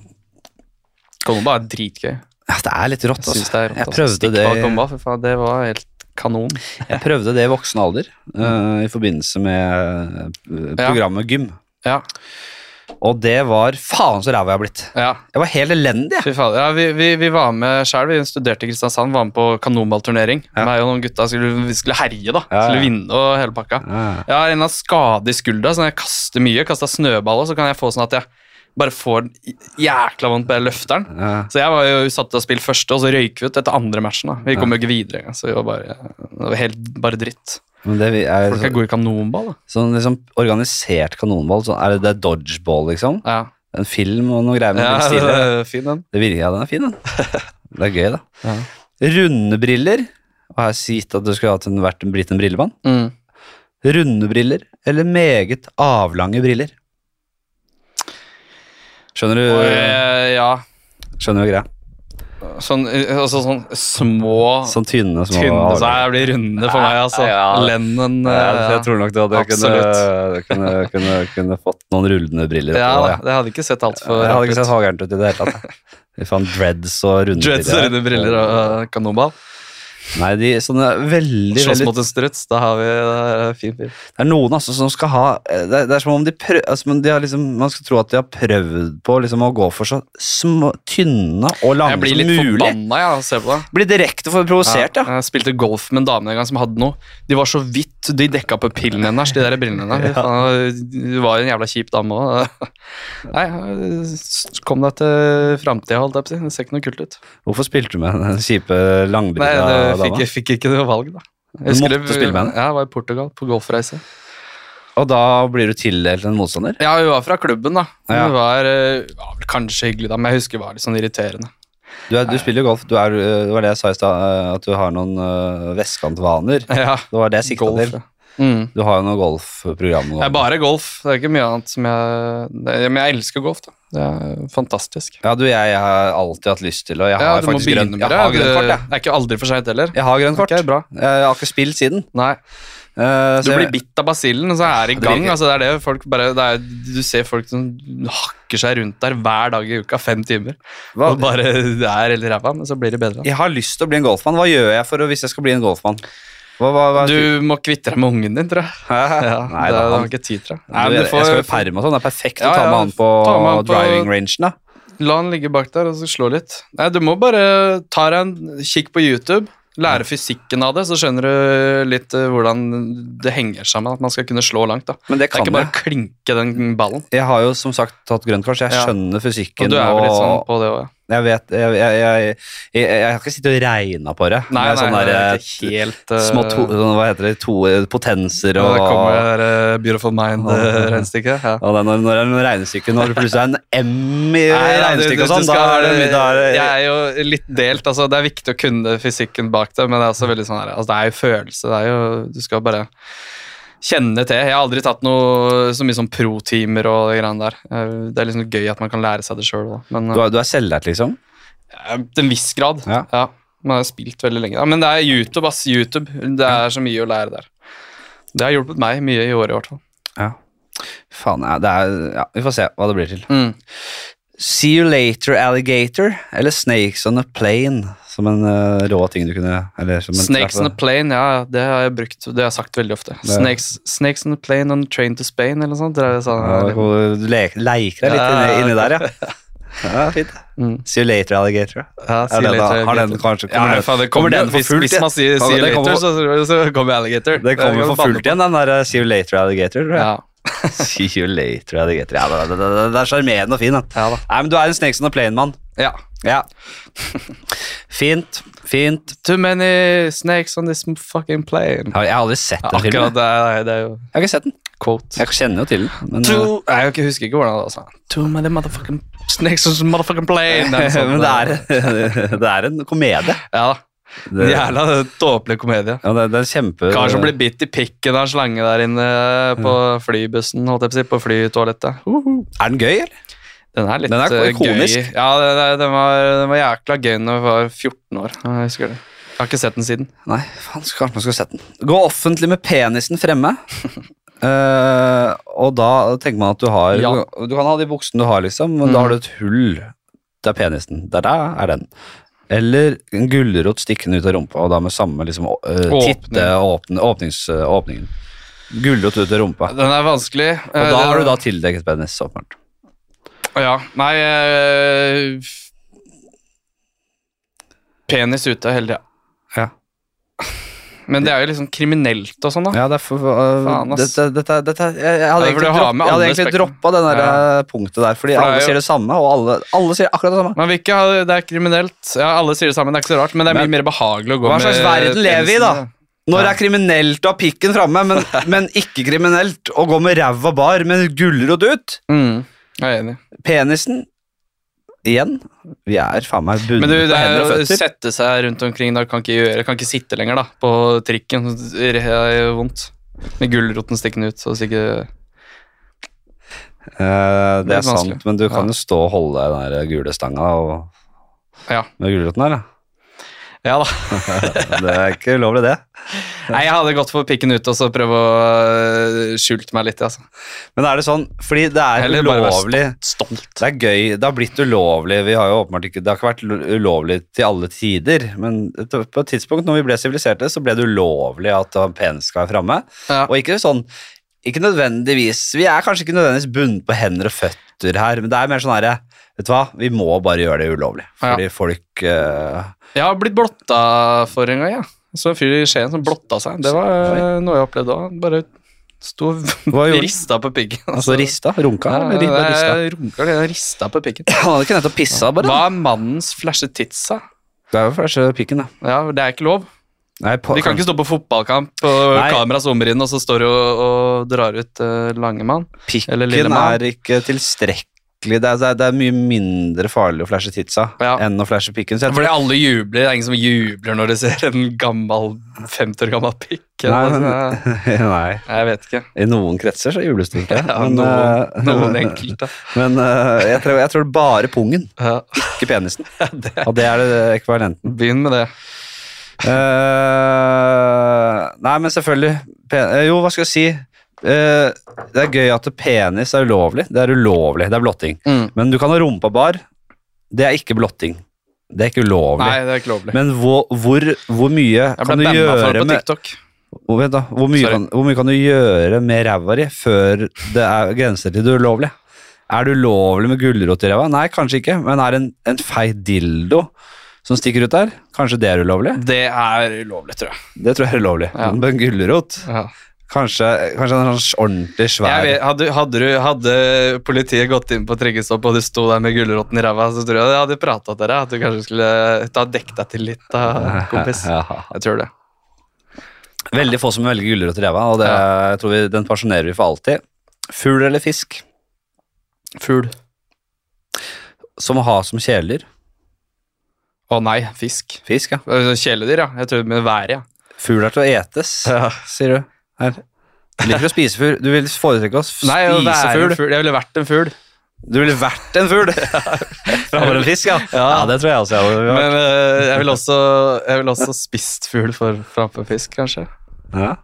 [SPEAKER 2] Kanonball er dritgøy.
[SPEAKER 1] Ja, det er litt rått,
[SPEAKER 2] Jeg synes
[SPEAKER 1] altså.
[SPEAKER 2] det er rått.
[SPEAKER 1] Jeg
[SPEAKER 2] altså.
[SPEAKER 1] prøvde det,
[SPEAKER 2] Stikkball kanonball, for faen, det var helt kanon.
[SPEAKER 1] jeg prøvde det i voksen alder eh, i forbindelse med eh,
[SPEAKER 2] Ja.
[SPEAKER 1] programmet Gym.
[SPEAKER 2] Ja.
[SPEAKER 1] Og det var faen så ræva jeg har blitt.
[SPEAKER 2] ja.
[SPEAKER 1] Jeg var helt elendig. jeg.
[SPEAKER 2] Fy faen. ja vi, vi, vi var med sjøl. Vi studerte i Kristiansand, var med på kanonballturnering.
[SPEAKER 1] Ja.
[SPEAKER 2] Meg og noen gutta skulle, vi skulle herje, da.
[SPEAKER 1] Ja, ja.
[SPEAKER 2] Skulle vinne og hele pakka. Jeg har en eller annen skade i skuldra, så når jeg kaster mye, kaster snøballer, så kan jeg få sånn at jeg bare får jækla vondt på løfteren.
[SPEAKER 1] Ja.
[SPEAKER 2] Så jeg var jo satt til å spille første, og så røyk vi ut etter andre matchen. da. Vi kom jo ikke videre engang, så vi var bare, det var helt, bare dritt.
[SPEAKER 1] Men det er
[SPEAKER 2] Folk er
[SPEAKER 1] så,
[SPEAKER 2] gode i kanonball, da.
[SPEAKER 1] sånn liksom organisert kanonball. Sånn, er det, det er dodgeball, liksom?
[SPEAKER 2] Ja,
[SPEAKER 1] En film og noe greier med
[SPEAKER 2] ja
[SPEAKER 1] den
[SPEAKER 2] det
[SPEAKER 1] stilen.
[SPEAKER 2] er fin den.
[SPEAKER 1] Det virker, ja, den er fin, den. Det er gøy, da.
[SPEAKER 2] Ja.
[SPEAKER 1] Runde briller. Og her si gitt at du skulle hatt en, vært en, blitt en brillemann.
[SPEAKER 2] Mm.
[SPEAKER 1] Runde briller eller meget avlange briller? Skjønner
[SPEAKER 2] Og,
[SPEAKER 1] du,
[SPEAKER 2] eh, ja,
[SPEAKER 1] skjønner du greia?
[SPEAKER 2] sånn, altså, sånn små,
[SPEAKER 1] Sånn tynne, små
[SPEAKER 2] Ah. tynne
[SPEAKER 1] avlange.
[SPEAKER 2] så her blir runde for meg, altså.
[SPEAKER 1] Ja.
[SPEAKER 2] Lennon
[SPEAKER 1] Ja,
[SPEAKER 2] eh,
[SPEAKER 1] jeg tror nok du hadde kunne,
[SPEAKER 2] Absolutt.
[SPEAKER 1] kunne, kunne, kunne fått noen rullende briller.
[SPEAKER 2] ja,
[SPEAKER 1] på,
[SPEAKER 2] da, det hadde ikke sett altfor
[SPEAKER 1] Jeg hadde
[SPEAKER 2] rart
[SPEAKER 1] ikke sett
[SPEAKER 2] ut.
[SPEAKER 1] hageren ut i det hele tatt. Vi fant dreads og runde
[SPEAKER 2] Dreads og runde briller og eh, kanonball.
[SPEAKER 1] Nei, de sånne veldig,
[SPEAKER 2] Slåss
[SPEAKER 1] veldig
[SPEAKER 2] mot en struts, da har vi eh, fin fyr.
[SPEAKER 1] Det er noen altså som skal ha Det er, det er som om de prøv, altså, men de har liksom, Man skal tro at de har prøvd på liksom, å gå for så små, tynne og lange
[SPEAKER 2] Jeg blir litt
[SPEAKER 1] som mulig.
[SPEAKER 2] forbanna, jeg, av å se på det.
[SPEAKER 1] Blir direkte for provosert, ja.
[SPEAKER 2] Jeg spilte golf med en dame en gang som hadde noe. De var så vidt de dekka på pillen hennes, de der brillene hennes. Faen, Du var jo en jævla kjip dame òg. Nei, s- kom deg til framtida, holdt jeg på å si. Det ser ikke noe kult ut.
[SPEAKER 1] Hvorfor spilte du med den kjipe
[SPEAKER 2] Nei,
[SPEAKER 1] langbrilla
[SPEAKER 2] det fikk,
[SPEAKER 1] dama?
[SPEAKER 2] jeg fikk ikke noe valg, da.
[SPEAKER 1] Du måtte spille med henne.
[SPEAKER 2] Ja, jeg var i Portugal på golfreise.
[SPEAKER 1] Og da blir du tildelt en motstander?
[SPEAKER 2] Ja, hun var fra klubben, da. Hun
[SPEAKER 1] Ja.
[SPEAKER 2] var, eh, var vel kanskje hyggelig, da, men jeg husker hun var litt sånn irriterende.
[SPEAKER 1] Du, er, du spiller jo golf. Du er, det var det jeg sa i stad, eh, at du har noen eh, vestkantvaner.
[SPEAKER 2] Ja,
[SPEAKER 1] Det var det jeg sikta
[SPEAKER 2] golf,
[SPEAKER 1] til.
[SPEAKER 2] ja. Mm.
[SPEAKER 1] Du har jo noe golfprogram. nå.
[SPEAKER 2] Det er bare golf. Det er ikke mye annet som jeg det- Men jeg elsker golf, da. Det er fantastisk.
[SPEAKER 1] Ja, du, jeg, har alltid hatt lyst til, og jeg har
[SPEAKER 2] du må
[SPEAKER 1] faktisk grønt,
[SPEAKER 2] begynne med
[SPEAKER 1] jeg har
[SPEAKER 2] det.
[SPEAKER 1] grønt kort.
[SPEAKER 2] Det er ikke aldri for seint heller.
[SPEAKER 1] Jeg, jeg har grønt kort.
[SPEAKER 2] Ok, bra.
[SPEAKER 1] Jeg har ikke spilt siden.
[SPEAKER 2] Nei.
[SPEAKER 1] Eh,
[SPEAKER 2] Du
[SPEAKER 1] så
[SPEAKER 2] blir
[SPEAKER 1] jeg-
[SPEAKER 2] bitt av basillen, og så er det i
[SPEAKER 1] Det blir
[SPEAKER 2] gang.
[SPEAKER 1] ikke-
[SPEAKER 2] Altså, det er det folk bare, det er, du ser folk som hakker seg rundt der hver dag i uka, fem timer.
[SPEAKER 1] Hva-
[SPEAKER 2] Og bare, Det er helt ræva, men så blir det bedre.
[SPEAKER 1] Jeg har lyst til å bli en golfmann. Hva gjør jeg for å, hvis jeg skal bli en golfmann? Hva, hva, hva,
[SPEAKER 2] Du må kvitte deg med ungen din, tror jeg.
[SPEAKER 1] Hæ?
[SPEAKER 2] Ja,
[SPEAKER 1] Nei, da,
[SPEAKER 2] det, du har
[SPEAKER 1] han,
[SPEAKER 2] ikke tid, tror jeg.
[SPEAKER 1] du,
[SPEAKER 2] Nei, men
[SPEAKER 1] jeg,
[SPEAKER 2] du får-
[SPEAKER 1] jeg skal jo perm og sånn. Det er perfekt
[SPEAKER 2] Ja,
[SPEAKER 1] å ta
[SPEAKER 2] ja,
[SPEAKER 1] med han på,
[SPEAKER 2] ta med han på-
[SPEAKER 1] driving rangen. da.
[SPEAKER 2] La han ligge bak der og så slå litt. Nei, Du må bare ta deg en kikk på YouTube, lære fysikken av det, så skjønner du litt eh, hvordan det henger sammen. At man skal kunne slå langt. da. Det
[SPEAKER 1] Men det
[SPEAKER 2] er
[SPEAKER 1] kan jeg.
[SPEAKER 2] ikke bare å klinke den ballen.
[SPEAKER 1] Jeg har jo som sagt tatt grønt kors. Jeg
[SPEAKER 2] Ja.
[SPEAKER 1] skjønner fysikken.
[SPEAKER 2] Og du er vel litt sånn
[SPEAKER 1] og
[SPEAKER 2] på det òg, ja.
[SPEAKER 1] jeg vet jeg, jeg, jeg, jeg, jeg har ikke sittet og regna på det.
[SPEAKER 2] Nei,
[SPEAKER 1] Med
[SPEAKER 2] nei,
[SPEAKER 1] sånne
[SPEAKER 2] det
[SPEAKER 1] der,
[SPEAKER 2] er
[SPEAKER 1] eh,
[SPEAKER 2] ikke helt eh,
[SPEAKER 1] Små to, sånne, hva heter det, to eh, potenser
[SPEAKER 2] ja,
[SPEAKER 1] og
[SPEAKER 2] Det kommer eh, Beautiful Mind-regnestykket. eh, Ja.
[SPEAKER 1] Ja, det er når, når det er noen regnestykker, når det plutselig er en M i
[SPEAKER 2] Nei, nei, du-
[SPEAKER 1] regnestykket og
[SPEAKER 2] du- du
[SPEAKER 1] sånn, da
[SPEAKER 2] skal-
[SPEAKER 1] er det mye da er det-
[SPEAKER 2] Jeg er jo litt delt. altså Det er viktig å kunne fysikken bak det, men det er også veldig sånn her, altså, det er jo følelse. det er jo, Du skal bare kjenne til. Jeg har aldri tatt noe så mye som pro-timer og de greiene der. Eh, Det er liksom gøy at man kan lære seg det sjøl. Men
[SPEAKER 1] Du
[SPEAKER 2] eh,
[SPEAKER 1] er, du er selvlært, liksom?
[SPEAKER 2] ja, til en viss grad.
[SPEAKER 1] Ja.
[SPEAKER 2] Ja, Man har spilt veldig lenge. Ja, men det er YouTube, ass. YouTube. Det er så mye å lære der. Det har hjulpet meg mye i året, i hvert fall.
[SPEAKER 1] Ja. Faen, ja, det er, ja, vi får se hva det blir til.
[SPEAKER 2] Mm.
[SPEAKER 1] See you later, alligator, eller Snakes on a plane, som en eh, rå ting du kunne eller som en
[SPEAKER 2] Snakes on a
[SPEAKER 1] trappe.
[SPEAKER 2] plane, ja, det har jeg brukt. Det har jeg sagt veldig ofte.
[SPEAKER 1] er-
[SPEAKER 2] Snakes, snakes on a plane on a train to Spain, eller noe sånt. Det er sånn,
[SPEAKER 1] Ja, hvor Du le leker deg litt
[SPEAKER 2] Ja,
[SPEAKER 1] inni,
[SPEAKER 2] ja,
[SPEAKER 1] inni der, ja. Ja, fint.
[SPEAKER 2] Mm.
[SPEAKER 1] See you later, alligator.
[SPEAKER 2] Ja,
[SPEAKER 1] Ja,
[SPEAKER 2] see
[SPEAKER 1] den, da,
[SPEAKER 2] later,
[SPEAKER 1] har den
[SPEAKER 2] alligator.
[SPEAKER 1] kanskje
[SPEAKER 2] Ja,
[SPEAKER 1] kommer, den-
[SPEAKER 2] faen, det
[SPEAKER 1] kommer
[SPEAKER 2] kommer
[SPEAKER 1] den for
[SPEAKER 2] hvis,
[SPEAKER 1] fullt?
[SPEAKER 2] hvis
[SPEAKER 1] igjen?
[SPEAKER 2] man sier
[SPEAKER 1] Kan-
[SPEAKER 2] see you
[SPEAKER 1] den kommer
[SPEAKER 2] later,
[SPEAKER 1] for-
[SPEAKER 2] så, så kommer alligator.
[SPEAKER 1] Den kommer for fullt igjen, den der eh, see you later, alligator. tror jeg.
[SPEAKER 2] Ja.
[SPEAKER 1] See you later, alligator. Ja, det, det, det, det er sjarmerende og fin, da.
[SPEAKER 2] Ja da.
[SPEAKER 1] Nei, men du er en Snakes on a plane-mann.
[SPEAKER 2] ja.
[SPEAKER 1] Ja. Fint. Fint.
[SPEAKER 2] Too many snakes on this fucking plane.
[SPEAKER 1] Har- Jeg har aldri sett
[SPEAKER 2] Ja,
[SPEAKER 1] den
[SPEAKER 2] akkurat
[SPEAKER 1] filmen.
[SPEAKER 2] det er, det er jo
[SPEAKER 1] Jeg har ikke sett den.
[SPEAKER 2] quote.
[SPEAKER 1] Jeg kjenner jo til den. Men, eh,
[SPEAKER 2] Too, nei, jeg ikke- husker ikke hvordan det var. sånn. Too many motherfucking snakes on this motherfucking plane. Den sånn,
[SPEAKER 1] eh, men det, er, det er en komedie.
[SPEAKER 2] Ja da.
[SPEAKER 1] Det, ja,
[SPEAKER 2] Jævla tåpelig komedie.
[SPEAKER 1] det, det er kjempe...
[SPEAKER 2] Kar som blir bitt i pikken av en slange der inne eh, på flybussen. Holdt jeg på, å si, på flytoalettet.
[SPEAKER 1] Er den gøy, eller?
[SPEAKER 2] Den er litt
[SPEAKER 1] Den er
[SPEAKER 2] eh,
[SPEAKER 1] ikonisk.
[SPEAKER 2] gøy. Ja, den, er- den, var, den var jækla gøy når jeg var 14 år. Ja, Jeg husker det. Jeg har ikke sett den siden.
[SPEAKER 1] Nei, faen, så kanskje man skulle sett den. Gå offentlig med penisen fremme. Eh, og da tenker man at du har
[SPEAKER 2] Ja. Mm.
[SPEAKER 1] Du kan ha de buksene du har, liksom, men da har du et hull. Det er penisen. Der der er den. Eller en gulrot stikkende ut av rumpa, og da med samme liksom, å- eh,
[SPEAKER 2] Åpning.
[SPEAKER 1] titte åpne, åpnings, eh, åpningen. Gulrot ut av rumpa.
[SPEAKER 2] Den er vanskelig. Eh,
[SPEAKER 1] Og da har du da tildekket penis, åpenbart.
[SPEAKER 2] Ja. Nei eh, Penis ute er heldig, ja.
[SPEAKER 1] Ja.
[SPEAKER 2] Men det er jo liksom kriminelt og sånn, da.
[SPEAKER 1] Ja, det er for, øh,
[SPEAKER 2] Faen, ass.
[SPEAKER 1] dette, dette, dette, jeg, jeg hadde
[SPEAKER 2] Ja, for
[SPEAKER 1] egentlig,
[SPEAKER 2] du har
[SPEAKER 1] dropp,
[SPEAKER 2] med
[SPEAKER 1] jeg hadde
[SPEAKER 2] alle
[SPEAKER 1] egentlig
[SPEAKER 2] spektrum.
[SPEAKER 1] droppa det der
[SPEAKER 2] Ja.
[SPEAKER 1] øh, punktet der, fordi
[SPEAKER 2] For det er
[SPEAKER 1] alle
[SPEAKER 2] jo-
[SPEAKER 1] sier det samme, og alle, alle sier akkurat det samme.
[SPEAKER 2] Man vil ikke ha, det er kriminelt. Ja, Alle sier det sammen, det er ikke så rart, men det er mye
[SPEAKER 1] Men-
[SPEAKER 2] mer behagelig å gå
[SPEAKER 1] Hva
[SPEAKER 2] med
[SPEAKER 1] slags verden lever vi i, da?
[SPEAKER 2] penisen,
[SPEAKER 1] Når det
[SPEAKER 2] Ja.
[SPEAKER 1] er kriminelt å ha pikken framme, men, men ikke kriminelt å gå med ræva bar med gulrot ut,
[SPEAKER 2] Mm, jeg er enig.
[SPEAKER 1] penisen Igjen, vi er faen meg
[SPEAKER 2] Men
[SPEAKER 1] bundet på
[SPEAKER 2] du, det er
[SPEAKER 1] hender og
[SPEAKER 2] å
[SPEAKER 1] føtter.
[SPEAKER 2] sette seg rundt omkring da, kan ikke gjøre, kan ikke sitte lenger da, på trikken. Det er vondt. Med gulroten stikkende ut. Så hvis ikke,
[SPEAKER 1] Eh, det
[SPEAKER 2] litt
[SPEAKER 1] er sant,
[SPEAKER 2] vanskelig.
[SPEAKER 1] men du kan
[SPEAKER 2] Ja.
[SPEAKER 1] jo stå og holde den der gule stanga og,
[SPEAKER 2] ja.
[SPEAKER 1] med gulroten her, da.
[SPEAKER 2] ja da.
[SPEAKER 1] Det er ikke ulovlig, det.
[SPEAKER 2] Nei, jeg hadde gått for pikken ut og så prøve å øh, skjult meg litt. Altså.
[SPEAKER 1] Men er det sånn, fordi det er
[SPEAKER 2] Eller bare være
[SPEAKER 1] ulovlig
[SPEAKER 2] Stolt.
[SPEAKER 1] Det er gøy. Det har blitt ulovlig. Vi har jo åpenbart ikke, det har ikke vært lo- ulovlig til alle tider, men et- på et tidspunkt når vi ble siviliserte, så ble det ulovlig at det var penis skal være framme.
[SPEAKER 2] Ja.
[SPEAKER 1] Og ikke sånn ikke nødvendigvis, Vi er kanskje ikke nødvendigvis bundet på hender og føtter her, men det er mer sånn herre Vet du hva, vi må bare gjøre det ulovlig. Fordi folk eh,
[SPEAKER 2] Jeg har blitt blotta for en gang, ja. Så en fyr i Skien som blotta seg. Det var øh, noe jeg opplevde òg. Bare sto
[SPEAKER 1] Hva
[SPEAKER 2] og
[SPEAKER 1] gjorde-
[SPEAKER 2] rista på piggen.
[SPEAKER 1] Altså rista? Runka?
[SPEAKER 2] Ja,
[SPEAKER 1] eller rista, rista?
[SPEAKER 2] jeg runka litt, jeg rista på piggen.
[SPEAKER 1] Han hadde ikke nettopp pissa, bare.
[SPEAKER 2] Hva er mannens flashe tits, da?
[SPEAKER 1] Det er jo første pikken, da.
[SPEAKER 2] Ja, det er ikke lov.
[SPEAKER 1] Nei, på,
[SPEAKER 2] De kan ikke stå på fotballkamp, og
[SPEAKER 1] Nei.
[SPEAKER 2] kamera zoomer inn, og så står du og, og drar ut eh, Langemann.
[SPEAKER 1] Pikken
[SPEAKER 2] Eller lille mann.
[SPEAKER 1] er ikke tilstrekkelig. Det er, det, er, det er mye mindre farlig å flashe titsa
[SPEAKER 2] Ja.
[SPEAKER 1] enn å flashe pikken. Så jeg
[SPEAKER 2] Fordi
[SPEAKER 1] tror,
[SPEAKER 2] alle jubler. Det er ingen som jubler når de ser en gammel, 50 år gammel pikk.
[SPEAKER 1] Nei, men-
[SPEAKER 2] Altså,
[SPEAKER 1] nei,
[SPEAKER 2] jeg jeg vet ikke.
[SPEAKER 1] I noen kretser så jubles det ikke.
[SPEAKER 2] Ja,
[SPEAKER 1] men
[SPEAKER 2] noen,
[SPEAKER 1] eh,
[SPEAKER 2] noen enkelte.
[SPEAKER 1] men eh, jeg, tror, jeg tror bare pungen,
[SPEAKER 2] Ja,
[SPEAKER 1] ikke penisen.
[SPEAKER 2] det,
[SPEAKER 1] Og det er det ekvivalenten.
[SPEAKER 2] begynn med det.
[SPEAKER 1] Eh, nei, men selvfølgelig. Pen eh, jo, hva skal jeg si? Eh, det er gøy at penis er ulovlig. Det er ulovlig, det er blotting.
[SPEAKER 2] Mm.
[SPEAKER 1] Men du kan ha rumpa bar. Det er ikke blotting. Det er ikke ulovlig.
[SPEAKER 2] Nei, det er ikke lovlig.
[SPEAKER 1] Men hvor, hvor, hvor mye
[SPEAKER 2] Jeg
[SPEAKER 1] kan du
[SPEAKER 2] ble banna for det
[SPEAKER 1] gjøre
[SPEAKER 2] på
[SPEAKER 1] med
[SPEAKER 2] TikTok.
[SPEAKER 1] hvor, vent da, hvor, mye
[SPEAKER 2] Sorry.
[SPEAKER 1] kan, hvor mye kan du gjøre med ræva di før det er grenser til det ulovlige? Er det ulovlig med gulrot i ræva? Nei, kanskje ikke. Men er det en, en fei dildo som stikker ut der? Kanskje det er ulovlig?
[SPEAKER 2] Det er ulovlig, tror jeg.
[SPEAKER 1] Det tror jeg er ulovlig.
[SPEAKER 2] Ja.
[SPEAKER 1] Men gulrot?
[SPEAKER 2] Ja.
[SPEAKER 1] Kanskje, kanskje en sånn ordentlig svær
[SPEAKER 2] Jeg vet, hadde, hadde, du, hadde politiet gått inn på tryggestopp, og du sto der med gulroten i ræva, så tror jeg de hadde prata til deg. At du kanskje skulle ta dekk deg til litt, da, kompis.
[SPEAKER 1] Ja.
[SPEAKER 2] Jeg tror det.
[SPEAKER 1] Veldig få som velger gulrot i ræva, og det, jeg tror vi, den pensjonerer vi for alltid. Fugl eller fisk
[SPEAKER 2] Fugl.
[SPEAKER 1] som å ha som kjæledyr?
[SPEAKER 2] Å nei, fisk.
[SPEAKER 1] Fisk, ja.
[SPEAKER 2] Eh, Kjæledyr, ja. Jeg tror med været, ja.
[SPEAKER 1] Fugl er til å etes, sier du. Her. Du liker å spise fugl. Du vil foretrekke å
[SPEAKER 2] Nei, å
[SPEAKER 1] spise
[SPEAKER 2] være en
[SPEAKER 1] fugl.
[SPEAKER 2] fugl. Jeg ville vært en fugl.
[SPEAKER 1] Du ville vært en fugl framfor en fisk, ja. ja.
[SPEAKER 2] Ja.
[SPEAKER 1] det tror jeg også jeg hadde vært.
[SPEAKER 2] Men eh, jeg ville også, jeg ville også spist fugl for- framfor fisk, kanskje.
[SPEAKER 1] Ja.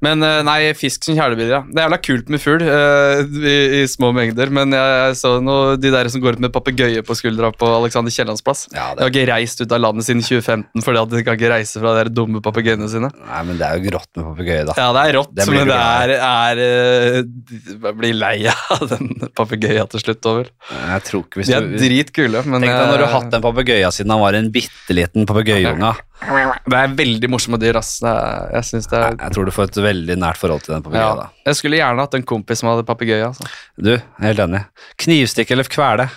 [SPEAKER 2] Men eh, nei, fisk som kjæledyr, ja. Det er jævla kult med fugl eh, i, i små mengder, men jeg, jeg så noe, de der som går ut med papegøye på skuldra på Alexander Kiellands plass.
[SPEAKER 1] Ja, det-
[SPEAKER 2] De har ikke reist ut av landet siden 2015 fordi at de kan ikke reise fra de der dumme papegøyene sine.
[SPEAKER 1] Nei, men det er jo grått med papegøye, da.
[SPEAKER 2] Ja, det er rått,
[SPEAKER 1] Det blir
[SPEAKER 2] men
[SPEAKER 1] du
[SPEAKER 2] det
[SPEAKER 1] glad
[SPEAKER 2] er, er eh, Jeg blir lei av den papegøya til slutt, over.
[SPEAKER 1] Jeg tror ikke hvis
[SPEAKER 2] De
[SPEAKER 1] du
[SPEAKER 2] er dritkule, men eh,
[SPEAKER 1] Tenk deg når du har
[SPEAKER 2] jeg-
[SPEAKER 1] hatt den papegøyen siden han var en bitte liten papegøyeunge.
[SPEAKER 2] Det er veldig morsomme dyr, ass. Det er, jeg synes det er
[SPEAKER 1] Jeg tror du får et veldig nært forhold til den
[SPEAKER 2] ja.
[SPEAKER 1] papegøyen, da.
[SPEAKER 2] Jeg skulle gjerne hatt en kompis som hadde papegøye. Altså.
[SPEAKER 1] Du, helt enig. Knivstikke eller kvele?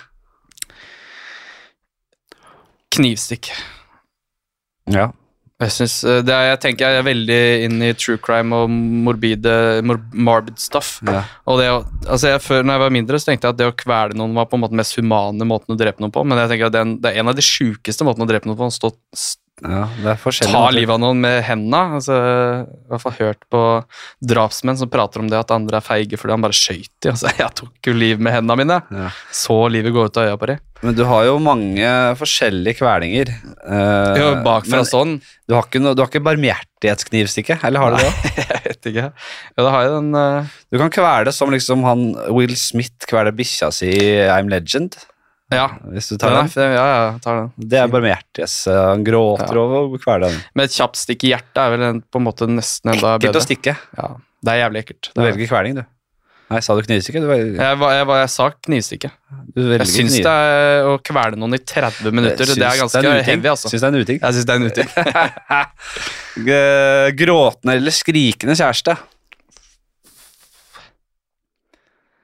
[SPEAKER 2] knivstikk.
[SPEAKER 1] Ja.
[SPEAKER 2] Jeg, synes, eh, det er, jeg tenker jeg er veldig inn i true crime og morbide, mor morbid stuff.
[SPEAKER 1] ja.
[SPEAKER 2] Og det, å- altså jeg, før, når jeg var mindre, så tenkte jeg at det å kvele noen var på en måte den mest humane måten å drepe noen på, men jeg tenker at det er en, det er en av de sjukeste måtene å drepe noen på. Å stå, s-
[SPEAKER 1] ja det er forskjellig.
[SPEAKER 2] ta livet av noen med hendene. Altså, jeg har i hvert fall hørt på drapsmenn som prater om det at andre er feige fordi han bare skøyt de. Altså, jeg tok jo liv med hendene mine.
[SPEAKER 1] Ja.
[SPEAKER 2] Så livet gå ut av øya på de.
[SPEAKER 1] Men du har jo mange forskjellige kvelinger. eh,
[SPEAKER 2] Jo, bakfra
[SPEAKER 1] men
[SPEAKER 2] sånn.
[SPEAKER 1] Du har ikke, noe- du har ikke barmhjertighetsknivstikke, eller har du det?
[SPEAKER 2] Jeg vet ikke. Ja, da har jeg den eh,
[SPEAKER 1] Du kan kvele som liksom han Will Smith kveler bikkja si i I'm Legend.
[SPEAKER 2] Ja,
[SPEAKER 1] Hvis du tar den.
[SPEAKER 2] den er, fin. ja, ja, jeg tar den.
[SPEAKER 1] Det er barmhjertighets. eh, Han gråter
[SPEAKER 2] Ja.
[SPEAKER 1] over å kvele den.
[SPEAKER 2] Med et kjapt stikk i hjertet er vel en, på en måte nesten enda
[SPEAKER 1] Ekkelt
[SPEAKER 2] bedre.
[SPEAKER 1] å stikke.
[SPEAKER 2] Ja, det er jævlig ekkelt.
[SPEAKER 1] Du velger kveling, du. Nei, sa du knivstikke? Du velger,
[SPEAKER 2] Jeg, var- jeg, var- jeg sa knivstikke.
[SPEAKER 1] du velger
[SPEAKER 2] Jeg syns det
[SPEAKER 1] kniv.
[SPEAKER 2] er å kvele noen i 30 minutter,
[SPEAKER 1] Jeg
[SPEAKER 2] det er
[SPEAKER 1] syns
[SPEAKER 2] ganske
[SPEAKER 1] en uting.
[SPEAKER 2] heavy, altså.
[SPEAKER 1] Syns det er en uting.
[SPEAKER 2] Jeg syns det er en uting.
[SPEAKER 1] G- Gråtende eller skrikende kjæreste.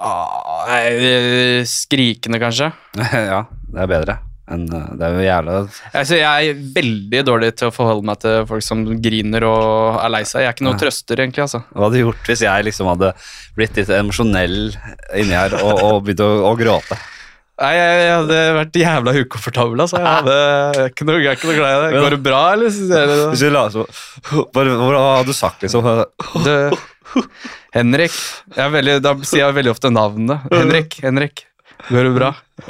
[SPEAKER 2] Ah, nei, Skrikende, kanskje.
[SPEAKER 1] ja, det er bedre. enn, eh, det er jo jævla
[SPEAKER 2] Altså, jeg er veldig dårlig til å forholde meg til folk som griner og er lei seg. Jeg er ikke noe trøster, egentlig. altså.
[SPEAKER 1] Hva hadde du gjort hvis jeg liksom hadde blitt litt emosjonell inni her og, og begynt å, å gråte?
[SPEAKER 2] Nei, jeg, jeg hadde vært jævla ukomfortabel, altså. Jeg, hadde, jeg, er ikke noe, jeg er ikke noe glad i det. Går det bra, eller? Synes jeg, det-
[SPEAKER 1] Hvis du la så, bare, Hva hadde du sagt, liksom?
[SPEAKER 2] Du, Henrik. Jeg er veldig, da sier jeg veldig ofte navnet. Henrik. Henrik. Går det bra?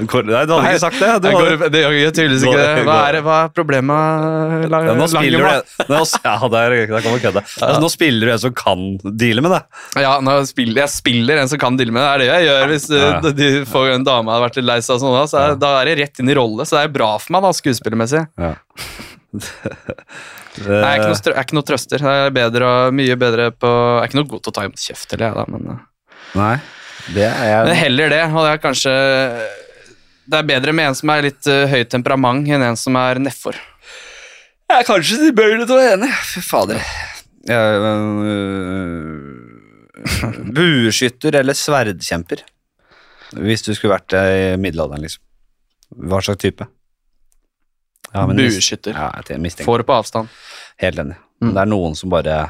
[SPEAKER 1] Går- Nei, du hadde ikke sagt det. Du
[SPEAKER 2] Jeg
[SPEAKER 1] hadde,
[SPEAKER 2] går, det gjør jeg tydeligvis ikke. det. Hva er, det- hva er problemet? Lang,
[SPEAKER 1] ja, nå spiller
[SPEAKER 2] Langemann?
[SPEAKER 1] du nå, Ja, der, der kommer kødda. Altså, nå spiller du en som kan deale med det.
[SPEAKER 2] Ja, nå spiller, jeg spiller en som kan deale med det. Det er det jeg gjør hvis
[SPEAKER 1] Ja.
[SPEAKER 2] uh, de, de får en dame hadde vært litt lei seg. og Sånn, da, så er, da er det rett inn i rolle, så det er bra for meg da, skuespillermessig. Nei, Jeg er ikke noe, strø, jeg er ikke noe trøster. Jeg er bedre, og- mye bedre på Jeg er ikke noe god til å ta imot kjeft, eller jeg, da, men uh.
[SPEAKER 1] Nei, det er
[SPEAKER 2] Men
[SPEAKER 1] jeg
[SPEAKER 2] heller det. Og det er kanskje Det er bedre med en som er litt uh, høyt temperament, enn en som er nedfor.
[SPEAKER 1] Jeg er kanskje tilbøyelig til å være enig. Fy fader. Jeg, øh, bueskytter eller sverdkjemper? Hvis du skulle vært det i middelalderen, liksom. Hva slags type? Ja, men mis-
[SPEAKER 2] Bueskytter.
[SPEAKER 1] Ja, jeg mistenker.
[SPEAKER 2] Får på avstand.
[SPEAKER 1] Helt enig.
[SPEAKER 2] Mm.
[SPEAKER 1] Det er noen som bare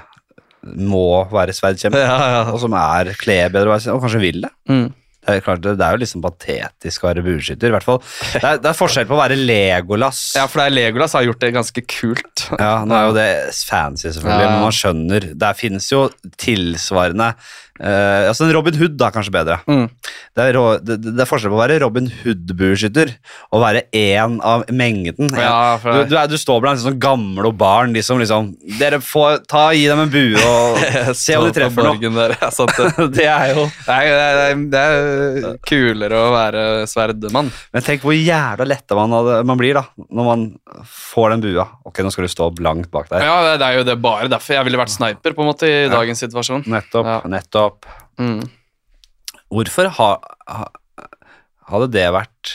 [SPEAKER 1] må være sverdkjemper, og som er kler bedre å være sverd- og kanskje vil det.
[SPEAKER 2] Mm.
[SPEAKER 1] Det er, klart, det det er jo liksom patetisk å være bueskytter, i hvert fall. Det er, det er forskjell på å være Legolas.
[SPEAKER 2] Ja, for det er Legolas har gjort det ganske kult.
[SPEAKER 1] Ja, nå er jo det fancy, selvfølgelig,
[SPEAKER 2] Ja.
[SPEAKER 1] men man skjønner. Der finnes jo tilsvarende eh, Altså en Robin Hood, da, kanskje bedre.
[SPEAKER 2] Mm.
[SPEAKER 1] Det er, rå- det, det er forskjell på å være Robin Hood-bueskytter og være én av mengden.
[SPEAKER 2] Ja,
[SPEAKER 1] du,
[SPEAKER 2] for
[SPEAKER 1] du, er, du står blant sånn gamle og barn, de som liksom Dere får ta, gi dem en bue og se om de treffer noe.
[SPEAKER 2] Der, jeg satt,
[SPEAKER 1] Det er jo
[SPEAKER 2] Nei, det, er, det er kulere å være sverdmann.
[SPEAKER 1] Men tenk hvor jævla letta man, hadde- man blir da når man får den bua. Ok, nå skal du stå blankt bak der.
[SPEAKER 2] Ja, det, det er jo det bare derfor jeg ville vært sniper på en måte i dagens situasjon.
[SPEAKER 1] Nettopp.
[SPEAKER 2] Ja.
[SPEAKER 1] Nettopp.
[SPEAKER 2] Mm.
[SPEAKER 1] Hvorfor ha, ha, hadde det vært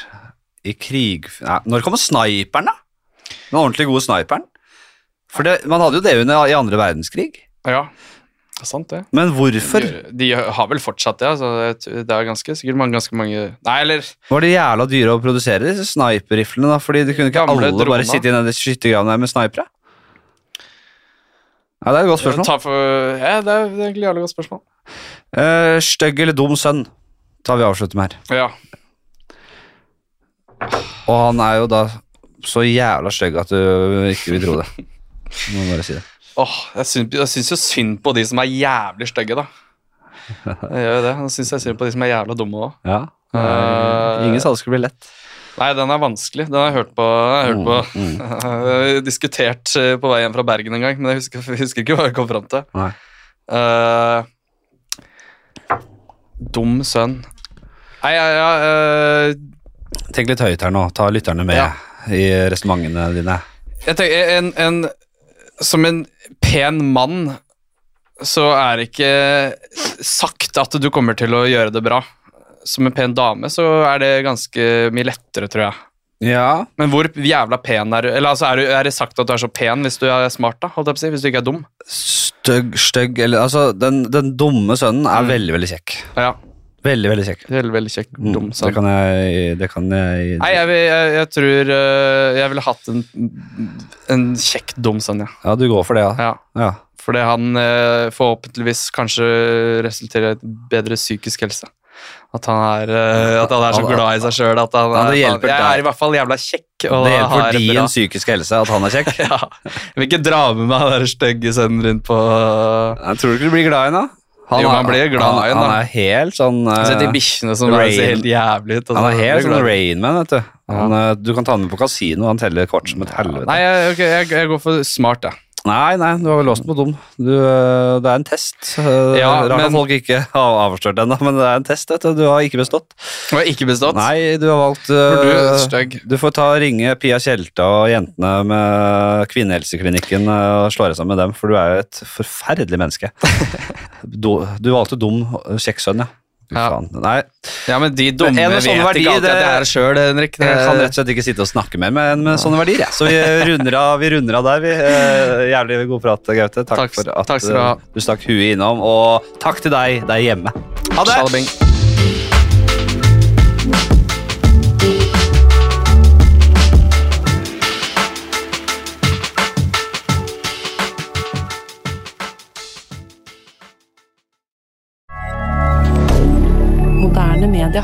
[SPEAKER 1] i krig... Nei, når kommer sniperen, da? Den ordentlig gode sniperen? For det, man hadde jo det under i andre verdenskrig.
[SPEAKER 2] Ja, det er sant det.
[SPEAKER 1] Men hvorfor?
[SPEAKER 2] De, de har vel fortsatt det. Altså, jeg tror- det er ganske, sikkert mange, ganske mange Nei, eller
[SPEAKER 1] Var det jævla dyre å produsere disse sniperriflene, da? Fordi det kunne ikke
[SPEAKER 2] Gamle
[SPEAKER 1] alle
[SPEAKER 2] droner.
[SPEAKER 1] bare sitte i den skyttergravene der med snipere? Ja, det er et godt spørsmål.
[SPEAKER 2] ta for, ja, Det er det er egentlig jævlig godt spørsmål.
[SPEAKER 1] Eh, stygg eller dum sønn tar vi og avslutter med her.
[SPEAKER 2] Ja.
[SPEAKER 1] Og han er jo da så jævla stygg at du ikke vil tro det. Må bare si det.
[SPEAKER 2] Åh, jeg, syns, jeg syns jo synd på de som er jævlig stygge, da. Jeg gjør jo det. Jeg syns jeg synd på de som er jævla dumme òg.
[SPEAKER 1] Ja.
[SPEAKER 2] Eh,
[SPEAKER 1] Ingen sa det skulle bli lett.
[SPEAKER 2] Nei, den er vanskelig. Den har jeg hørt på. Den har jeg hørt på. Jeg har Diskutert eh, på vei hjem fra Bergen en gang, men jeg husker, jeg husker ikke hva jeg kom fram til.
[SPEAKER 1] Nei.
[SPEAKER 2] Eh, dum sønn. Nei, ja, ja eh,
[SPEAKER 1] Tenk litt høyt her nå. Ta lytterne med
[SPEAKER 2] Ja.
[SPEAKER 1] i resonnementene dine.
[SPEAKER 2] Jeg tenker, en, en, som en pen mann, så er det ikke sagt at du kommer til å gjøre det bra. Som en pen dame, så er det ganske mye lettere, tror jeg.
[SPEAKER 1] Ja.
[SPEAKER 2] Men hvor jævla pen er du? Eller altså, er, du, er det sagt at du er så pen hvis du er smart, da? Holdt jeg på å si, hvis du ikke er dum?
[SPEAKER 1] Stygg, stygg eller Altså, den, den dumme sønnen er
[SPEAKER 2] Mm.
[SPEAKER 1] veldig, veldig kjekk.
[SPEAKER 2] Ja.
[SPEAKER 1] Veldig, veldig kjekk.
[SPEAKER 2] Veldig, veldig kjekk.
[SPEAKER 1] Mm,
[SPEAKER 2] Dum
[SPEAKER 1] det
[SPEAKER 2] sang.
[SPEAKER 1] kan jeg, det kan jeg
[SPEAKER 2] Nei, jeg, vil- jeg, jeg tror eh, jeg ville hatt en, en kjekk dum sønn, ja.
[SPEAKER 1] Ja, du går for det, ja.
[SPEAKER 2] ja.
[SPEAKER 1] ja.
[SPEAKER 2] Fordi han eh, forhåpentligvis kanskje resulterer i et bedre psykisk helse. At han er, eh, at han er så
[SPEAKER 1] Han-
[SPEAKER 2] glad i seg sjøl at han
[SPEAKER 1] Ja,
[SPEAKER 2] er,
[SPEAKER 1] det hjelper
[SPEAKER 2] jeg
[SPEAKER 1] der.
[SPEAKER 2] er i hvert fall jævla kjekk. Og
[SPEAKER 1] Det
[SPEAKER 2] har
[SPEAKER 1] hjelper
[SPEAKER 2] et
[SPEAKER 1] din
[SPEAKER 2] bra-
[SPEAKER 1] psykiske helse at han er kjekk.
[SPEAKER 2] ja. Jeg vil ikke dra med meg den der stygge sønnen din på
[SPEAKER 1] Jeg tror du ikke du blir glad i henne?
[SPEAKER 2] Jo, han blir glad i henne,
[SPEAKER 1] han,
[SPEAKER 2] da.
[SPEAKER 1] han er helt sånn eh,
[SPEAKER 2] Se de bikkjene som
[SPEAKER 1] Rain.
[SPEAKER 2] ser helt jævlig ut. og
[SPEAKER 1] Han er
[SPEAKER 2] så-
[SPEAKER 1] helt
[SPEAKER 2] det
[SPEAKER 1] sånn
[SPEAKER 2] glad.
[SPEAKER 1] Rainman, vet du. Han, eh, du kan ta han med på kasino, han teller kort som et helvete.
[SPEAKER 2] Nei, jeg, ok, jeg, jeg går for smart, jeg.
[SPEAKER 1] Nei, nei, du har vel låst den på dum. Du, øh, det er en test. Øh,
[SPEAKER 2] Ja,
[SPEAKER 1] Rart at
[SPEAKER 2] men-
[SPEAKER 1] folk ikke har avslørt den, da, men det er en test. Vet du. du har ikke bestått.
[SPEAKER 2] Og jeg har ikke bestått.
[SPEAKER 1] Nei, du har valgt
[SPEAKER 2] For du er
[SPEAKER 1] øh,
[SPEAKER 2] stygg.
[SPEAKER 1] Du får ta og ringe Pia Tjelta og jentene med Kvinnehelseklinikken øh, og slå deg sammen med dem, for du er jo et forferdelig menneske. Du, du valgte dum øh, kjekk sønn, ja. Fy
[SPEAKER 2] Ja.
[SPEAKER 1] faen. Nei,
[SPEAKER 2] Ja, men de dumme
[SPEAKER 1] En av
[SPEAKER 2] vet
[SPEAKER 1] sånne
[SPEAKER 2] ikke
[SPEAKER 1] verdier,
[SPEAKER 2] alltid at
[SPEAKER 1] det-
[SPEAKER 2] jeg er sjøl, Henrik. Eh, Det,
[SPEAKER 1] jeg kan rett og slett ikke sitte og snakke mer med, med sånne verdier, jeg. Så vi runder av, vi runder av der, vi. Eh, Jævlig god prat, Gaute. Takk,
[SPEAKER 2] Takk-
[SPEAKER 1] for at
[SPEAKER 2] takk skal du ha.
[SPEAKER 1] eh, du stakk huet innom. Og takk til deg der hjemme. Ha det!
[SPEAKER 2] Salbing.
[SPEAKER 3] Moderne media.